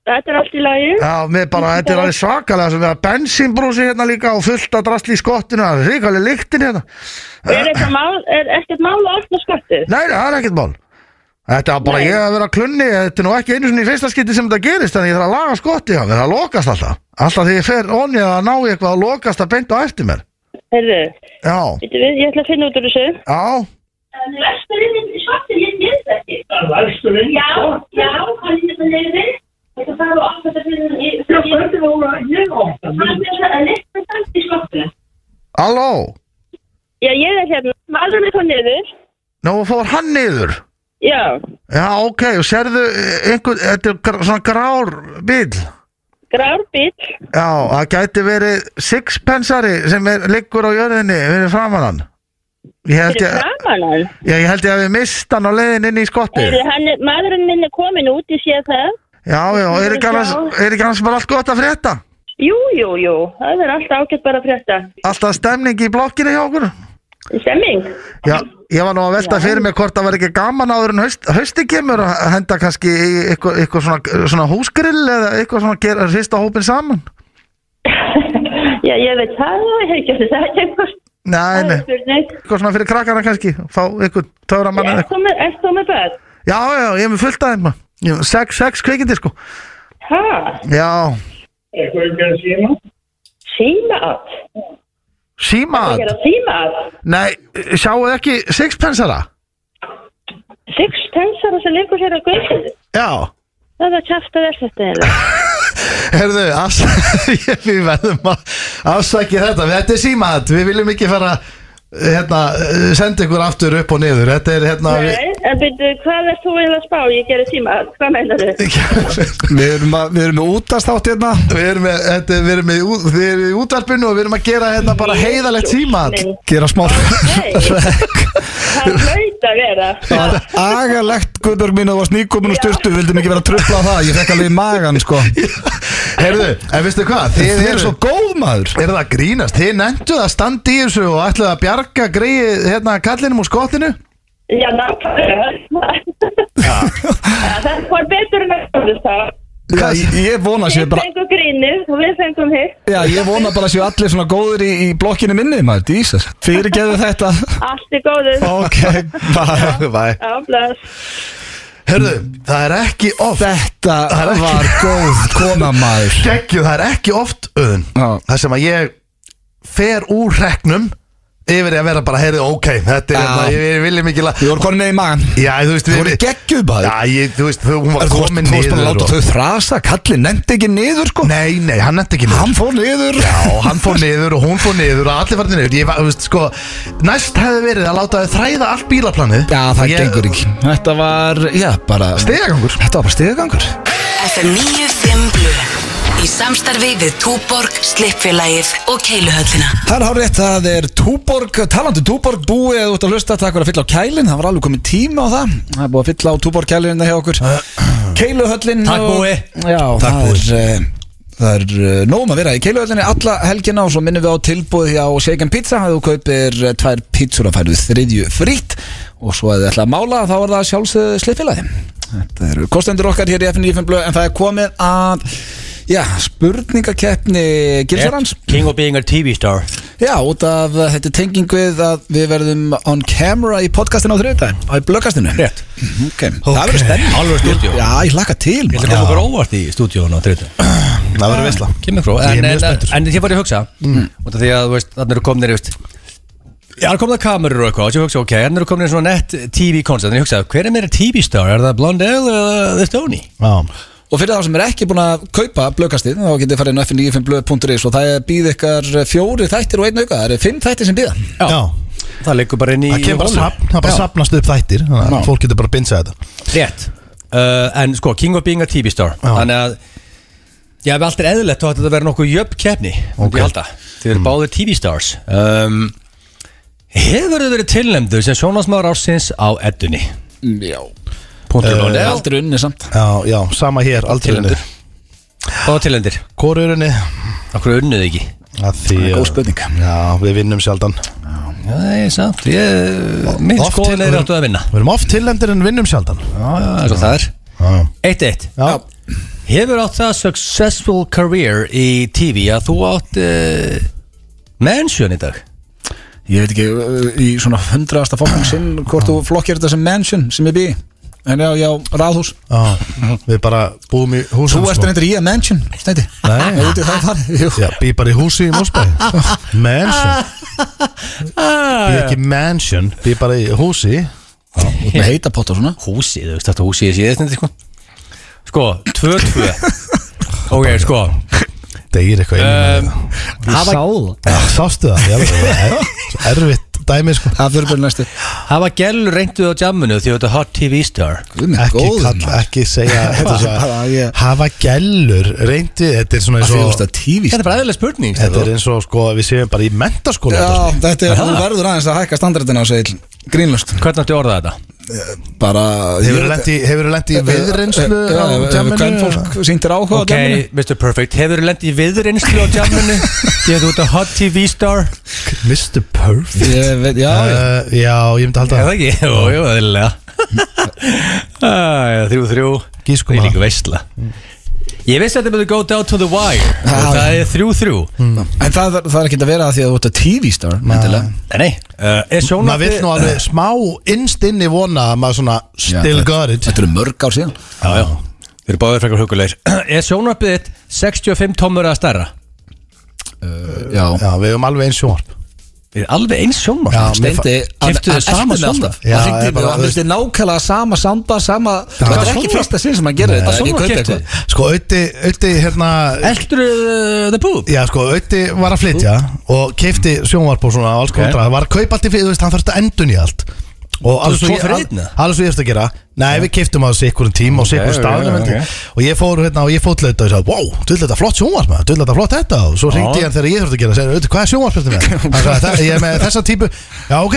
[SPEAKER 4] þetta er allt í lagi.
[SPEAKER 3] Já, með bara, þetta er alveg svakalega sem við að bensínbrúsi hérna líka og fullt að drastli í skottinu, það er ríkalega lyktin hérna.
[SPEAKER 4] Er eitthvað mál, er ekkert mál að opna skattið?
[SPEAKER 3] Nei, nei, það er ekkert mál. Þetta er bara
[SPEAKER 4] Nei.
[SPEAKER 3] ég að vera klunni, þetta er nú ekki einu svona í fyrsta skipti sem þetta gerist, þannig ég þarf að laga skotti hjá mér, það lokast alltaf. Alltaf þegar ég fer onni að ná í eitthvað að lokast að beint á eftir mér.
[SPEAKER 4] Herðu,
[SPEAKER 3] Já,
[SPEAKER 4] veitum við, ég ætla að finna út úr þessu.
[SPEAKER 3] já,
[SPEAKER 4] Læsturinn er skattið, ég sé þetta ekki. Læsturinn? Já, já, hann er þetta leiðið. Þetta þarf að opna þetta fyrir hann í... Já, hvernig voru að ég opna? Hann er þetta leiðið samt í skattið.
[SPEAKER 3] halló,
[SPEAKER 4] Já, ég er hérna, maður með hvað niður.
[SPEAKER 3] nú fór hann niður.
[SPEAKER 4] Já,
[SPEAKER 3] Já, ok, og serðu einhvern, þetta er gr- svona grár bíl.
[SPEAKER 4] grár bíl.
[SPEAKER 3] Já, það gæti verið sixpensari sem er, liggur á jörðinni fyrir framan hann. Ég held
[SPEAKER 4] Fyrir
[SPEAKER 3] ég,
[SPEAKER 4] framan hann.
[SPEAKER 3] ég, ég held ég að við mist hann á leiðin inn í skottið.
[SPEAKER 4] Heyrðu, hann er- Maðurinn minn er komin út, ég sé það.
[SPEAKER 3] Já, já, er ekki annars, er ekki annars bara allt gott að frétta?
[SPEAKER 4] Jú, jú, jú, það er alltaf ágætt bara að frétta.
[SPEAKER 3] Alltaf stemning í blokkinu hjá okkur?
[SPEAKER 4] Stemming?
[SPEAKER 3] Já, ég var nú að velta fyrir mig hvort það var ekki gaman áður en haust, hausti kemur að henda kannski í eitthvað, eitthvað svona, svona húsgrill eða eitthvað svona gera hrista hópin saman.
[SPEAKER 4] Já, ég veit það, ég hef ekki það, ég hef
[SPEAKER 3] Nei, nei,
[SPEAKER 4] spurning.
[SPEAKER 3] eitthvað svona fyrir krakkana kannski, fá eitthvað töframann eða
[SPEAKER 4] Ert
[SPEAKER 3] eitthvað.
[SPEAKER 4] þú með- ert þú með börn?
[SPEAKER 3] Já, já, ég er með fullt aðeins maður. Ég- Sex, sex kveikindi sko.
[SPEAKER 4] Hæ?
[SPEAKER 3] Já,
[SPEAKER 4] Síma átt?
[SPEAKER 3] Símat?
[SPEAKER 4] Gera símað.
[SPEAKER 3] Nei, sjáuð ekki sixpensara?
[SPEAKER 4] Six pensara sem lengur sér að götu.
[SPEAKER 3] Já
[SPEAKER 4] Það var kæft að verða þetta eða.
[SPEAKER 3] Herðu, afsækja, (laughs) við verðum að afsækja þetta, þetta er símat, við viljum ekki fara hérna, senda ykkur aftur upp og niður, þetta er hérna
[SPEAKER 4] Nei, en byrju, hvað er þú eiginlega að spá? Ég gerir símað. Hvað meinar þau?
[SPEAKER 3] við,
[SPEAKER 1] (laughs) Við erum, að, við erum með útastátt hérna
[SPEAKER 3] við erum með, þetta, við erum með, í ú- við erum í útvarpinu og við erum að gera hérna bara heiðalegt símat
[SPEAKER 1] Gera smá (laughs)
[SPEAKER 4] Nei, það hlaut að vera.
[SPEAKER 1] Það var agalegt Guðbjörg mín að þú varst nýkomin og styrtu Við vildum ekki vera að trufla á það Ég fekk alveg í magan
[SPEAKER 3] (laughs)
[SPEAKER 1] sko
[SPEAKER 3] Herðu, en veistu hvað, þið
[SPEAKER 1] Þið
[SPEAKER 3] eru
[SPEAKER 1] er svo góð maður
[SPEAKER 3] Er það að grínast? Þið nenduð að standa í þessu og ætlaðu að bjarga greið hérna kallinum úr skottinu?
[SPEAKER 4] Já, nákvæmlega. Já, (laughs) Það var betur en að skoðu það.
[SPEAKER 1] Já, ég- Ég vona að sé
[SPEAKER 4] Við
[SPEAKER 1] bara
[SPEAKER 4] fengum grínið og við fengum hitt.
[SPEAKER 1] Já, ég vona bara að séu allir svona góðir í, í blokkinu minni, maður, dísas. Fyrirgeðu
[SPEAKER 3] (laughs)
[SPEAKER 1] þetta.
[SPEAKER 4] Allt er góður.
[SPEAKER 1] Ok, bara.
[SPEAKER 3] Bæ.
[SPEAKER 4] Já, bless.
[SPEAKER 3] Herðu, það er ekki oft
[SPEAKER 1] Þetta
[SPEAKER 3] Það er ekki-
[SPEAKER 1] var góð kona, maður.
[SPEAKER 3] Gekkju, það er ekki oft öðun
[SPEAKER 1] Já.
[SPEAKER 3] Það sem að ég fer úr reknum yfir í að vera bara, heyrðu, ok Þetta er,
[SPEAKER 1] Já.
[SPEAKER 3] hérna, ég, ég viljum ekki la-
[SPEAKER 1] Við vorum konið með í magan.
[SPEAKER 3] Já, þú veist,
[SPEAKER 1] Þú
[SPEAKER 3] við
[SPEAKER 1] voru geggjuð, maður.
[SPEAKER 3] Já, ég, þú veist, þú, hún
[SPEAKER 1] Er
[SPEAKER 3] var
[SPEAKER 1] Þú
[SPEAKER 3] komin
[SPEAKER 1] varst- þú varst bara að láta
[SPEAKER 3] niður og...
[SPEAKER 1] þau þrasa, kallið nefndi ekki niður, sko.
[SPEAKER 3] Nei, nei, hann nefndi ekki niður
[SPEAKER 1] Hann fór niður.
[SPEAKER 3] Já, og hann fór niður og hún fór niður og allir farnir niður Ég var, þú veist, sko, næst hefði verið að láta þau þræða allt bílaplanið
[SPEAKER 1] Já, það
[SPEAKER 3] Ég-
[SPEAKER 1] gengur ekki. Þetta var, já, bara...
[SPEAKER 3] Stigagangur.
[SPEAKER 1] Þetta var bara stigagangur.
[SPEAKER 5] FM 95 Blu Í samstarfi við Túborg, Slippfélagið og Keiluhöllina
[SPEAKER 1] Það er hár rétt, það er Túborg, talandi um Túborg búið eða út að hlusta, takk fyrir að fylla á kælinn, það var alveg komið tíma á það, það er búið að fylla á Túborg kælinn hjá okkur, Keiluhöllin
[SPEAKER 2] Takk,
[SPEAKER 1] og-
[SPEAKER 2] búi.
[SPEAKER 1] Já,
[SPEAKER 2] Takk,
[SPEAKER 1] það
[SPEAKER 2] búi.
[SPEAKER 1] er, eh, það er eh, nóg um að vera í Keiluhöllinni alla helgina og svo minnum við á tilbúið hjá Shaken Pizza, að þú kaupir eh, tvær pizzur að færu þriðju frýtt og svo að þið ætla að mála þá er það sjálfsögðu sliðfélagi Þetta eru kostendur okkar hér í FNF en það er komið að Já, spurningakeppni Gilsarans
[SPEAKER 2] King of being a TV star
[SPEAKER 1] Já, út af uh, þetta er tenging við að við verðum on camera í podcastinu á þriðdæðin á í blöggastinu
[SPEAKER 2] Rétt.
[SPEAKER 1] Mhm, okay. Það verður spenn
[SPEAKER 2] Alveg stúdíó
[SPEAKER 1] Já, ég laka til
[SPEAKER 2] Ég ætla að koma okkur óvart í stúdíónu á þriðtu
[SPEAKER 3] (clears throat) Það verður veistla
[SPEAKER 2] Kemur frá
[SPEAKER 3] Ég er
[SPEAKER 2] En,
[SPEAKER 3] mjög
[SPEAKER 2] en, en,
[SPEAKER 3] spenntur. Mm.
[SPEAKER 2] en ég var að hugsa Út af því að þú veist, þannig eru komin veist, Já, það komið að kamerur og eitthvað og Ég hugsa, ok, þannig eru komin svona nett TV concept En ég hugsa, hver er meira TV star? Er það Blondell eða The Stoney?
[SPEAKER 3] Já
[SPEAKER 1] Og fyrir þá sem er ekki búin að kaupa blöggastið þá getið farið inn á fn95blöð.is og það er býð ykkar fjóri þættir og einn auka það eru fimm þættir sem býða
[SPEAKER 2] Já.
[SPEAKER 3] Já.
[SPEAKER 2] Það leikur bara inn í
[SPEAKER 3] Það kemur bara,
[SPEAKER 2] holur.
[SPEAKER 3] safn, það bara
[SPEAKER 2] Já.
[SPEAKER 3] safnast upp þættir Þannig
[SPEAKER 1] Já.
[SPEAKER 3] að fólk getur bara að binsa þetta
[SPEAKER 2] Rétt uh, En sko, King of Being a TV Star
[SPEAKER 3] Já.
[SPEAKER 2] Þannig að Já, við allt er eðlilegt þá ætti þetta að vera nokkuð jöfn keppni
[SPEAKER 3] Ok. Hmm.
[SPEAKER 2] okay. Ég halda Þið eru báðir TV Stars um, Hefur þið verið tilnæmdu sem sjónvarsmaður ársins á eddunni?
[SPEAKER 1] Mm, Já Eh,
[SPEAKER 2] Puntur
[SPEAKER 1] Það er
[SPEAKER 2] uh,
[SPEAKER 1] aldrei unni samt
[SPEAKER 3] Já, já, sama hér, aldrei
[SPEAKER 2] Tilhendur Og tilnæmdir
[SPEAKER 3] Hvor er henni?
[SPEAKER 2] Akkur unnuð ekki
[SPEAKER 3] Að því
[SPEAKER 1] Það er góð spurning
[SPEAKER 3] Já, við vinnum sjaldan
[SPEAKER 2] Það er samt ég, Mitt
[SPEAKER 3] Oft
[SPEAKER 2] skoðun
[SPEAKER 3] til-
[SPEAKER 2] er áttu að vinna
[SPEAKER 3] Við erum oft tilhendur en vinnum sjaldan
[SPEAKER 2] Já, já, svo það er
[SPEAKER 3] Já,
[SPEAKER 2] 1-1
[SPEAKER 3] já.
[SPEAKER 2] Hefur átt það successful career í TV að þú átt uh, mansion í dag?
[SPEAKER 1] Ég veit ekki uh, í svona hundraðasta fólkning sinn hvort þú flokkir þetta sem mansion sem ég býði En já, já, ráðhús
[SPEAKER 3] já Við bara búum í húsum
[SPEAKER 1] Mhm. Þú ert
[SPEAKER 3] sko.
[SPEAKER 1] reyndir í að mansion, steindi
[SPEAKER 3] Nei.
[SPEAKER 1] Ég veit ég það er farið Jú.
[SPEAKER 3] Já, bý bara í húsi í Mósbæ
[SPEAKER 1] (laughs)
[SPEAKER 3] Mansion Bý ekki mansion, bý bara í húsi
[SPEAKER 1] Út með heita potta og svona
[SPEAKER 2] húsi, þú veist þetta húsi ég sé þetta sko sko,
[SPEAKER 3] (laughs)
[SPEAKER 2] 2-2 ok, sko
[SPEAKER 3] Degir eitthvað
[SPEAKER 2] um,
[SPEAKER 3] um,
[SPEAKER 2] hafa,
[SPEAKER 3] Sástu það, já, það er
[SPEAKER 1] (laughs)
[SPEAKER 3] svo erfitt dæmi sko
[SPEAKER 1] Það fyrir bara næstu
[SPEAKER 2] hafa gælu reynduð á jamminu því þetta hot TV star
[SPEAKER 3] Ekki, kall, ekki segja þetta er svo-
[SPEAKER 1] Bara ég-
[SPEAKER 3] Hafa gellur reyndi, þetta er svona eins
[SPEAKER 1] Það fyrir
[SPEAKER 3] og
[SPEAKER 1] þetta tífi
[SPEAKER 2] þetta er bara eðlilega spurning
[SPEAKER 3] Þetta er
[SPEAKER 2] Stefán.
[SPEAKER 3] eins og sko við séum bara í mentaskóla sko.
[SPEAKER 1] Já, þetta er,
[SPEAKER 2] Aha.
[SPEAKER 1] þú verður aðeins að hækka standardina á segil Grínlöst
[SPEAKER 2] hvernig áttu orðað þetta?
[SPEAKER 1] Bara
[SPEAKER 3] Hefur þú
[SPEAKER 1] eh,
[SPEAKER 3] lendi í viðreynslu
[SPEAKER 1] Já, hefur hvern eh, fólk sýndir áhuga
[SPEAKER 2] ok, Mr. Perfect, hefur þú lendið í viðreynslu á
[SPEAKER 3] (laughs)
[SPEAKER 2] jamminu því að þú ert að hot TV star er
[SPEAKER 3] Mr. Perfect
[SPEAKER 1] Ég veit, já, já
[SPEAKER 3] Uh, Já, ég myndi halda
[SPEAKER 2] það ekki? jú, jú,
[SPEAKER 3] (laughs)
[SPEAKER 2] eðlilega Ah, þrjú, þrjú
[SPEAKER 3] Gískum
[SPEAKER 2] það er
[SPEAKER 3] að-
[SPEAKER 2] líka veistla ég veist að þetta myndi go down to the wire og það er þrjú, þrjú
[SPEAKER 3] Mm.
[SPEAKER 1] En það, það er ekki að vera að því að þú ert að TV star Mæntilega
[SPEAKER 2] Nei, nei, uh, er
[SPEAKER 3] Maður vill nú
[SPEAKER 2] sjónvarpið
[SPEAKER 3] alveg smá innst inni vona að maður svona still got it
[SPEAKER 1] Þetta eru mörg ár síðan
[SPEAKER 2] Já, já, við erum báðið frekar hugulegir (clears throat) Er sjónvarpið þitt 65 tómur að starra?
[SPEAKER 1] Já
[SPEAKER 3] Já, við höfum alveg eins sjónvarp
[SPEAKER 2] er alveg eins sjónvarp
[SPEAKER 6] Já, mér
[SPEAKER 1] Steindi, hann-
[SPEAKER 2] Keyptu þau
[SPEAKER 1] hann
[SPEAKER 2] sama
[SPEAKER 1] elti mig
[SPEAKER 2] sjónvarp?
[SPEAKER 1] alltaf.
[SPEAKER 6] Já,
[SPEAKER 1] Hann hringdi
[SPEAKER 6] ég
[SPEAKER 1] mig
[SPEAKER 6] bara,
[SPEAKER 1] og hann
[SPEAKER 6] þú
[SPEAKER 1] vildi nákvæmlega sama samba, sama Þetta er ekki
[SPEAKER 2] sjónvarp?
[SPEAKER 1] fyrsta sinn sem hann gerir
[SPEAKER 3] Eh,
[SPEAKER 1] þetta
[SPEAKER 2] sjónvarp
[SPEAKER 1] Ég kaupi
[SPEAKER 2] keyptu.
[SPEAKER 1] eitthvað.
[SPEAKER 6] Sko, Ötti, Ötti, hérna
[SPEAKER 2] Eldur uh, the boob
[SPEAKER 6] Já, sko, Ötti var að flytja og keipti sjónvarp og svona og alls kontra Það var að kaupa allt í fyrir, þú veist, hann þarfst að endun í allt Og alveg
[SPEAKER 2] tvo
[SPEAKER 6] svo ég-
[SPEAKER 2] fyrir
[SPEAKER 6] al-
[SPEAKER 2] einn, eða?
[SPEAKER 6] alveg svo ég eftir að gera Nei, við keiptum að þessu ykkur um tíma og sikkur
[SPEAKER 2] ok,
[SPEAKER 6] staðnum
[SPEAKER 2] ok.
[SPEAKER 6] okay, Og ég fór hérna og ég fótlaði og ég sagði Wow, duðlega þetta flott sjónvarp maður, duðlega þetta flott þetta Og svo ringdi ég hann þegar ég þurfti að gera Segði, Ötti, hvað er sjónvarp þetta
[SPEAKER 2] (laughs)
[SPEAKER 6] með? Hann sagði, "Þetta- Ég er með þessa típu Já, ok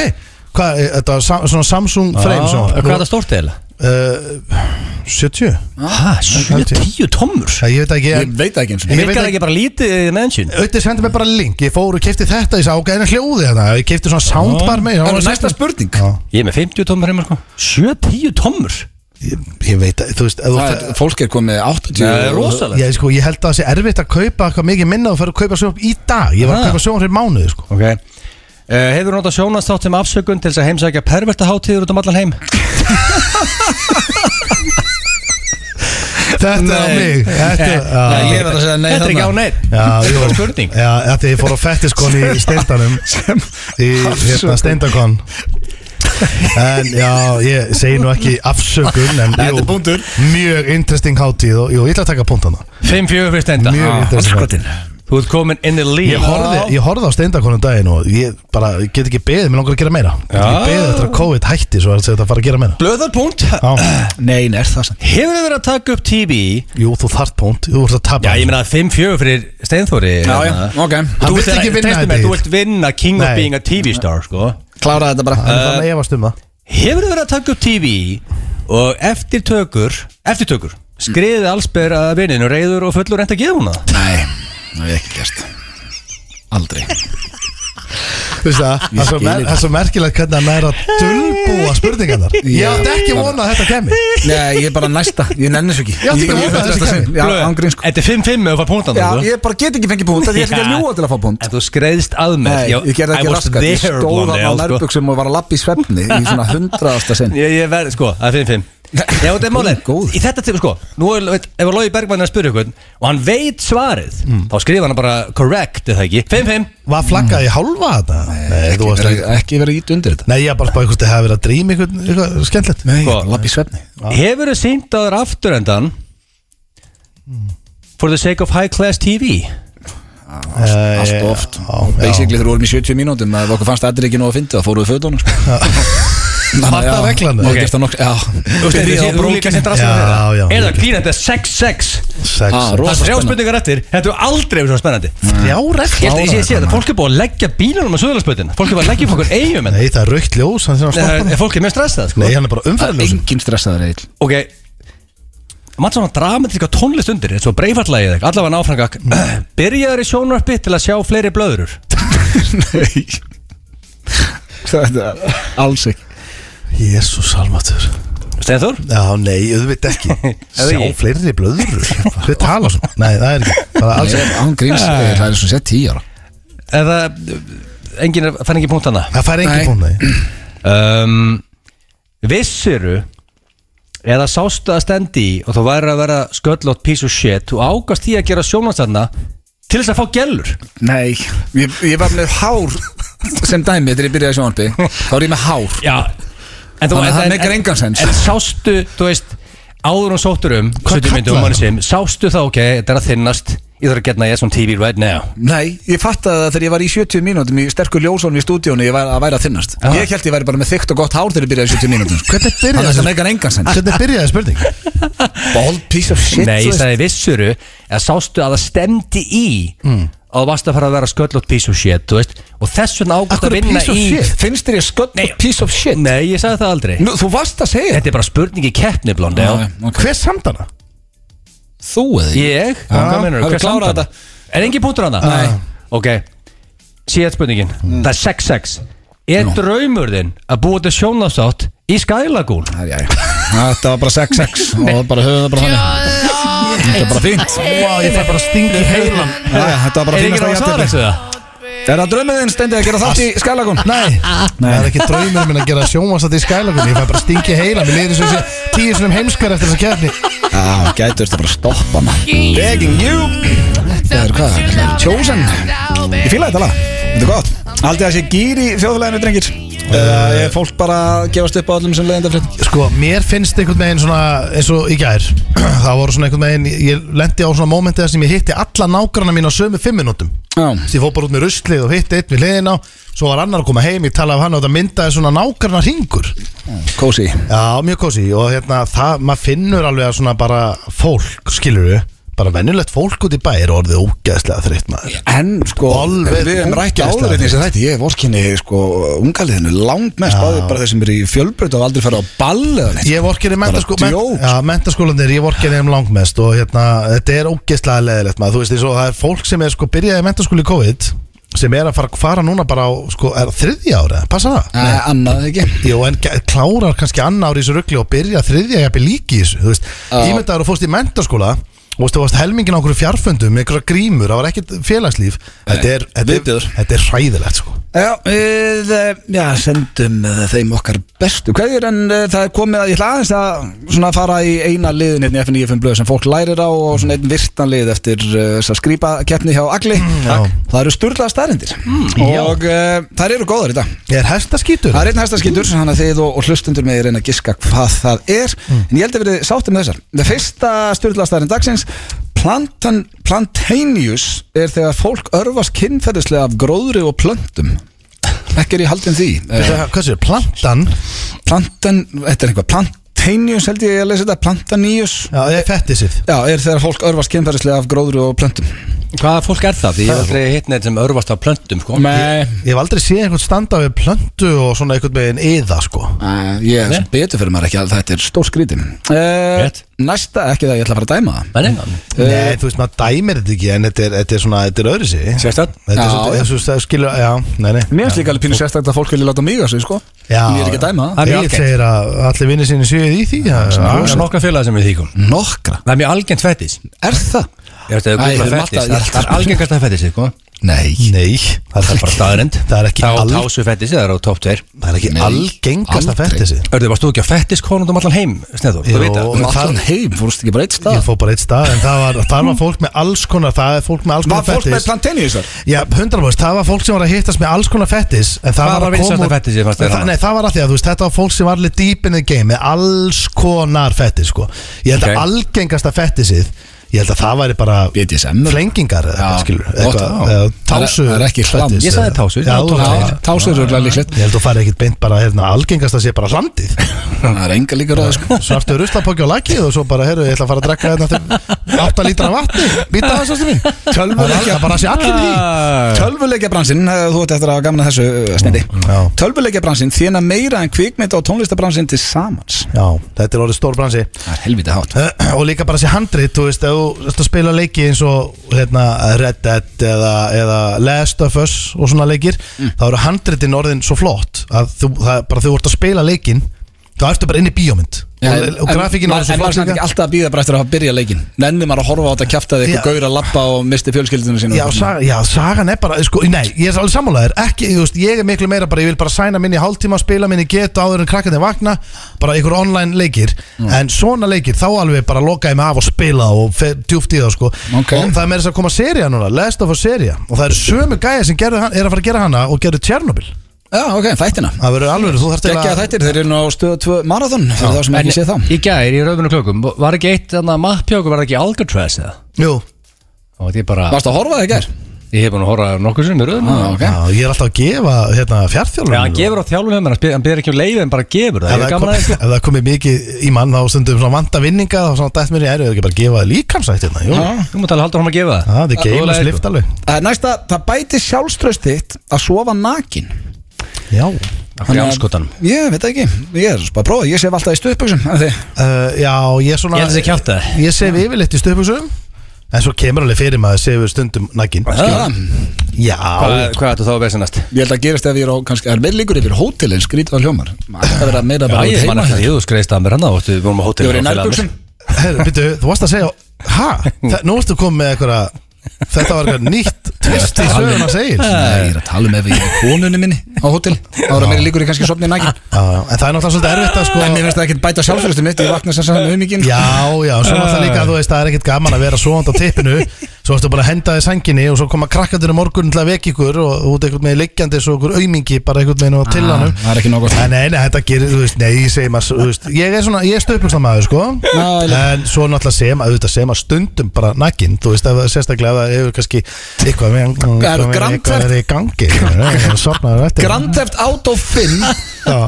[SPEAKER 6] Hvað, er þetta sam- svona Samsung frame sjónvarp
[SPEAKER 2] Hvað er það stórt eða?
[SPEAKER 6] Uh, 70?
[SPEAKER 2] Hæ, 7-10 tommur
[SPEAKER 6] Æ, Ég veit ekki
[SPEAKER 1] Ég veit það ekki eins og
[SPEAKER 6] Ég veit
[SPEAKER 2] Virkar
[SPEAKER 6] ekki-
[SPEAKER 2] ekki bara lítið í mennsjun?
[SPEAKER 6] Ötti sendi mér bara link, ég fór og kefti þetta Ég sagði, ok, en hljóði þetta, ég kefti svona soundbar með
[SPEAKER 1] Það er næsta spurning
[SPEAKER 6] Já.
[SPEAKER 2] Ég er með 50 tommur heima sko 7-10 tommur?
[SPEAKER 6] ég, ég veit, að, þú veist ef þú
[SPEAKER 1] Það
[SPEAKER 6] fer-
[SPEAKER 1] er- Fólk er komið 80
[SPEAKER 2] Það er rosalegt
[SPEAKER 6] ég, sko, ég held að það sé erfitt að kaupa eitthvað mikið minna og fer að kaupa sjónvarp í dag Ég var
[SPEAKER 2] Ah.
[SPEAKER 6] að kaupa sjónvarp í mánuði, sko
[SPEAKER 2] Ok Uh, hefur notað sjónastátt sem afsökun til þess að heimsækja pervertaháttíður út um allan heim?
[SPEAKER 6] Þetta er á mig
[SPEAKER 2] Eh,
[SPEAKER 6] Þetta er á
[SPEAKER 2] Nei,
[SPEAKER 1] ég verð að segja nei
[SPEAKER 2] Þetta er ekki á
[SPEAKER 1] þarna.
[SPEAKER 2] neinn
[SPEAKER 6] Já,
[SPEAKER 2] Þetta
[SPEAKER 6] jú.
[SPEAKER 2] er bara spurning
[SPEAKER 6] Já, þetta ég fór á fettiskon í steindanum Í hérna steindakon En já, ég segi nú ekki afsökun En
[SPEAKER 1] Þetta er punktur.
[SPEAKER 6] mjög interesting hátíð Og jú, ég ætla að taka punktana
[SPEAKER 2] 5-4 fyrir stenda
[SPEAKER 6] Mjög
[SPEAKER 2] Ah.
[SPEAKER 6] interesting hátíð
[SPEAKER 1] Skotin
[SPEAKER 2] Þú ert komin in the lead
[SPEAKER 6] Ég horfði, ég horfði á steindakonum daginn og ég bara ég get ekki beðið, mér langar að gera meira Ég get ekki
[SPEAKER 2] Já.
[SPEAKER 6] beðið eftir að COVID hætti svo að þetta fara að gera meira
[SPEAKER 2] Blöðarpunkt
[SPEAKER 6] Já,
[SPEAKER 1] Nei, nei, er það sann
[SPEAKER 2] Hefur þið verið að taka upp TV
[SPEAKER 6] jú, þú þart pónt, þú ert að tapa
[SPEAKER 2] Já, ég meina 5-4 fyrir Steinþóri
[SPEAKER 1] Já, já,
[SPEAKER 2] hérna.
[SPEAKER 1] ok
[SPEAKER 6] Hann
[SPEAKER 2] Þú
[SPEAKER 6] vill
[SPEAKER 2] vilt
[SPEAKER 6] ekki vinna
[SPEAKER 2] treystu
[SPEAKER 6] þetta
[SPEAKER 2] mér,
[SPEAKER 6] í
[SPEAKER 2] Þú vilt vinna King
[SPEAKER 6] Nei.
[SPEAKER 2] of being a TV star sko.
[SPEAKER 1] Klára þetta bara
[SPEAKER 2] uh,
[SPEAKER 6] Þannig að efast um það
[SPEAKER 2] Hefur þið verið að taka upp TV Og eftir tökur Eftir tökur Skriðið allsber að vininu Reyður og fullur reynd að gefa hún það
[SPEAKER 1] Nei, það hef ég ekki gert Aldrei
[SPEAKER 6] Þú veist það, það er svo
[SPEAKER 1] skil
[SPEAKER 6] mer-
[SPEAKER 1] þetta.
[SPEAKER 6] það er svo merkilegt hvernig hann er að dölbúa spurningarnar Ég
[SPEAKER 1] Já.
[SPEAKER 6] átti ekki vona að þetta kemi
[SPEAKER 1] (laughs) Nei, ég er bara næsta, ég nenni svo ekki
[SPEAKER 6] Ég átti ekki að
[SPEAKER 1] ég-
[SPEAKER 6] vona að þessi kæmi.
[SPEAKER 1] Já, ángrín sko
[SPEAKER 2] Þetta er 5-5 ef að punktan
[SPEAKER 1] Já, ég bara get ekki fengið punkt Ég ætla ekki að ljúa til að fá punkt
[SPEAKER 2] sko. En þú skreiðst að mér
[SPEAKER 1] Nei, ég gerði
[SPEAKER 2] I
[SPEAKER 1] ekki
[SPEAKER 2] was
[SPEAKER 1] raskat Ég
[SPEAKER 2] there,
[SPEAKER 1] stóð
[SPEAKER 2] Blondel,
[SPEAKER 1] á
[SPEAKER 2] sko.
[SPEAKER 1] nærbuksum og var að lappa í svefni Í svona hundraðasta sinn
[SPEAKER 2] Ég, ég verð, sko, það er (laughs) 5-5 Já, þetta er málið,
[SPEAKER 1] Góður.
[SPEAKER 2] í þetta tíma, sko Nú er, veit, ef að Lói Bergmann er að spyrja ykkur Og hann veit svarið, þá skrifa hann bara Correct, eða ekki, 5-5
[SPEAKER 6] Var flaggað í hálfa þetta? Nei, þú varst
[SPEAKER 1] Ekki-
[SPEAKER 6] ekki
[SPEAKER 1] Ekki verið ít undir þetta
[SPEAKER 6] Nei, ég er bara spáði hvort þið hefði verið að drýma einhvern- eitthvað skemmtilegt
[SPEAKER 1] Nei,
[SPEAKER 2] Sko,
[SPEAKER 1] lappa í svefni
[SPEAKER 2] Hefur þið sýnt á þér afturendan For the sake of high class TV
[SPEAKER 6] Eh,
[SPEAKER 1] Allt of oft
[SPEAKER 6] já,
[SPEAKER 1] Og
[SPEAKER 6] já.
[SPEAKER 1] Basically þegar við vorum í 70 mínútum að okkur fannst allir ekki nóg að fyndi þá fórum við fötunum sko. (laughs) Þannig að,
[SPEAKER 6] Var það
[SPEAKER 1] já,
[SPEAKER 6] reglan,
[SPEAKER 1] það
[SPEAKER 6] eða?
[SPEAKER 1] gerist það nokk- Já
[SPEAKER 2] Þú
[SPEAKER 1] Byrjaði á
[SPEAKER 2] veist, þetta er líka
[SPEAKER 1] brókinni.
[SPEAKER 2] sem drastum
[SPEAKER 6] Já, já,
[SPEAKER 2] þeirra Er
[SPEAKER 6] mikið.
[SPEAKER 2] það klín, þetta er 6-6
[SPEAKER 6] Sex.
[SPEAKER 1] Ah,
[SPEAKER 2] Það
[SPEAKER 1] rosa
[SPEAKER 2] er þrjá
[SPEAKER 1] spenna.
[SPEAKER 2] spurningar eftir, þetta er aldrei verið svona spennandi
[SPEAKER 6] Já, rekt
[SPEAKER 2] Ég held að ég sé að sé þetta, fólk er búið að leggja bílunum á söðlarspötin Fólk er búið að leggja upp okkur eigum en
[SPEAKER 6] Nei, það er raukt ljós, hann sé að stoppa
[SPEAKER 2] Nei,
[SPEAKER 6] hann.
[SPEAKER 2] Fólk er mjög stressað, sko
[SPEAKER 6] Nei, hann er bara
[SPEAKER 1] Það er
[SPEAKER 6] umferðarljós
[SPEAKER 1] engin stressaður eil (laughs)
[SPEAKER 2] ok maður svona dramatíska tónlist undir eins og breifartlægið eitthvað, allavega náfrangak (clears throat) byrjaður í sjónvarpi til að sjá fleiri blöðurur
[SPEAKER 1] Nei Það er alls ekki
[SPEAKER 6] Jésús almatur
[SPEAKER 2] Stenþór?
[SPEAKER 6] Já, nei, auðvitað ekki
[SPEAKER 2] Eða
[SPEAKER 6] (laughs) Sjá
[SPEAKER 2] ekki?
[SPEAKER 6] fleiri blöður Við tala svona Nei, það er ekki Það er alls
[SPEAKER 1] Nei,
[SPEAKER 6] ekki
[SPEAKER 1] Án gríns, Egill, það er svo sett 10 ára
[SPEAKER 2] eða engin er, fann ekki punkt hana
[SPEAKER 6] Það fær
[SPEAKER 1] Nei.
[SPEAKER 6] engin búin nei
[SPEAKER 2] um, vissiru eða sástu að stendi í og þú væri að vera sköllótt piece of shit og ágast því að gera sjónvarsanna til þess að fá gellur
[SPEAKER 1] Nei, ég, ég var með (laughs) hár sem dæmi þegar ég byrjaði sjónvarpi þá var ég með hár
[SPEAKER 2] já en þú
[SPEAKER 1] Þannig að það
[SPEAKER 2] en-
[SPEAKER 1] meikar
[SPEAKER 2] en-
[SPEAKER 1] engan sens.
[SPEAKER 2] en sástu, þú veist áður og sóttur um
[SPEAKER 6] Hvað
[SPEAKER 2] 70 myndum
[SPEAKER 6] kallaði
[SPEAKER 2] manni sem sástu þá ok, þetta er að þinnast ég þarf að getna ég svona TV right now
[SPEAKER 1] Nei, ég fattaði það þegar ég var í 70 mínútum í sterkur ljósónu í stúdíónu ég var að væri að þinnast
[SPEAKER 2] Já.
[SPEAKER 1] Ég held ég væri bara með þykkt og gott hár þegar ég byrjaði í 70 (laughs) mínútum sko.
[SPEAKER 6] Hvernig
[SPEAKER 1] Þannig að
[SPEAKER 6] byrjaði
[SPEAKER 1] það
[SPEAKER 6] þessi-
[SPEAKER 1] meikar engan sens
[SPEAKER 6] Hvernig byrjaði spurning?
[SPEAKER 1] Bald piece of shit
[SPEAKER 2] Nei,
[SPEAKER 1] þú
[SPEAKER 2] ég
[SPEAKER 1] veist.
[SPEAKER 2] sagði vissuru að sástu að það stemdi í
[SPEAKER 1] Hmm.
[SPEAKER 2] mm. og þú varst að fara að vera sköllótt piece of shit þú veist, og þess vegna ágætt
[SPEAKER 6] Akkur
[SPEAKER 2] að
[SPEAKER 6] er
[SPEAKER 2] vinna
[SPEAKER 6] piece of
[SPEAKER 2] í
[SPEAKER 6] shit?
[SPEAKER 1] Finnst þér ég sköld
[SPEAKER 2] Nei.
[SPEAKER 1] piece of shit?
[SPEAKER 2] Nei, ég sagði það aldrei
[SPEAKER 1] Nú, þú varst að segja
[SPEAKER 2] Þetta er bara spurningi keppni blóndi
[SPEAKER 1] Já, ok.
[SPEAKER 6] Hver samt hana?
[SPEAKER 1] Þú eða ég?
[SPEAKER 2] Ég? Hvað meinar
[SPEAKER 1] hafðu
[SPEAKER 2] Hver
[SPEAKER 1] klárað
[SPEAKER 2] klárað
[SPEAKER 1] þetta?
[SPEAKER 2] þetta? Er engin punktur hana?
[SPEAKER 1] Nei.
[SPEAKER 2] Ok, síðan spurningin Það er 6-6 Er draumur þinn að búa þetta sjónasátt í Skylagún?
[SPEAKER 1] Æ, jæ, jæ. Þetta var bara 6-6 og bara höfum það bara þannig Þetta er bara fínt
[SPEAKER 6] Vá, ég fær bara sting í heilan
[SPEAKER 1] Já, já, Þetta var
[SPEAKER 2] Er
[SPEAKER 1] bara
[SPEAKER 2] enginn að svara
[SPEAKER 1] fínast
[SPEAKER 2] þessu það?
[SPEAKER 1] Er það draumið þinn stendið að gera þátt í skælagún?
[SPEAKER 6] Nei, það er ekki draumur minn að gera sjónvarsat í skælagunni Ég fær bara sting í heilan Mér liður sem sé tíu sinum heimskar eftir þessa kefni
[SPEAKER 1] Já, gætur þetta bara að stoppa maður Begging you Þetta er hvað, þetta er chosen Ég fíla þetta lag Þetta er gott Haldið að sé gýr í þjóðfélaginu, drengir Eða er fólk bara að gefast upp á allum sem leiðinda frétt
[SPEAKER 6] Sko, mér finnst einhvern veginn svona eins og í gær (clears throat) Það voru svona einhvern veginn Ég lendi á svona mómenti þar sem ég hitti alla nágrana mín á sömu fimm minútum
[SPEAKER 1] Já
[SPEAKER 6] Ég fór bara út með ruslið og hitti einn við hliðina á Svo var annar að koma heim, ég talaði af hann og það myndaði svona nágrana ringur
[SPEAKER 1] Kósi
[SPEAKER 6] Já, mjög kósi og hérna það, maður finnur alveg að svona bara fólk, skilur við bara venjulegt fólk út í bæ er orðið ógeðslega þreytt maður
[SPEAKER 1] En sko
[SPEAKER 6] Alveg
[SPEAKER 1] Við hefum rækja áður einnig sem þetta Ég hef orkinni sko ungaliðinu Langt mest áður bara þeir sem eru í fjölbröð og aldrei fara á ball eða neitt
[SPEAKER 6] Ég vorkir í mentaskó
[SPEAKER 1] Bara djók.
[SPEAKER 6] ja, mentaskólanir, ég vorkir þeim langmest og hérna, þetta er ógeðslega leðilegt maður, þú veist, eins og það er fólk sem er sko byrjaði í mentaskóli COVID, sem er að fara, fara núna bara á, sko, er það þriðja ára passa það?
[SPEAKER 1] Nei, annað ekki
[SPEAKER 6] Jó, en ge- klárar kannski annar ári í þessu ruggli og byrja þriðja jafnir líki í þessu, þú veist,
[SPEAKER 1] Já.
[SPEAKER 6] ímyndaður og fórst í mentaskóla og veist, þú varst helmingin á okkur fjarföndum, með einhverja grímur, það var ekkert félagslíf, þetta er, þetta er,
[SPEAKER 1] viðbjóður.
[SPEAKER 6] þetta er hræðilegt, sko.
[SPEAKER 1] Já, við, eh, já, sendum eh, þeim okkar bestu kveðjur en eh, það er komið að ég ætla aðeins að svona fara í eina liðin hérna í FNÍFM blöð sem fólk lærir á og svona einn virtan lið eftir þess að skrýpa keppni hjá Agli
[SPEAKER 6] já.
[SPEAKER 1] Það eru sturlaða staðrindir og uh, þær eru góðar í dag
[SPEAKER 6] Er hestaskítur?
[SPEAKER 1] Það er einn hæstaskýtur, þannig að þið og, og hlustundur með reyna að giska hvað það er En ég held að verið sáttum með þessar Það fyrsta styrlaðstæðin dagsins plantan, Plantaneous er þegar fólk örfast kynferðislega af gróðri og plöntum Ekki er ég haldin því Eh,
[SPEAKER 6] Hvað séu, plantan?
[SPEAKER 1] Plantan, þetta er eitthvað Plantaneous held ég að lesa þetta Plantaneous
[SPEAKER 6] Já, það er fettisif.
[SPEAKER 1] Já, er þegar fólk örfast kynferðislega af gróðri og plöntum
[SPEAKER 2] Hvaða fólk er það? Því ég hef aldrei hitt neitt sem örfast á plöntum sko.
[SPEAKER 1] Nei
[SPEAKER 6] Ég hef aldrei séð einhvern standa við plöntu og svona einhvern veginn yða sko
[SPEAKER 1] Eh, Ég er sem betur fyrir maður ekki að þetta er stór skríti uh,
[SPEAKER 2] Rétt.
[SPEAKER 1] Næsta, ekki það ég ætla að fara að dæma það
[SPEAKER 2] Nei, nei.
[SPEAKER 1] Eh.
[SPEAKER 6] Nei, þú veist, maður dæmir þetta ekki en þetta er, þetta er svona, þetta er öðru sig
[SPEAKER 2] Sérstætt.
[SPEAKER 6] Þetta
[SPEAKER 1] Já,
[SPEAKER 6] er svona,
[SPEAKER 1] já.
[SPEAKER 6] þessu það skilur, já, nei, nei
[SPEAKER 1] Mér finnst líka alveg pínu sérstakt að fólk vilja láta mig að sig, sko
[SPEAKER 6] Já,
[SPEAKER 1] Ég er ekki að dæma það
[SPEAKER 2] Það er
[SPEAKER 6] Ég
[SPEAKER 2] mjög
[SPEAKER 6] segir að allir vinnir sinni séuð í því já,
[SPEAKER 2] Það
[SPEAKER 6] já,
[SPEAKER 2] er nokkra félaga sem er því kom
[SPEAKER 1] Nokkra
[SPEAKER 2] Það er mjög algengt fettis
[SPEAKER 1] Er það?
[SPEAKER 2] Ég veist
[SPEAKER 1] Æ,
[SPEAKER 2] að
[SPEAKER 1] við
[SPEAKER 2] það er
[SPEAKER 1] erum
[SPEAKER 2] fettis
[SPEAKER 1] alltaf- ég-
[SPEAKER 2] Það er algengast að fettis sko.
[SPEAKER 1] Nei
[SPEAKER 6] Nei, það
[SPEAKER 2] Það er bara staðarind
[SPEAKER 6] Það er ekki
[SPEAKER 2] Það
[SPEAKER 6] al-
[SPEAKER 2] á tásu fettis eða það er á top 2
[SPEAKER 6] Það er ekki
[SPEAKER 1] Nei,
[SPEAKER 6] algengast að
[SPEAKER 1] aldrei.
[SPEAKER 6] fætti sig
[SPEAKER 2] Örðu, varst þú ekki á fettis konundum allan heim, Snæður?
[SPEAKER 6] Jú.
[SPEAKER 2] Þú veit það?
[SPEAKER 1] Um
[SPEAKER 6] það-
[SPEAKER 1] allan heim, fórst ekki bara eitt
[SPEAKER 6] Ég
[SPEAKER 1] stað
[SPEAKER 6] fór bara eitt stað en það var, það var fólk með alls konar Það er fólk með alls konar fettis
[SPEAKER 1] plantinni þessar?
[SPEAKER 6] Já, 100% það var fólk sem var að hittast með alls konar fettis en það
[SPEAKER 2] Hvað
[SPEAKER 6] var
[SPEAKER 2] var
[SPEAKER 6] að
[SPEAKER 2] vinsælasta
[SPEAKER 6] koma úr-
[SPEAKER 2] fettið sem fannst þér
[SPEAKER 6] það,
[SPEAKER 2] hana?
[SPEAKER 6] Nei, það var að því að þú veist, þetta var fólk sem var allir deep in the game með alls konar fettis sko. Ég held
[SPEAKER 2] Ok.
[SPEAKER 6] að algengasta fettisið ég held að það væri bara
[SPEAKER 1] BDSM.
[SPEAKER 6] flengingar eða
[SPEAKER 1] Já,
[SPEAKER 6] eitthvað skilur
[SPEAKER 1] gott, já.
[SPEAKER 6] eitthvað, eða
[SPEAKER 1] Það
[SPEAKER 6] tásu
[SPEAKER 1] er- það er ekki hlam.
[SPEAKER 6] fetish
[SPEAKER 2] Ég sagði
[SPEAKER 6] eða-
[SPEAKER 2] tásu,
[SPEAKER 6] Já,
[SPEAKER 2] það
[SPEAKER 6] þú
[SPEAKER 2] tók
[SPEAKER 6] sagðir.
[SPEAKER 2] það.
[SPEAKER 1] Tásur eru örugglega líklegt.
[SPEAKER 6] Ég held að þú farið ekkit beint bara hérna, algengasta sé bara
[SPEAKER 1] (laughs)
[SPEAKER 6] hlandið
[SPEAKER 1] Það er enga líka ráð, sko
[SPEAKER 6] Svartu ruslapokki á lakið og svo bara, heyrðu, ég ætla að fara að drekka hérna 8 lítra af vatni, býta það svo sem
[SPEAKER 1] (laughs)
[SPEAKER 6] við Það er
[SPEAKER 1] Tölvuleikja
[SPEAKER 6] al- bara að sé allir því
[SPEAKER 1] Tölvuleikja Ah. eh, þú ert eftir að hafa gaman að þessu eh, snendi
[SPEAKER 6] Mm, Já.
[SPEAKER 1] Tölvuleikja bransin þjóna meira en kvikmynd og tónlistabransin til samans
[SPEAKER 6] Já, þetta er orðið stór bransi
[SPEAKER 1] Það er helviti hátt
[SPEAKER 6] Eh, (clears throat) og líka bara þessi handrit þú veist, ef þú ert að spila leiki eins og hérna, Red Dead eða, eða Last of Us og svona leikir
[SPEAKER 1] Mm.
[SPEAKER 6] þá eru handritin orðin svo flott að þú, það, bara þú ert að spila leikin þá ertu bara inn í bíómynd og, og grafíkin
[SPEAKER 1] var
[SPEAKER 6] orðin
[SPEAKER 1] svo flott En
[SPEAKER 6] svo flott
[SPEAKER 1] maður er ekki
[SPEAKER 6] líka.
[SPEAKER 1] alltaf að býða bara eftir að hafa byrja leikin Nenni maður að horfa á þetta kjaftaði
[SPEAKER 6] Já.
[SPEAKER 1] eitthvað gaur að lappa og misti fjölskyldunum sínum
[SPEAKER 6] Já, saga, já, sagan er bara, sko, nei, ég er alveg sammálaður ekki, þú veist, ég er miklu meira bara, ég vil bara sæna minni í hálftíma, spila minni get áður en krakkandi vakna, bara einhver online leikir
[SPEAKER 2] Mm.
[SPEAKER 6] en svona leikir, þá alveg bara loka ég mig af og spila og fer djúpt í það, sko,
[SPEAKER 1] Ok.
[SPEAKER 6] og það er meira þess að koma seria núna, Last of Us seria, og það eru sömu gæja sem gerðu, hann- er að fara að gera hana og gerðu Tjernobyl,
[SPEAKER 1] Já, ok, þættina
[SPEAKER 6] það verður alveg þú þarft
[SPEAKER 1] Gekkja þættir, þeir eru nú á stöðu 2 marathon fyrir þá sem
[SPEAKER 2] En
[SPEAKER 1] ekki sé þá
[SPEAKER 2] í gær í rauðinu klökum Var ekki eitt þarna mappjóku, var það ekki Alcatraz eða?
[SPEAKER 6] Jú,
[SPEAKER 2] Og þetta er bara
[SPEAKER 1] Varst að horfa þig gær?
[SPEAKER 2] Ég hef búin að horfa nokkur sem í rauðinu
[SPEAKER 1] Ah, ok.
[SPEAKER 6] já, ég er alltaf að gefa, hérna, fjartþjálfur
[SPEAKER 2] Já, hann gefur á þjálfum hann hann byrðir ekki um leiði en bara gefur það Ég
[SPEAKER 6] Ef
[SPEAKER 2] er sko.
[SPEAKER 6] það, kom,
[SPEAKER 2] gaman að
[SPEAKER 6] ef
[SPEAKER 2] þessu
[SPEAKER 6] það komið mikið í mann þá stundum svona vanda vinninga þá svona dætt mér í æru eða ekki bara gefa líkamsætt hérna, jú,
[SPEAKER 2] Þú mútt alveg halda hann að gefa það
[SPEAKER 1] Ah,
[SPEAKER 6] Já, það er geim að
[SPEAKER 2] Rólega
[SPEAKER 6] slifta alveg
[SPEAKER 1] Það er Næsta, það bæti sjálfströst þitt að sofa nakin
[SPEAKER 6] Já
[SPEAKER 2] Af hverju anskotanum?
[SPEAKER 1] Ég veit það ekki, ég er bara að prófa, ég sef alltaf í stuðböksum Þið,
[SPEAKER 6] uh, Já, ég er svona
[SPEAKER 2] Ég held þessi kjátt það
[SPEAKER 6] Ég sef yfirleitt í stöpugsum En svo kemur alveg fyrir maður að sefur stundum nakin
[SPEAKER 1] það,
[SPEAKER 6] Já
[SPEAKER 2] Hvað hvað ættu þá að vesenast?
[SPEAKER 1] ég held að gerist ef ég er á, kannski, það er meir líkur yfir hótelin, skrítið á hljómar Það verða meira
[SPEAKER 2] Já,
[SPEAKER 1] bara
[SPEAKER 2] ég man
[SPEAKER 1] heima
[SPEAKER 2] ekki því þú skreist að mér hann og við vorum á
[SPEAKER 1] Ég var í
[SPEAKER 2] hótelinu og félagarnir.
[SPEAKER 1] nærböksum
[SPEAKER 6] Herru, býttu, þú varst að segja Hæ? Nú varstu komið með eitthvað Þetta var eitthvað nýtt fyrst í söguna segir Já,
[SPEAKER 1] Nei, ég er að tala um ef ég er konunni minni á hótel þá er að mér líkur ég kannski sopnið nægin
[SPEAKER 6] já, en það er náttúrulega svolítið erfitt að sko
[SPEAKER 1] Ah, en mér finnst það ekkert bæta sjálfsfélagstu mitt ég vakna sem sem um mikið
[SPEAKER 6] Já, já, svo náttúrulega líka þú veist það er ekkert gaman að vera svoand á tippinu Svo ertu bara að henda þið sænginni og svo koma krakkandur um morgun til að vekja ykkur og út eitthvað með liggjandi svo ykkur aumingi bara eitthvað með nú
[SPEAKER 1] Ah,
[SPEAKER 6] á tillanum
[SPEAKER 1] það er ekki nóg gott.
[SPEAKER 6] Nei, Nei, nei, þetta gerir, þú veist, nei, ég segi maður, þú veist Ég er svona, ég er stöpuksna maður, sko
[SPEAKER 1] Já, ég líka.
[SPEAKER 6] En svo náttúrulega segir maður, auðvitað segir maður stundum bara nakkinn Þú veist, ef, það- sérstaklega ef það hefur kannski eitthvað með
[SPEAKER 1] eru
[SPEAKER 6] eitthvað með-
[SPEAKER 1] Grand
[SPEAKER 6] Eitthvað er í gangi Sornaður eftir
[SPEAKER 1] Grand Theft Auto 5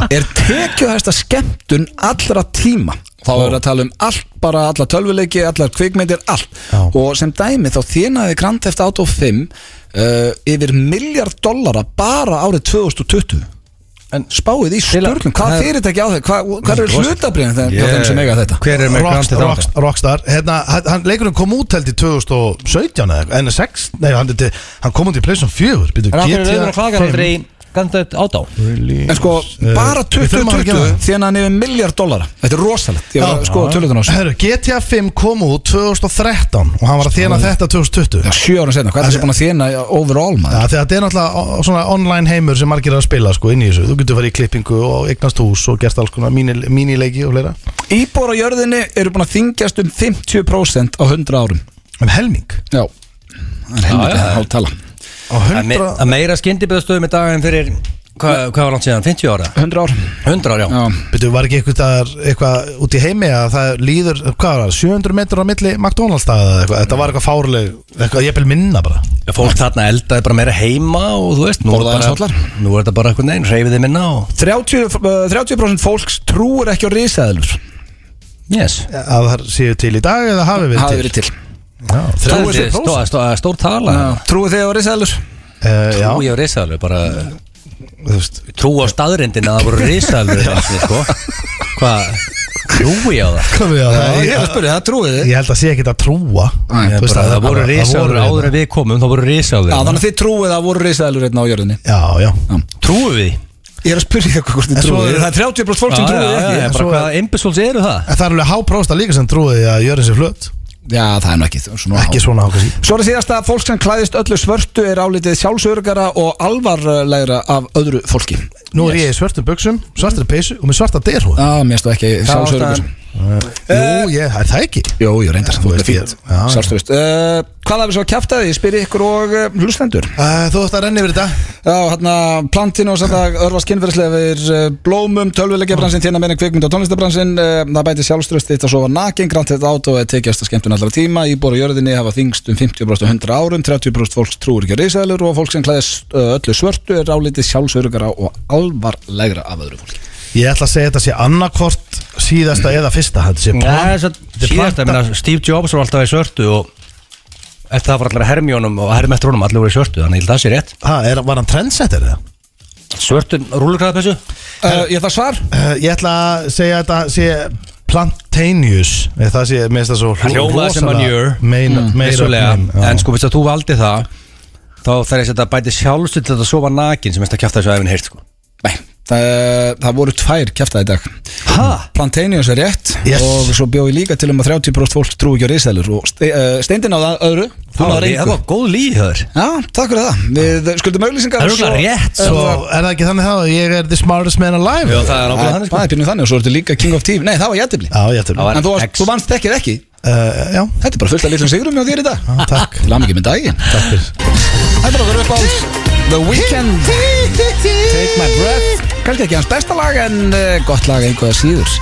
[SPEAKER 1] er tekjuhæsta skemmtun allra tíma þá er að tala um allt, bara alla tölvuleiki allar kvikmyndir, allt
[SPEAKER 6] Já.
[SPEAKER 1] og sem dæmi þá þínaði Grand Theft Auto 5 uh, yfir miljard dollara bara árið 2020
[SPEAKER 2] En-
[SPEAKER 1] spáið í
[SPEAKER 2] Til að-
[SPEAKER 1] störlum hvað
[SPEAKER 2] það-
[SPEAKER 1] fyrirtæki á þeir, hvað, hvað eru hlutabriðin þegar
[SPEAKER 2] Ég-
[SPEAKER 1] yeah. þeim sem eiga þetta
[SPEAKER 2] Hver er með Grand
[SPEAKER 6] Rockstar,
[SPEAKER 2] Theft Auto?
[SPEAKER 6] Rockstar, Rockstar hérna, hann- hann, leikurinn kom út held í 2017 eða en 6, nei, hann, þetta- hann kom út í Playstation 4 byrju,
[SPEAKER 2] En af hverju
[SPEAKER 6] GTA
[SPEAKER 2] rauður og klagar
[SPEAKER 6] 5.
[SPEAKER 2] aldrei í Grand Theft Auto?
[SPEAKER 1] en sko,
[SPEAKER 6] Eh,
[SPEAKER 1] bara
[SPEAKER 6] við þurfum að
[SPEAKER 1] 2020
[SPEAKER 6] gera það.
[SPEAKER 1] þínaði yfir miljard dollara þetta er rosalegt, ég var
[SPEAKER 6] Já.
[SPEAKER 1] að skoða tölutun sko, á þessu
[SPEAKER 6] Herru, GTA 5 kom út 2013 og hann var að þjána þetta 2020
[SPEAKER 1] Sko, Já, sjö ára senna, hvað er þessi búin að þína overall maður?
[SPEAKER 6] Já, þegar þetta er náttúrulega o- svona online heimur sem margir eru að spila sko inn í þessu Þú getur farið í klippingu og eignast hús og gerst alls konar míni- mínileiki og fleira
[SPEAKER 1] Íbor á jörðinni eru búin að þingjast um 50% á 100 árum
[SPEAKER 6] Um helming
[SPEAKER 1] Já, það er helvita
[SPEAKER 2] Já, já.
[SPEAKER 1] hálf tala
[SPEAKER 6] Á
[SPEAKER 2] Að me-
[SPEAKER 6] 100
[SPEAKER 2] að meira skyndiböðstöðum í dag en fyrir hvað hvað var langt síðan? 50 ára?
[SPEAKER 1] 100 ár
[SPEAKER 2] 100 ára, já
[SPEAKER 1] Já,
[SPEAKER 6] Betur, var ekki eitthvað, eitthvað út í heimi að það líður, hvað var það, 700 metrar á milli McDonalds staða eða eitthvað, þetta var eitthvað fárleg, eitthvað ég vil minna bara
[SPEAKER 2] Fólk þarna eldaði bara meira heima og þú veist, nú, er
[SPEAKER 1] Borðaði
[SPEAKER 2] bara-
[SPEAKER 1] aðeins hollar.
[SPEAKER 2] nú er þetta bara eitthvað neginn, reyfið þið minna og
[SPEAKER 1] 30, uh, 30% fólks trúir ekki á risaðilur
[SPEAKER 2] yes.
[SPEAKER 6] að það séu til í dag eða hafi verið
[SPEAKER 1] hafi
[SPEAKER 6] til
[SPEAKER 1] verið til
[SPEAKER 6] Já,
[SPEAKER 2] Það er
[SPEAKER 6] 30%
[SPEAKER 2] stó- stó- stór tala
[SPEAKER 1] Trúið þið á risaðilur?
[SPEAKER 6] Eh, Já,
[SPEAKER 2] Trú ég á risaðalur, bara
[SPEAKER 6] þú veist
[SPEAKER 2] trú á staðrindin að það voru risaðalur sko. Hvað, trú ég á það?
[SPEAKER 6] Hvað við að það?
[SPEAKER 1] er að spyrja, það trúið
[SPEAKER 6] Ég held að sé ekkert að trúa
[SPEAKER 1] Nei,
[SPEAKER 6] Þú veist,
[SPEAKER 2] Bara, það voru risaðalur
[SPEAKER 6] það
[SPEAKER 2] áður en við komum, það voru risaðalur
[SPEAKER 1] Já, þannig að þið trúið að voru risaðilur hérna á jörðinni
[SPEAKER 6] Já, já
[SPEAKER 2] Trúum við því?
[SPEAKER 1] Ég er að spyrja ykkur hvort þið
[SPEAKER 6] En svo
[SPEAKER 1] trúið
[SPEAKER 6] er-
[SPEAKER 1] Það er 30% fólk sem
[SPEAKER 2] Já,
[SPEAKER 1] trúið
[SPEAKER 2] já,
[SPEAKER 1] ekki
[SPEAKER 2] já,
[SPEAKER 6] en
[SPEAKER 2] bara
[SPEAKER 6] svo er-
[SPEAKER 2] Hvaða imbesóls eru það?
[SPEAKER 6] En það er alveg háprósta líka sem trúið að gjöra sér flöt
[SPEAKER 1] Já, það er nú ekki svona
[SPEAKER 6] Ekki svona ákvæmst
[SPEAKER 1] Svo er það síðast að fólk sem klæðist öllu svörtu er álitið sjálfsörgara og alvarlegra af öðru fólki
[SPEAKER 6] Nú er ég í svörtum buksum, svartri peysu og með svarta derhúð
[SPEAKER 1] Já, mér stóð ekki sjálfsörgur
[SPEAKER 2] ástæðan.
[SPEAKER 6] Jú, ég, er það ekki
[SPEAKER 1] Jó, jú, reyndar, þú veist
[SPEAKER 6] veist,
[SPEAKER 1] fínt
[SPEAKER 6] ég- já, já.
[SPEAKER 1] Sjálfstöðust uh, Hvað hafið svo að kjæfta því? Ég spyr ykkur og uh, hlustendur
[SPEAKER 6] Eh, Þú ætti að renna yfir þetta
[SPEAKER 1] Já, hérna, plantinu og samt að örfa skinnverðslega við uh, blómum, tölvulegjabransin tína meina kvikmynd og tónlistabransin uh, það bæti sjálfstöðust þitt að sofa nakin grann þetta át og tekjast að skemmtun allara tíma í boru jörðinni hafa þingst um 50% og 100 árum 30% fólks trúur ekki reysaðilur og fólk sem klæðist uh, öllu svörtu er álitið sjálfsörgara og alvarlegra af öðru fólki
[SPEAKER 6] Ég ætla að segja þetta sé annarkvort síðasta eða fyrsta Þetta sé
[SPEAKER 2] Nei, svo
[SPEAKER 6] þetta er
[SPEAKER 2] síðast, ég meina, Steve Jobs var alltaf í svörtu og eftir það var allir að hermjónum og hermetrónum allir voru í svörtu, þannig að ég held að það sé rétt
[SPEAKER 6] Ha, er, var hann trendsetter eða?
[SPEAKER 2] Svörtu rúlugræðapessu?
[SPEAKER 1] uh, Ég það svar?
[SPEAKER 6] Uh, ég ætla að segja að þetta sé Plantaneous eh, Það sé, mér finnst það svo Mm.
[SPEAKER 2] Hann hljómaði sem manure.
[SPEAKER 6] Meina, meira
[SPEAKER 2] Mm, Vissulega, en sko, veist að þú valdi það þá þarf ég að setja bæti sjálfstu til að sofa nakin sem mest að kjæfta þessu æfinn heyrt, sko
[SPEAKER 1] Nei, það, það voru tvær kjæftaði í dag
[SPEAKER 2] Hæ?
[SPEAKER 1] Plantaneus er rétt
[SPEAKER 6] Yes.
[SPEAKER 1] og svo bjóði líka til um að 30% fólk trú ekki á risaðlur og ste, uh, steindin á það öðru þú
[SPEAKER 2] Það
[SPEAKER 1] náður
[SPEAKER 2] var,
[SPEAKER 1] engu.
[SPEAKER 2] það var góð líður
[SPEAKER 1] Já, takk fyrir það Við skuldum auðlýsingar
[SPEAKER 2] Það er örugglega rétt,
[SPEAKER 1] svo
[SPEAKER 6] Svo er það ekki þannig þá að Ég er the smartest man alive
[SPEAKER 2] Já, það er
[SPEAKER 1] Það
[SPEAKER 2] ákveð
[SPEAKER 1] er
[SPEAKER 2] hann, sko
[SPEAKER 1] bara pínu þannig og svo ertu líka King of Team Nei, það var jættibli
[SPEAKER 6] Já, ég ætla
[SPEAKER 2] var-
[SPEAKER 1] En þú, varst,
[SPEAKER 2] X.
[SPEAKER 1] þú vannst þekkið ekki
[SPEAKER 6] uh, Já,
[SPEAKER 1] Þetta er bara fullt af litlum sigurum hjá þér í dag
[SPEAKER 6] já, takk
[SPEAKER 1] Til að mikið með daginn
[SPEAKER 6] Takk fyrir
[SPEAKER 1] Þetta er okkur upp á The Weeknd Take My Breath Kannski ekki hans besta lag en uh, gott lag einhverja síður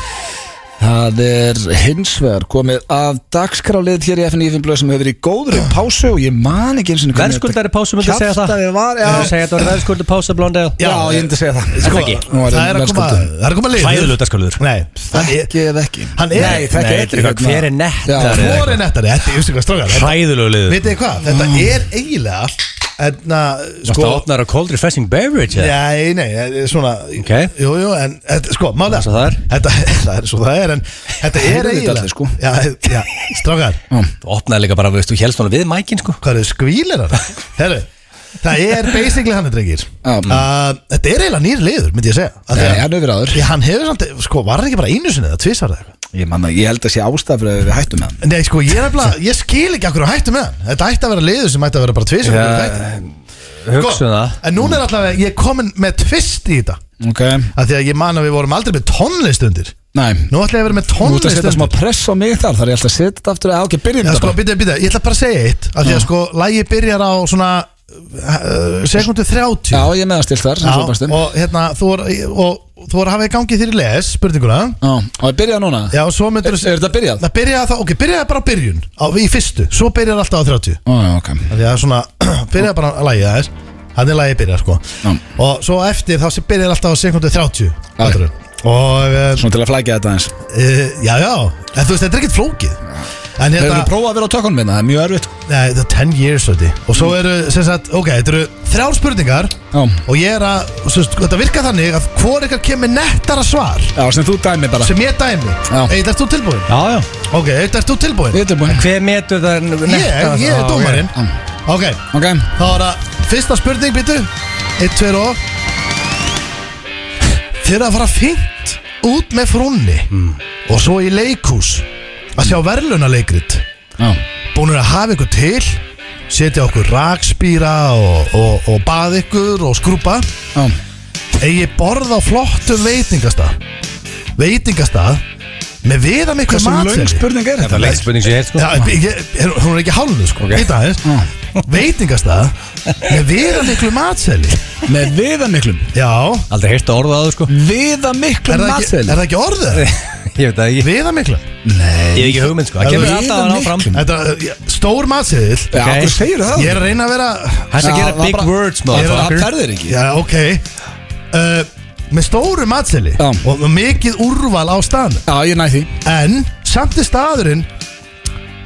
[SPEAKER 1] Það er hins vegar komið að dagskrálið hér í FNF blöð sem hefur verið í góðri pásu og ég man ekki eins og
[SPEAKER 2] Verðskuldari pásu myndi segja það
[SPEAKER 1] Kjaftaði var, já.
[SPEAKER 2] Myndi segja þetta var verðskuldu pása blondel
[SPEAKER 1] Já, ég myndi segja það
[SPEAKER 6] Sko,
[SPEAKER 1] Ekki. Nú
[SPEAKER 6] það er að koma
[SPEAKER 1] verðskuldað.
[SPEAKER 6] Það er að koma liður
[SPEAKER 2] Hlæðilegur dagskrárliður.
[SPEAKER 6] Nei, það er-
[SPEAKER 1] Ekki eða ekki
[SPEAKER 6] Hann er-
[SPEAKER 1] Nei, þetta
[SPEAKER 2] Nei,
[SPEAKER 1] er hérna-
[SPEAKER 2] þetta er eitthvað, hver er nettari?
[SPEAKER 1] Já,
[SPEAKER 2] Hvor-
[SPEAKER 6] Hvor er nettari? Þetta er ykkur strókar
[SPEAKER 2] Hræðulegu liður
[SPEAKER 6] Vitið þið hvað?
[SPEAKER 1] Mm.
[SPEAKER 6] Þetta er eiginlega Enna,
[SPEAKER 2] Varst
[SPEAKER 6] sko
[SPEAKER 2] að opna þér á cold refreshing beverage eða?
[SPEAKER 6] Nei, nei, þetta er svona
[SPEAKER 2] Ok.
[SPEAKER 6] Jú, jú, en þetta- sko, málega
[SPEAKER 2] Svo það er.
[SPEAKER 6] Þetta (laughs) það er svo það er En þetta
[SPEAKER 1] Heyrðu
[SPEAKER 6] er
[SPEAKER 1] þetta
[SPEAKER 6] eiginlega
[SPEAKER 1] allir, sko.
[SPEAKER 6] Já, (laughs) já, strókar
[SPEAKER 2] Þú opnaði líka bara, veist, þú helst hún við mækin sko
[SPEAKER 6] Hvað eru
[SPEAKER 1] (laughs)
[SPEAKER 6] skvílir hann? Herru, það er basically hann, drengir
[SPEAKER 1] Já.
[SPEAKER 6] uh, Þetta er eiginlega nýr liður, myndi ég segja Af
[SPEAKER 1] Nei,
[SPEAKER 6] því að-
[SPEAKER 1] hann hefur verið áður.
[SPEAKER 6] Já, hann hefur samt, sko, var það ekki bara einu sinni eða tvisar eða eitthvað
[SPEAKER 1] Ég, manna, ég held að sé ástæð fyrir að við hættum með hann
[SPEAKER 6] Nei, sko, ég,
[SPEAKER 1] (laughs)
[SPEAKER 6] er nefnilega, ég skil ekki akkur að hættu með hann Þetta ætti að vera liður sem ætti að vera bara tvisar
[SPEAKER 2] Hugsa það
[SPEAKER 6] Sko, En núna er allavega, ég er komin með tvist í þetta
[SPEAKER 1] Ok,
[SPEAKER 6] að Því að ég man að við vorum aldrei með tónlist undir
[SPEAKER 1] næ
[SPEAKER 6] Nú ætla ég að vera
[SPEAKER 1] Þú
[SPEAKER 6] með
[SPEAKER 1] ert að
[SPEAKER 6] tónlist
[SPEAKER 1] setja smá
[SPEAKER 6] undir
[SPEAKER 1] press á mig þar Þar ég ætla að setja þetta aftur að ok, byrjum
[SPEAKER 6] Já,
[SPEAKER 1] þetta
[SPEAKER 6] sko, býta, býta, ég ætla bara að segja eitt að Því að sko, lægi byrjar á svona uh, sekundu 30
[SPEAKER 1] Já, ég er meðastilt þar sem
[SPEAKER 6] Já,
[SPEAKER 1] svo bestum
[SPEAKER 6] og hérna, þú voru og þú voru að hafa í gangi þér í les, spurninguna
[SPEAKER 1] Já, og ég byrja núna
[SPEAKER 6] Já, og svo myndur
[SPEAKER 1] Er, er þetta byrjað?
[SPEAKER 6] Það byrjaði þá, ok, byrjaði bara á byrjun á, í fyrstu, svo byrjaði alltaf á 30
[SPEAKER 1] Ó, já, ok
[SPEAKER 6] Því að svona, (clears throat) byrjaði bara að lægi aðeins Þannig lægi byrjaði sko
[SPEAKER 1] Já.
[SPEAKER 6] Og svo eftir þá sem byrjaði alltaf á sekundu 30 fattarðu? Og, uh,
[SPEAKER 1] Svona til að flækja þetta eins
[SPEAKER 6] uh, já, já En þú veist, þetta er ekkert flókið En
[SPEAKER 1] Hefur
[SPEAKER 6] hérna,
[SPEAKER 1] þú prófað að vera á tökunum minna? Það er mjög erfitt
[SPEAKER 6] nei, þetta er 10 years þetta. Og svo eru, sem sagt, ok, þetta eru þrjár spurningar
[SPEAKER 1] Mm. Já,
[SPEAKER 6] Og ég er að, og svo, veist, þetta virkar þannig að hvor ykkar kemur nettara svar
[SPEAKER 1] já sem þú dæmi bara
[SPEAKER 6] sem ég dæmi
[SPEAKER 1] Já.
[SPEAKER 6] Eitt, ert þú tilbúin?
[SPEAKER 2] Já, já
[SPEAKER 6] Ok, eitt, ert þú tilbúin?
[SPEAKER 1] Við erum búin
[SPEAKER 2] Hver metur það netta?
[SPEAKER 6] Ég, ég er dómarinn Ok,
[SPEAKER 1] Ok,
[SPEAKER 6] þá er það fyrsta spurning, býtu Eitt, tveir og Þið eru að fara fínt út með frúnni
[SPEAKER 1] Hmm.
[SPEAKER 6] Og svo í leikhús Að sjá verðluna leikrit
[SPEAKER 1] já
[SPEAKER 6] Búinir að hafa ykkur til Setja okkur rakspýra og, og, og bað ykkur og skrúpa
[SPEAKER 1] Já,
[SPEAKER 6] Egi borð á flottum veitingastað Veitingastað Með viðam ykkur
[SPEAKER 1] hversu
[SPEAKER 6] matseðli.
[SPEAKER 1] löng spurning er
[SPEAKER 2] Það
[SPEAKER 1] þetta?
[SPEAKER 2] er lengt spurning sem ég heilt sko
[SPEAKER 6] Já, ég, er, hún er ekki hálfnuð sko okay. Þetta aðeins Veitingastað Með viðamiklu matseli
[SPEAKER 1] Með viðamiklum
[SPEAKER 6] Já
[SPEAKER 2] Aldrei heilt að orða það
[SPEAKER 6] (laughs)
[SPEAKER 2] sko
[SPEAKER 6] Er
[SPEAKER 1] Viðamiklum
[SPEAKER 6] það ekki, er
[SPEAKER 1] matseli
[SPEAKER 6] það ekki orðið?
[SPEAKER 2] Ég veit það ekki
[SPEAKER 6] Viðamiklu
[SPEAKER 2] Ég hef ekki hugmynd sko Það kemur alltaf að ná fram
[SPEAKER 1] Viðamiklum.
[SPEAKER 6] Þetta, ja, Stór matseli
[SPEAKER 1] Já,
[SPEAKER 2] Ok.
[SPEAKER 1] okkur segir það
[SPEAKER 6] Ég er að reyna að vera
[SPEAKER 2] Hætti
[SPEAKER 1] Já,
[SPEAKER 2] að gera
[SPEAKER 1] það
[SPEAKER 2] big
[SPEAKER 1] bara-
[SPEAKER 2] words
[SPEAKER 1] Ég er að-
[SPEAKER 2] motherfucker.
[SPEAKER 1] Það ferðir ekki
[SPEAKER 6] Já, ok uh, Með stóru matseli
[SPEAKER 1] Já.
[SPEAKER 6] Og með mikið úrval á staðnum
[SPEAKER 1] Já, ég næ því
[SPEAKER 6] En samt er staðurinn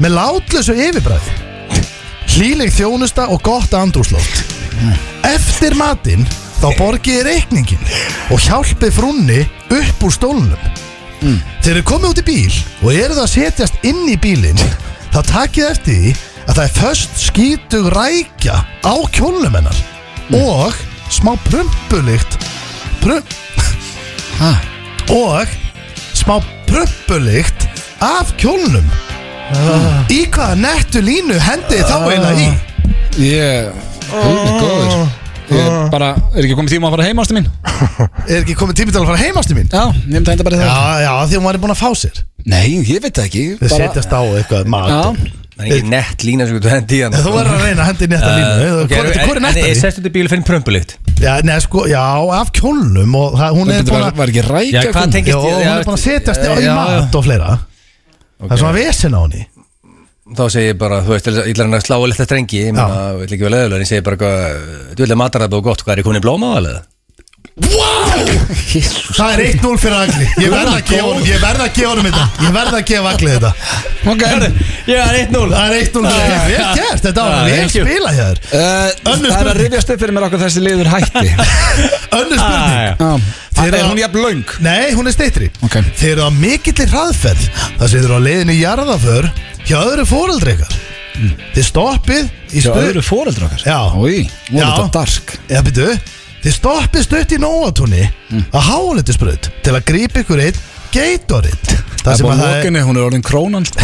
[SPEAKER 6] Með látlösu yfirbræði Hlýleg þjónusta og gott andrúslótt Eftir matinn Þá borgið þið reikningin Og hjálpið frunni upp úr stólunum Þeir eru komið út í bíl Og eru það að setjast inn í bílinn Þá takið eftir því Að það er föst skítug rækja Á kjólnum hennar Og smá prumpulikt Prump
[SPEAKER 1] Ha?
[SPEAKER 6] og smá pröppulikt af kjólnum
[SPEAKER 1] Ah.
[SPEAKER 6] Í hvaða nettu línu hendi þið þá eiginlega í? Ah.
[SPEAKER 1] Ég, húli góður Ég bara, er ekki komið tíma að fara heim ástu mín?
[SPEAKER 6] Er ekki komið tími til að fara heimastu mín?
[SPEAKER 1] Já, ég myndi að henda bara í
[SPEAKER 6] Já,
[SPEAKER 1] það
[SPEAKER 6] já, því hún var búin að fá sér
[SPEAKER 1] Nei, ég veit það ekki
[SPEAKER 6] Þið
[SPEAKER 1] bara-
[SPEAKER 6] setjast á eitthvað mat
[SPEAKER 1] Já,
[SPEAKER 2] Það er ekki nett lína sem þú hendi í hann Eh,
[SPEAKER 6] Þú verður að reyna að hendi í netta línu
[SPEAKER 2] Uh, Ok,
[SPEAKER 6] Hvor- Hvor er
[SPEAKER 2] en-
[SPEAKER 6] netta
[SPEAKER 2] En
[SPEAKER 6] því?
[SPEAKER 2] sest út í bíl og finn prömpulikt
[SPEAKER 6] Já, nei, sko, já, af kjólnum og það, hún er
[SPEAKER 1] þetta
[SPEAKER 6] búin
[SPEAKER 1] var,
[SPEAKER 6] að
[SPEAKER 1] var ekki rækja
[SPEAKER 2] Já, hvað
[SPEAKER 1] kúm?
[SPEAKER 2] tengist
[SPEAKER 6] Já, hún er búin að setjast í
[SPEAKER 2] Já, já.
[SPEAKER 6] mat og fleira Það er svona vesen á henni
[SPEAKER 2] Þá segir ég bara, þú veist, ég ætla hann að slá að leta strengi Ég meina,
[SPEAKER 6] Já.
[SPEAKER 2] ég vil ekki vera leðulega En ég segir bara, hvað- þú ætla matarræða og gott Hvað er ég komin í blóma á alveg?
[SPEAKER 6] Það er 1-0 fyrir Agli Ég verð að gefa honum- ég verð að gefa honum þetta Ég verð að gefa Agli þetta
[SPEAKER 1] Ok,
[SPEAKER 2] Já, það er 1-0
[SPEAKER 6] Það er 1-0 fyrir Agli Vel gert, þetta
[SPEAKER 2] Já,
[SPEAKER 1] Ah,
[SPEAKER 6] var vel
[SPEAKER 2] thank you.
[SPEAKER 6] spilað hjá þér
[SPEAKER 1] uh,
[SPEAKER 6] Önnur
[SPEAKER 1] það er
[SPEAKER 6] spurning.
[SPEAKER 1] að rifjast upp fyrir mér okkur þessi liður hætti
[SPEAKER 6] (laughs) Önnur spurning
[SPEAKER 1] Ah, Já, það er
[SPEAKER 6] að-
[SPEAKER 1] hún jafn laung
[SPEAKER 6] Nei, hún er steittri
[SPEAKER 1] Ok.
[SPEAKER 6] Þeir eru á mikillir hraðferð Það sem þeir eru á leiðinni í jarðaför Hjá öðru fóreldri ykkar Þið stoppið
[SPEAKER 1] Mm.
[SPEAKER 6] í
[SPEAKER 1] Hjá
[SPEAKER 6] stu-
[SPEAKER 1] öðru fóreldra okkar
[SPEAKER 6] Já.
[SPEAKER 1] Í, hún er
[SPEAKER 6] Já.
[SPEAKER 1] þetta dark
[SPEAKER 6] Já, byrju Þið stoppið stutt í nóatúni
[SPEAKER 1] Mm.
[SPEAKER 6] Að háliti spröð Til að grípa ykkur eitt Geitoritt
[SPEAKER 1] Það er búin lókinni, hún er orðin krónan sko.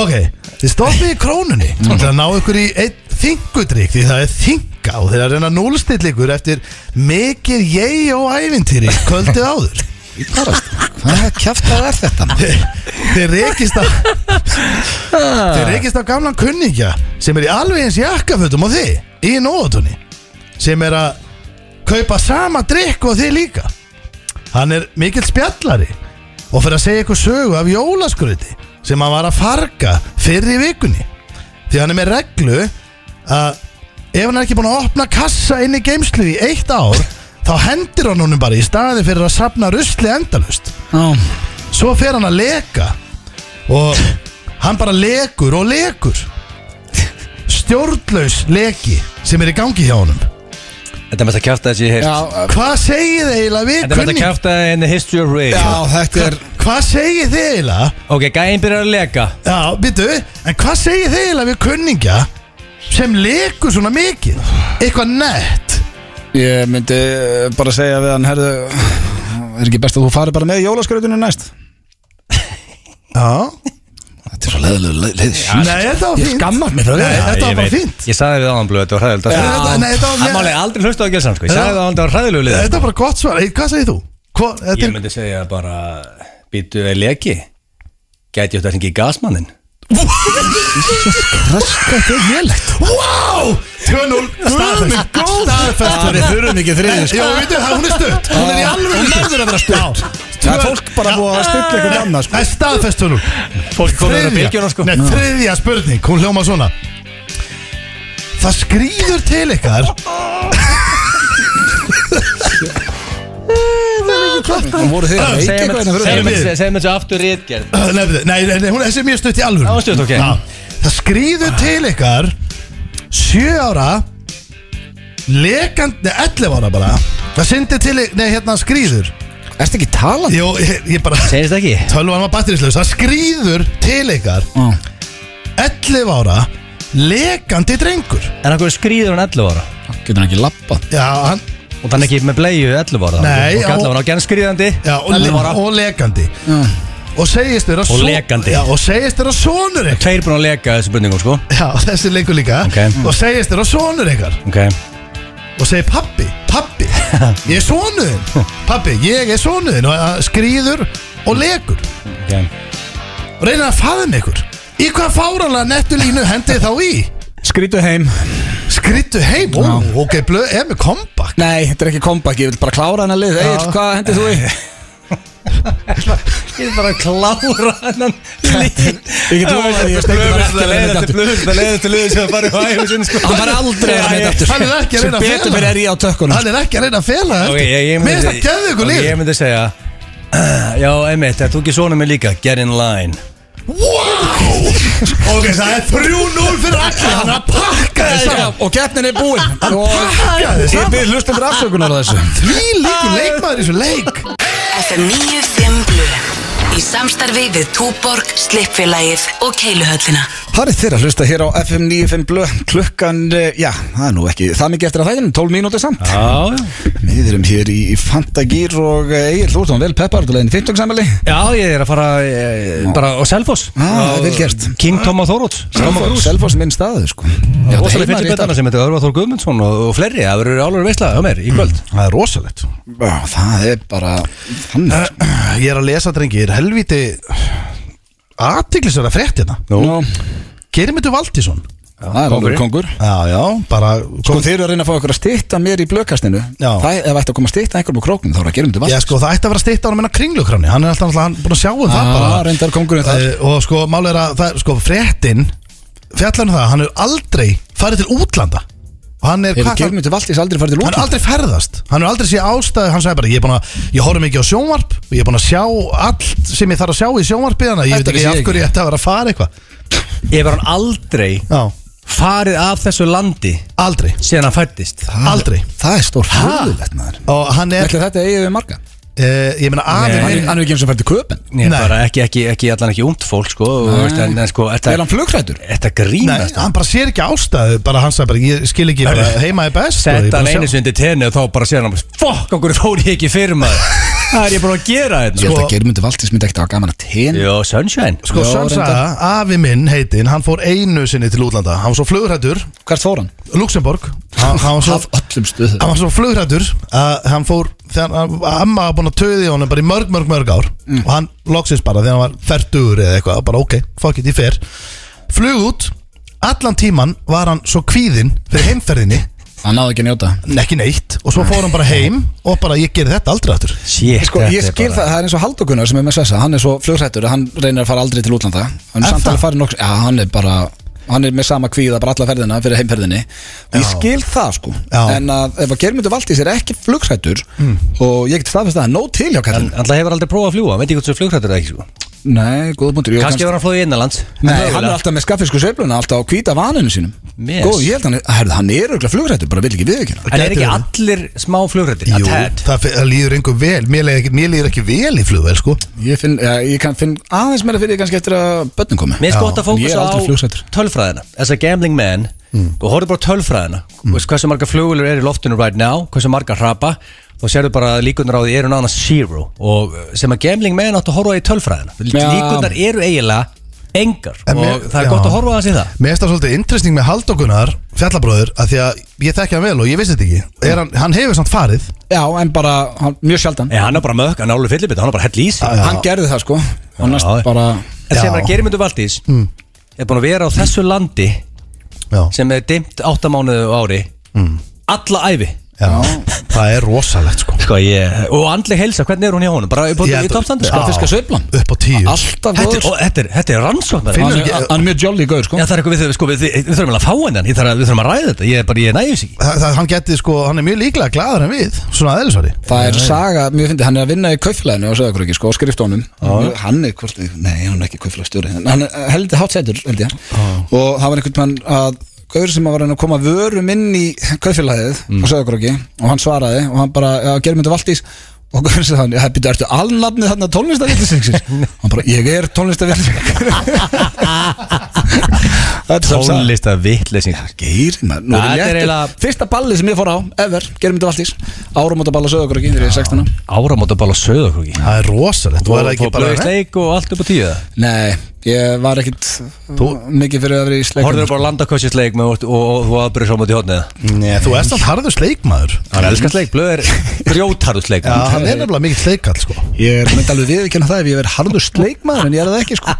[SPEAKER 6] Ok, þið stoppið í krónunni til að ná ykkur í einn þingudrykk því það er þinga og þeir að reyna núlstill ykkur eftir mikið ég og ævintýri kvöldið áður
[SPEAKER 1] Hvað kjæftað er þetta?
[SPEAKER 6] Þeir- Þeir rekist á Þeir rekist á gamlan kunningja sem er í alveg eins jakkafötum og þið í nóðutunni sem er að kaupa sama drikk og þið líka Hann er mikill spjallari og fyrir að segja ykkur sögu af jólaskröti sem hann var að farga fyrir í vikunni því hann er með reglu að ef hann er ekki búin að opna kassa inn í geimslu í eitt ár þá hendir hann honum bara í staði fyrir að safna rusli endalust
[SPEAKER 1] Já,
[SPEAKER 6] Svo fer hann að leka Og hann bara lekur og lekur Stjórnlaus leki Sem er í gangi hjá honum
[SPEAKER 2] Þetta er mest að kjæfta þessi ég heilt
[SPEAKER 1] já,
[SPEAKER 6] Hvað segið þið eiginlega við
[SPEAKER 2] Þetta er mest að
[SPEAKER 6] kunning?
[SPEAKER 2] kjæfta in the history of radio
[SPEAKER 1] já þetta er
[SPEAKER 6] Hvað segið þið eiginlega
[SPEAKER 2] Ok, gæinn byrjar að leka
[SPEAKER 6] Já, býtu En hvað segið þið eiginlega við kunningja Sem lekur svona mikið Eitthvað nett
[SPEAKER 1] Ég myndi eh, bara segja við hann herðu, Er ekki best að þú fari bara með jólaskrautinu næst?
[SPEAKER 6] Já,
[SPEAKER 1] Þetta er svo leðilega leðið
[SPEAKER 6] Nei, þetta var
[SPEAKER 1] Ég
[SPEAKER 6] fínt.
[SPEAKER 1] skammast mig fyrir
[SPEAKER 6] Nei,
[SPEAKER 1] þetta
[SPEAKER 6] þetta var
[SPEAKER 2] ég
[SPEAKER 6] bara
[SPEAKER 2] veit.
[SPEAKER 6] fínt.
[SPEAKER 2] Ég sagði við áðan blöð, þetta var hræðilegt
[SPEAKER 6] Já, þetta- nei, þetta var-
[SPEAKER 2] Hann máli aldrei hlusta á gilsan sko. Ég sagði við áðan, þetta var hræðilegu lið
[SPEAKER 6] þetta er bara gott svar Ei, Hvað segir þú? Hva, þetta
[SPEAKER 2] Ég
[SPEAKER 6] er,
[SPEAKER 2] myndi segja bara Býtu við leki Gæti ég þetta hringi í gasmannin
[SPEAKER 1] Þetta er lélegt
[SPEAKER 6] wow! 2-0 Staðfest Staðfest
[SPEAKER 1] Það er þurrum ekki þriðið
[SPEAKER 6] Já, veitu, það- hún er stutt Hún er í alveg
[SPEAKER 1] Hún verður að vera stutt Það er fólk bara búið að stilla eitthvað annað sko.
[SPEAKER 6] Það er staðfest 2-0
[SPEAKER 2] Fólk komið að bylgjuna sko
[SPEAKER 6] Nei, þriðja spurning, hún hljóma svona Það skrýður til ykkar
[SPEAKER 1] Hún voru þið að veika
[SPEAKER 2] Segðu
[SPEAKER 1] eitthvað innan fyrir
[SPEAKER 6] Segðu mér-
[SPEAKER 2] mér þessu aftur rétgerð
[SPEAKER 6] Nei, nei, nei, nei, hún þessi er mjög stutt í alvöru
[SPEAKER 2] Já, hún er stutt, ok.
[SPEAKER 6] Já. Það skrýður til ykkar Sjö ára Lekand, nei, 11 ára bara Það syndir til ykkar, nei, hérna skrýður
[SPEAKER 1] Erstu ekki talað?
[SPEAKER 6] Jó, ég, ég bara
[SPEAKER 2] Segist það ekki?
[SPEAKER 6] Tölvan var batterislaus Það skrýður til ykkar 11 ára Lekandi drengur
[SPEAKER 2] En hann skrýður hann 11 ára
[SPEAKER 1] Getur hann ekki lappa?
[SPEAKER 6] Já, hann
[SPEAKER 2] Og þannig ekki með bleiðu 11 ára
[SPEAKER 6] Nei,
[SPEAKER 2] Og kallar
[SPEAKER 6] og-
[SPEAKER 2] hann á genn skrýðandi
[SPEAKER 6] Já, og, le
[SPEAKER 2] 11 ára
[SPEAKER 6] og lekandi Og segist þér að
[SPEAKER 2] Og
[SPEAKER 6] son-
[SPEAKER 2] lekandi.
[SPEAKER 6] Já, og segist þér að sonur ykkar
[SPEAKER 2] Tveir búin að leka þessu bundingum sko
[SPEAKER 6] Já, þessi leikur líka
[SPEAKER 2] Ok.
[SPEAKER 6] Og segist þér að sonur ykkar
[SPEAKER 2] Ok
[SPEAKER 6] Og segir pappi,
[SPEAKER 2] (laughs)
[SPEAKER 6] pappi Ég er sonuðin Pappi, ég er sonuðin Og að skrýður og lekur
[SPEAKER 2] Ok
[SPEAKER 6] Og reynir að faðum ykkur Í hvað fáranlega nettulínu hendi þá í?
[SPEAKER 1] Skrítu heim
[SPEAKER 6] Skrýttu heim, ó, ok, blöð, er með kompakt
[SPEAKER 1] Nei, þetta er ekki comeback, ég vil bara klára hennar lið Egil, hvað hendur þú í?
[SPEAKER 2] Ég er bara að klára hennan lít
[SPEAKER 1] Ég get lofað því að Steindór var ekki að reyna þetta aftur.
[SPEAKER 2] Blöðust að leiða til liðið sem að fara á æfum sinni sko
[SPEAKER 1] Hann var aldrei að reyna aftur
[SPEAKER 6] Hann er ekki að reyna að
[SPEAKER 1] Sem
[SPEAKER 6] fela.
[SPEAKER 1] betur fyrir er ég á tökkunum sko.
[SPEAKER 6] Hann er ekki að reyna að fela
[SPEAKER 2] Ok, ég, ég
[SPEAKER 6] Mér finnst það geðu ykkur
[SPEAKER 2] Ok,
[SPEAKER 6] líf
[SPEAKER 2] Ég myndi segja (clears throat) Já, einmitt, það tók ég svona mig líka Get in line
[SPEAKER 6] Wow Ok, það er 3-0 fyrir allir Hann er að pakka þess
[SPEAKER 1] Já,
[SPEAKER 6] að
[SPEAKER 1] Og keppnin er búin Og
[SPEAKER 6] Pakka
[SPEAKER 2] (laughs)
[SPEAKER 6] þess
[SPEAKER 1] ég
[SPEAKER 6] að
[SPEAKER 1] byrð hlustendur afsökunar á þessu
[SPEAKER 6] Því líkur leikmaður í þessu leik
[SPEAKER 5] FM 95 Blu Í samstarfi við Túborg, Slippfélagið og Keiluhöllina
[SPEAKER 1] Það er þeirra að hlusta hér á FM 95 blöð klukkan, eh, já, það er nú ekki það mikið eftir að þæginum, 12 mínútið samt
[SPEAKER 2] Já,
[SPEAKER 1] Við erum hér í í Fantagýr og Egil, þú ert hún vel peppar, þú leiðin 15 samali
[SPEAKER 2] já ég er að fara eh, bara á Selfoss
[SPEAKER 1] Ah,
[SPEAKER 2] Á
[SPEAKER 1] vel gert.
[SPEAKER 2] King Tom og Þóróts Tom og Grús
[SPEAKER 1] Selfoss minn staðu, sko Já, þetta
[SPEAKER 2] Ósalega
[SPEAKER 1] heima
[SPEAKER 2] fyrir
[SPEAKER 1] rétt
[SPEAKER 2] betana sem heitir Örvar Þór Guðmundsson og, og fleiri Það verður álur veisla á mér í kvöld
[SPEAKER 6] Það er rosalegt
[SPEAKER 1] að- Já, það er bara þannig
[SPEAKER 6] Eh,
[SPEAKER 1] sko.
[SPEAKER 6] Ég er að lesa drengi, ég er helviti Aðtiklisverða frétt hérna
[SPEAKER 1] Nú,
[SPEAKER 6] Geirmyndu Valdísson
[SPEAKER 1] það er alveg kongur
[SPEAKER 6] Já, já, bara
[SPEAKER 1] Sko þeir eru að reyna að fá okkur að stýtta mér í blökastinu
[SPEAKER 6] Já.
[SPEAKER 1] Það ef ætti að koma að stýtta einhverjum úr króknum þá er að gera um til
[SPEAKER 6] Já,
[SPEAKER 1] vast
[SPEAKER 6] sko, það ætti að vera stýtt á hann minna kringlukranni Hann er alltaf, alltaf hann er búin að sjá um það
[SPEAKER 1] Já,
[SPEAKER 6] bara
[SPEAKER 1] reyndar kóngurinn þar.
[SPEAKER 6] Eh, Og sko, mál er að, það, sko, fréttin Fjallan það, hann er aldrei farið til útlanda Og hann er,
[SPEAKER 1] Ef
[SPEAKER 6] hvað-
[SPEAKER 1] Germundur Valdís aldrei farið til
[SPEAKER 6] hann er
[SPEAKER 1] lúkna
[SPEAKER 6] aldrei ferðast hann er aldrei sé ástæðu, hann sagði bara ég er búin að, ég horfum ekki á sjónvarp og ég er búin að sjá allt sem ég þarf að sjá í sjónvarpi þannig að ég
[SPEAKER 1] Þetta
[SPEAKER 6] veit ekki
[SPEAKER 1] vissi ég
[SPEAKER 6] af
[SPEAKER 1] ekki.
[SPEAKER 6] hverju ég ætti að vera að fara eitthvað
[SPEAKER 2] Ég var hann aldrei
[SPEAKER 6] já,
[SPEAKER 2] farið af þessu landi
[SPEAKER 6] aldrei,
[SPEAKER 2] síðan hann fættist
[SPEAKER 6] aldrei
[SPEAKER 1] Það er stór hluðilegt maður
[SPEAKER 6] og hann er,
[SPEAKER 1] Ætli þetta eigið við marga
[SPEAKER 6] uh, ég meina afi
[SPEAKER 1] Hann
[SPEAKER 6] hann,
[SPEAKER 1] er- hann er ekki eins og farið til köpen
[SPEAKER 2] Nei,
[SPEAKER 6] Nei.
[SPEAKER 2] bara ekki, ekki, ekki allan ekki umt fólk sko, og, veist, en, en, sko,
[SPEAKER 1] Er
[SPEAKER 2] þetta,
[SPEAKER 1] hann flugrætur?
[SPEAKER 2] þetta
[SPEAKER 6] nei,
[SPEAKER 2] grínast
[SPEAKER 6] hann bara sér ekki ástæðu bara hann sagði bara, ég skil ekki bara, heima er best og Sko, ég er
[SPEAKER 2] Setta hann einu
[SPEAKER 6] búinn að sjá-
[SPEAKER 2] sundi tenni og þá bara sér hann Fokk, okkur fór ég ekki fyrir
[SPEAKER 6] (laughs)
[SPEAKER 2] maður Það er ég bara að gera þetta
[SPEAKER 1] Ég held
[SPEAKER 6] Sko-
[SPEAKER 1] að Germundur Valdís myndi ekkert að hafa gaman að ten
[SPEAKER 2] Jó, Sunshine
[SPEAKER 6] sko,
[SPEAKER 1] Já,
[SPEAKER 6] sann sagði
[SPEAKER 1] reyndar.
[SPEAKER 6] að afi minn heitinn, hann fór einu sinni til útlanda hann var svo flugrættur,
[SPEAKER 1] Hvert fór hann?
[SPEAKER 6] Luxemburg hann, hann var svo
[SPEAKER 1] Af öllum stöðu
[SPEAKER 6] hann var svo flugrættur að hann fór þegar hann- að amma var búin að töði honum bara í mörg, mörg, mörg ár
[SPEAKER 2] Mm.
[SPEAKER 6] og hann loksins bara þegar hann var færtugur eða eitthvað bara ok, fuck it, ég fer flug út, allan tíman var hann svo kvíðinn fyrir heimferðinni
[SPEAKER 1] Hann náði ekki að njóta
[SPEAKER 6] en ekki neitt og svo fór hann bara heim og bara ég gerði þetta aldrei aftur
[SPEAKER 2] Shit,
[SPEAKER 1] Sko, ég skil það, það er eins og Haldokunar sem er með Svessa Hann er svo flugrættur að hann reynir að fara aldrei til útlanda Hann
[SPEAKER 6] Er
[SPEAKER 1] er samt
[SPEAKER 6] það?
[SPEAKER 1] alveg farið nokks Já, hann er bara Hann er með sama kvíða bara alla ferðina fyrir heimferðinni Ég skil það sko
[SPEAKER 6] Já. Hmm.
[SPEAKER 1] En að ef að Germundur Valdís er ekki flugrættur Og ég get staðfist það, nóg til hjá
[SPEAKER 2] Hann
[SPEAKER 1] kallin
[SPEAKER 2] alltaf hefur aldrei prófað að fljúa, veit ekki hvort þessu flugrættur eða ekki sko
[SPEAKER 1] Nei, góða búndur
[SPEAKER 2] Kanski hefur hann flóðið innanlands
[SPEAKER 1] Nei, hann er alltaf með skaffisku sveifluna Alltaf á hvíta vaninu sínum
[SPEAKER 2] Yes.
[SPEAKER 1] Góð, ég held hann Herðu, hann er auðvitað flugrættur Bara vil ekki viðvíkina
[SPEAKER 2] En er ekki
[SPEAKER 6] Gæti verið.
[SPEAKER 2] allir smá flugrættir?
[SPEAKER 6] Jú,
[SPEAKER 2] Að Ted
[SPEAKER 6] það, fe- það líður einhver vel mér líður ekki, mér líður ekki vel í flugvel sko
[SPEAKER 1] Ég finn, ja, ég kann finn aðeins meira fyrir því kannski eftir að börnum komi
[SPEAKER 2] Mér er sko gott að
[SPEAKER 1] en ég er
[SPEAKER 2] fókusa á
[SPEAKER 1] aldrei flugsættur.
[SPEAKER 2] tölfræðina As a gambling
[SPEAKER 6] Mm.
[SPEAKER 2] man Og horfðu bara á tölfræðina Veist Hversu marga flugulur er í loftinu right now Hversu marga hrapa þá sérðu bara að líkunar á því eru nána zero og eh, sem að gambling menn átt að horfa í tölfræðina
[SPEAKER 1] Já.
[SPEAKER 2] líkunar eru eiginlega engar
[SPEAKER 6] En mér-
[SPEAKER 2] og það er
[SPEAKER 6] já.
[SPEAKER 2] gott að horfa að það í það
[SPEAKER 6] Mér finnst það svolítið interesting með haldokunar fjallabróður að því að ég þekki hann vel og ég vissi þetta ekki er hann, hann hefur samt farið
[SPEAKER 1] Já, en bara, hann, mjög sjaldan
[SPEAKER 2] Ég, hann er bara mökk, hann er alveg fyllibit, hann er bara hell í sig
[SPEAKER 6] Já.
[SPEAKER 1] Hann gerði það sko Og næst
[SPEAKER 2] Já.
[SPEAKER 1] bara
[SPEAKER 2] en sem
[SPEAKER 6] Já. Mm.
[SPEAKER 2] er að Geirmundur Valdís er búin að vera á þessu landi
[SPEAKER 6] Já,
[SPEAKER 2] sem er dimmt áttamánuðu ári
[SPEAKER 6] Mm.
[SPEAKER 2] alla æfi
[SPEAKER 6] já það er rosalegt sko
[SPEAKER 2] sko, ég, og andleg heilsa, hvernig er hún hjá honum bara upp á
[SPEAKER 6] Ég-
[SPEAKER 2] í toppstandi
[SPEAKER 1] Skal
[SPEAKER 2] sko.
[SPEAKER 6] Já.
[SPEAKER 1] fiska sveiflan
[SPEAKER 6] Upp á tíu
[SPEAKER 1] Alltaf
[SPEAKER 2] þetta, er-
[SPEAKER 1] góður
[SPEAKER 2] og þetta er, þetta er rannsókn maður.
[SPEAKER 6] Finnur
[SPEAKER 1] Hann
[SPEAKER 2] Já,
[SPEAKER 1] er-
[SPEAKER 6] ekki-
[SPEAKER 1] hann er mjög jolly góður sko
[SPEAKER 2] það er eitthvað við, sko, við, við, við þurfum eiginlega að fá hennan ég þarf að- við þurfum að ræða þetta, ég, er bara, ég nægjum sig ekki.
[SPEAKER 6] það, það, Hann geti sko, hann er mjög líklega gladur en við Svona aðeinsvari
[SPEAKER 1] Það er saga, mjög fyndi, hann er að vinna í kauflæðinu og segja okkur ekki, sko, á skriftónum Hann er hvort, nei, hann er ekki kauflæðstjóri Hann er heldur hátsetur, held ég Og það var einhvern mann að Gaur sem var að reyna að koma vörum inn í kauflæðið
[SPEAKER 2] Mm.
[SPEAKER 1] og segja okkur ekki Og hann svaraði og hann bara, já, gerum þetta valdís Og gaur sem hann, já, býttu, ertu alnafnið þarna tónlistavillisingsins? hann bara, ég er tónlistavillisingsins
[SPEAKER 2] tónlist að vitleysing
[SPEAKER 1] (laughs) Geirinn maður, nú
[SPEAKER 2] Það
[SPEAKER 1] er
[SPEAKER 2] er
[SPEAKER 1] ég
[SPEAKER 2] eiginlega-
[SPEAKER 1] eftir Fyrsta ballið sem ég fór á, ever, gerum þetta valdís Áramótaballa sögur ekki, þegar ég er 16 ára.
[SPEAKER 2] áramótabal og söðakrúki
[SPEAKER 6] Það er rosalegt Þú er það ekki bara
[SPEAKER 2] sleik og allt upp á tíu það
[SPEAKER 1] Nei, ég var ekkit
[SPEAKER 6] Þú-
[SPEAKER 1] mikið fyrir að vera í sleikum
[SPEAKER 2] horfður bara á landakossi sleik með, og, og, og þú aðbyrður svo mútið hótnið
[SPEAKER 6] Nei, Þú ert alltaf harður sleikmaður
[SPEAKER 2] hann elskar sleik, blöð
[SPEAKER 6] (laughs)
[SPEAKER 2] er grjótarðu sleik
[SPEAKER 6] Já, hann er nefnilega mikill sleikall sko
[SPEAKER 1] Ég er myndi alveg viðkjöna það ef ég verið harður sleikmaður en ég er það ekki sko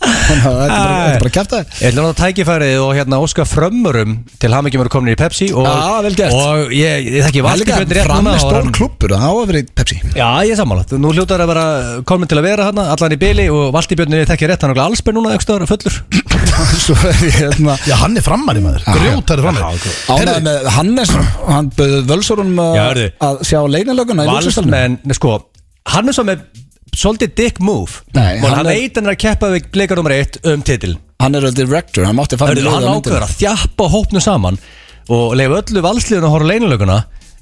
[SPEAKER 1] Þannig að þetta er bara, þetta er bara kæft það
[SPEAKER 2] Ég ætla að nota tækifærið og hérna óska frömmurum til hamingjum eru komin í Pepsi og,
[SPEAKER 1] Já, vel gert.
[SPEAKER 2] og ég, ég þekki
[SPEAKER 1] Það er
[SPEAKER 2] valdi
[SPEAKER 1] líka
[SPEAKER 2] betur rétt
[SPEAKER 1] fram
[SPEAKER 2] núna
[SPEAKER 1] með
[SPEAKER 2] og
[SPEAKER 1] stór
[SPEAKER 2] hann-
[SPEAKER 1] klubbur, það á að vera í Pepsi
[SPEAKER 2] Já, ég er sammála. Nú hljótar að vera komin til að vera hann, allan í byli og Valdibjörnir þekki rétt, hann er allspenn núna, aukstar, fullur.
[SPEAKER 1] (laughs) Svo er ég hérna
[SPEAKER 6] Já, hann er frammari maður Grjótar er frammari
[SPEAKER 1] Ánæði með Hannes, hann bauð Völsorunum
[SPEAKER 2] Já,
[SPEAKER 1] að,
[SPEAKER 2] heyrðu.
[SPEAKER 1] að sjá leinalöguna í lúksastalunum
[SPEAKER 2] Valsmenn, nei, sko, hann er svo með svolítið dick move.
[SPEAKER 1] Nei,
[SPEAKER 2] Món,
[SPEAKER 1] hann
[SPEAKER 2] hann
[SPEAKER 1] er-
[SPEAKER 2] veit hann er að keppa við bleikar nummer eitt um titil.
[SPEAKER 1] Hann er að director, hann mátti fara
[SPEAKER 2] Hörðu,
[SPEAKER 1] liðið
[SPEAKER 2] hann
[SPEAKER 1] á myndinni.
[SPEAKER 2] ákveður að þjappa hópnu saman og leifa öllu valsliðun að horfa á leinilöguna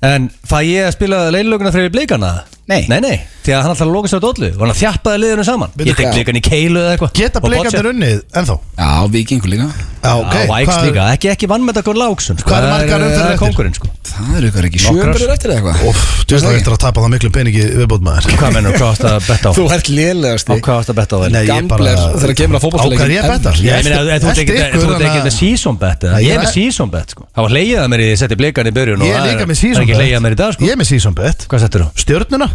[SPEAKER 2] en fæ ég að spila leinilöguna fyrir blíkana?
[SPEAKER 1] Nei.
[SPEAKER 2] Nei, nei, því að hann alltaf loka sér á dollu og hann þjappaði liðinu saman
[SPEAKER 6] Veitu
[SPEAKER 2] Ég tek
[SPEAKER 1] hvað?
[SPEAKER 2] blíkan í keilu eða eitthvað
[SPEAKER 6] Geta bleikandir unnið ennþá
[SPEAKER 1] Já, vikingu líka
[SPEAKER 6] Já,
[SPEAKER 2] Ok, á Æx
[SPEAKER 6] hvað-
[SPEAKER 2] líka, ekki, ekki vannmeta Gunn Láksson sko.
[SPEAKER 6] Hvað eru
[SPEAKER 2] Það
[SPEAKER 6] margar umferðir
[SPEAKER 2] það er
[SPEAKER 6] eftir?
[SPEAKER 2] Kongurinn, sko
[SPEAKER 1] Það eru ykkur ekki
[SPEAKER 2] Nokkrar.
[SPEAKER 1] sjöumbyrður eftir eða eitthvað
[SPEAKER 6] Óf, þú veist
[SPEAKER 1] Það
[SPEAKER 6] það
[SPEAKER 1] er
[SPEAKER 6] eftir að tapa það miklu peningi viðbót maður
[SPEAKER 2] Hvað mennur, hvað ást (laughs) að betta á?
[SPEAKER 1] Þú ert lélegast
[SPEAKER 2] Á hvað ást að betta á þér?
[SPEAKER 6] Nei, ég bara-
[SPEAKER 1] Gambler þegar kemur að fótboltaleikjum.
[SPEAKER 6] Á hvað ég betta?
[SPEAKER 2] Ég meina, ef þú ert
[SPEAKER 6] Eftir
[SPEAKER 2] ekki
[SPEAKER 6] ykkur,
[SPEAKER 2] þú ert ekki
[SPEAKER 6] þannig að-
[SPEAKER 2] með season bet eða?
[SPEAKER 6] Nei,
[SPEAKER 2] Ég
[SPEAKER 6] ég-
[SPEAKER 2] er með season bet, sko Það var leiðið að mér í setti blíkan í börjun og
[SPEAKER 6] Ég er
[SPEAKER 2] það
[SPEAKER 6] líka með season
[SPEAKER 2] Það er ekki
[SPEAKER 6] bet.
[SPEAKER 2] leiðið að mér í dag, sko
[SPEAKER 6] Ég er með season bet
[SPEAKER 2] Hvað settur þú?
[SPEAKER 6] Stjörnuna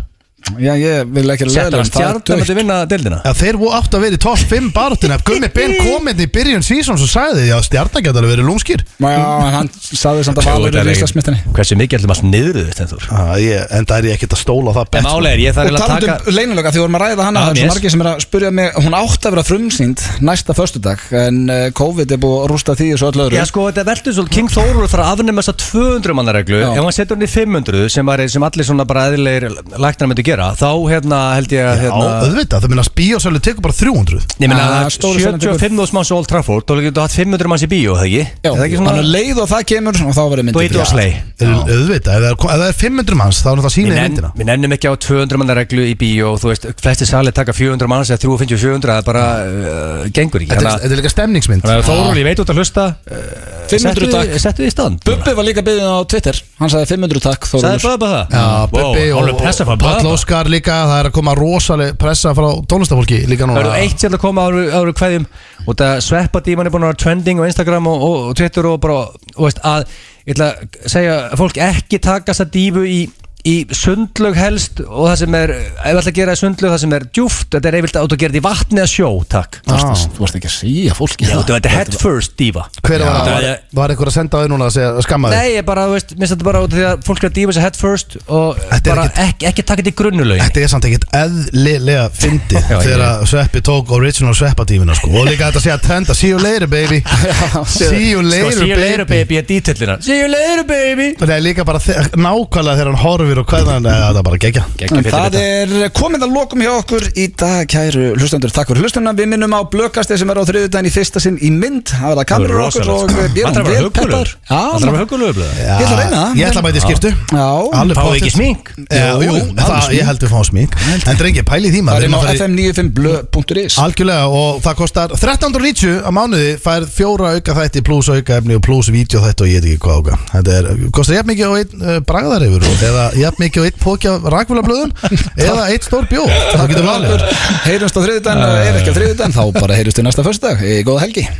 [SPEAKER 1] Já, ég vil ekki að
[SPEAKER 2] Settur
[SPEAKER 1] leiðlega
[SPEAKER 2] hann stjarnan að vinna deildina?
[SPEAKER 6] Já, þeir voru átt að vera í top 5
[SPEAKER 2] (laughs)
[SPEAKER 6] baráttina Gummi Ben kom hérna í byrjun season og sagði Já, stjarnan geta alveg verið lúmskýr
[SPEAKER 1] Já, en hann sagði samt að Valur er í Íslandsmyndinni
[SPEAKER 2] Hversu mikið ætlum allt niður þau, Stenþór?
[SPEAKER 6] ah, ég, En það er ég ekkert að stóla það
[SPEAKER 2] En
[SPEAKER 6] bet
[SPEAKER 2] málega er, ég
[SPEAKER 1] Og
[SPEAKER 2] þarf eiginlega að
[SPEAKER 1] talandum
[SPEAKER 2] taka
[SPEAKER 1] um leinulöka, því vorum að ræða hana
[SPEAKER 2] Já,
[SPEAKER 1] Það er svo
[SPEAKER 2] yes.
[SPEAKER 1] margir sem er að spurja mig Hún átti að vera frumsýnd næsta föstudag En eh, COVID er búið að rústa því og svo öll öðru
[SPEAKER 2] Já sko, þetta veldur svolítið King Þórur þarf að afnema þessa 200 manna reglu
[SPEAKER 1] Já.
[SPEAKER 2] Ef hann setur hann í 500 sem, var, sem allir svona bara eðlilegir læknar myndi gera Þá hérna held ég að
[SPEAKER 6] Já,
[SPEAKER 2] hérna,
[SPEAKER 6] auðvitað, það minna bíósölu tekur bara 300
[SPEAKER 2] Ég meina
[SPEAKER 1] Ah,
[SPEAKER 2] að
[SPEAKER 1] stóru senan tekur-
[SPEAKER 2] 75 þús manns á Old Trafford Þá getur þú hatt 500 manns í bíó, það ekki?
[SPEAKER 1] Já,
[SPEAKER 2] Er það ekki svona
[SPEAKER 1] þannig að leið og það kemur og þá verður
[SPEAKER 2] Þú
[SPEAKER 1] myndið
[SPEAKER 2] heitir á slei
[SPEAKER 6] Er- Auðvitað, ef það er- ef það er 500 manns þá er það
[SPEAKER 2] Við
[SPEAKER 6] sýnið í
[SPEAKER 2] nenn-
[SPEAKER 6] myndina
[SPEAKER 2] við nennum ekki á 200 manna reglu í bíó Þú veist, flesti salið taka 400 manns eða 350-400 Það bara uh, gengur ekki
[SPEAKER 6] Þetta er-
[SPEAKER 2] Þannig að-
[SPEAKER 6] þetta er líka stemningsmynd
[SPEAKER 2] þannig að Þórur, ég veit út að hlusta uh,
[SPEAKER 1] 500
[SPEAKER 2] settu-
[SPEAKER 1] takk.
[SPEAKER 2] Settu þið í stand
[SPEAKER 1] Bubbi var líka byggðin á Twitter Hann sagði 500 takk
[SPEAKER 2] Sæði
[SPEAKER 1] Þórólfur
[SPEAKER 2] Bubba það?
[SPEAKER 6] Já, Bubbi
[SPEAKER 2] wow,
[SPEAKER 6] og, og Pall Óskar líka Það er að koma rosaleg pressa frá tónlistafólki líka
[SPEAKER 2] Það
[SPEAKER 6] núna
[SPEAKER 2] eru eitt sem að koma áru, áru kveðjum og það sveppa díman er búin að vera trending á Instagram og, og, og Twitter og bara og veist, að, ég ætla að segja að fólk ekki taka þessa dífu í, í sundlög helst og það sem er ef það ætla að gera í sundlög það sem er djúft þetta er eiginlega átt að gera þetta í vatni eða sjó takk
[SPEAKER 1] Þú varst- þú varst ekki að síja fólki
[SPEAKER 2] Já, þetta er head first dífa
[SPEAKER 6] Hver var,
[SPEAKER 2] Já,
[SPEAKER 6] var,
[SPEAKER 2] ég-
[SPEAKER 6] var einhver að senda á þau núna að segja skammaði?
[SPEAKER 2] Nei, ég bara, þú veist, minnst þetta bara út af því að fólk er að dífa þessi head first og
[SPEAKER 6] Þetta er
[SPEAKER 2] bara ekki, ekki taka þetta í grunnulögin
[SPEAKER 6] Þetta er samt ekkert eðlilega fyndið
[SPEAKER 2] Já, ég-
[SPEAKER 6] þegar að Sveppi tók original Sveppadífina sko. og líka þetta sé að tenda See you later baby
[SPEAKER 2] (laughs)
[SPEAKER 6] See you later,
[SPEAKER 2] sko, see you later
[SPEAKER 6] baby.
[SPEAKER 2] baby er dítillina See you later baby
[SPEAKER 6] Nei, líka bara þe- nákvæmlega þegar hann horfir og hvað hann, það er bara gegja
[SPEAKER 1] En það er komið að lokum hjá okkur í dag, kæru hlustendur, takk fyrir hlustunna Við minnum á blökastið sem er á þriðudaginn í fyrsta sinn í mynd Það verða kamerur á okkur og
[SPEAKER 2] Það er að vera hugulegur Það er að
[SPEAKER 1] Já,
[SPEAKER 2] vera hugulegur blöð
[SPEAKER 1] Ég ætla að reyna það.
[SPEAKER 6] Ég ætla að mæta í skiptu
[SPEAKER 1] Já.
[SPEAKER 6] Alveg
[SPEAKER 2] Fáið
[SPEAKER 6] pottþétt.
[SPEAKER 2] ekki smink?
[SPEAKER 6] Já,
[SPEAKER 1] Jú,
[SPEAKER 6] Jú,
[SPEAKER 1] alveg
[SPEAKER 6] það-
[SPEAKER 1] smink.
[SPEAKER 6] ég held við fáum smink En drengi, pæli því
[SPEAKER 1] það
[SPEAKER 6] maður
[SPEAKER 1] er inn á
[SPEAKER 6] maður fari-
[SPEAKER 1] fm95blö.is
[SPEAKER 6] Algjörlega og það kostar 1390 á mánuði fær fjóra auka þætti pluss auka efni eh, og pluss vídeo þætti og ég veit ekki hvað auka Þetta er, kostar jafn mikið á einn uh, bragðarifur og- eða eða jafn mikið og eitt póki af rakvélablöðun eða eitt stór bjó það getur valið
[SPEAKER 2] Heyrumst á þriðudan og ef ekki á þriðudan þá bara heyrumst við næsta föstudag. Góða helgi.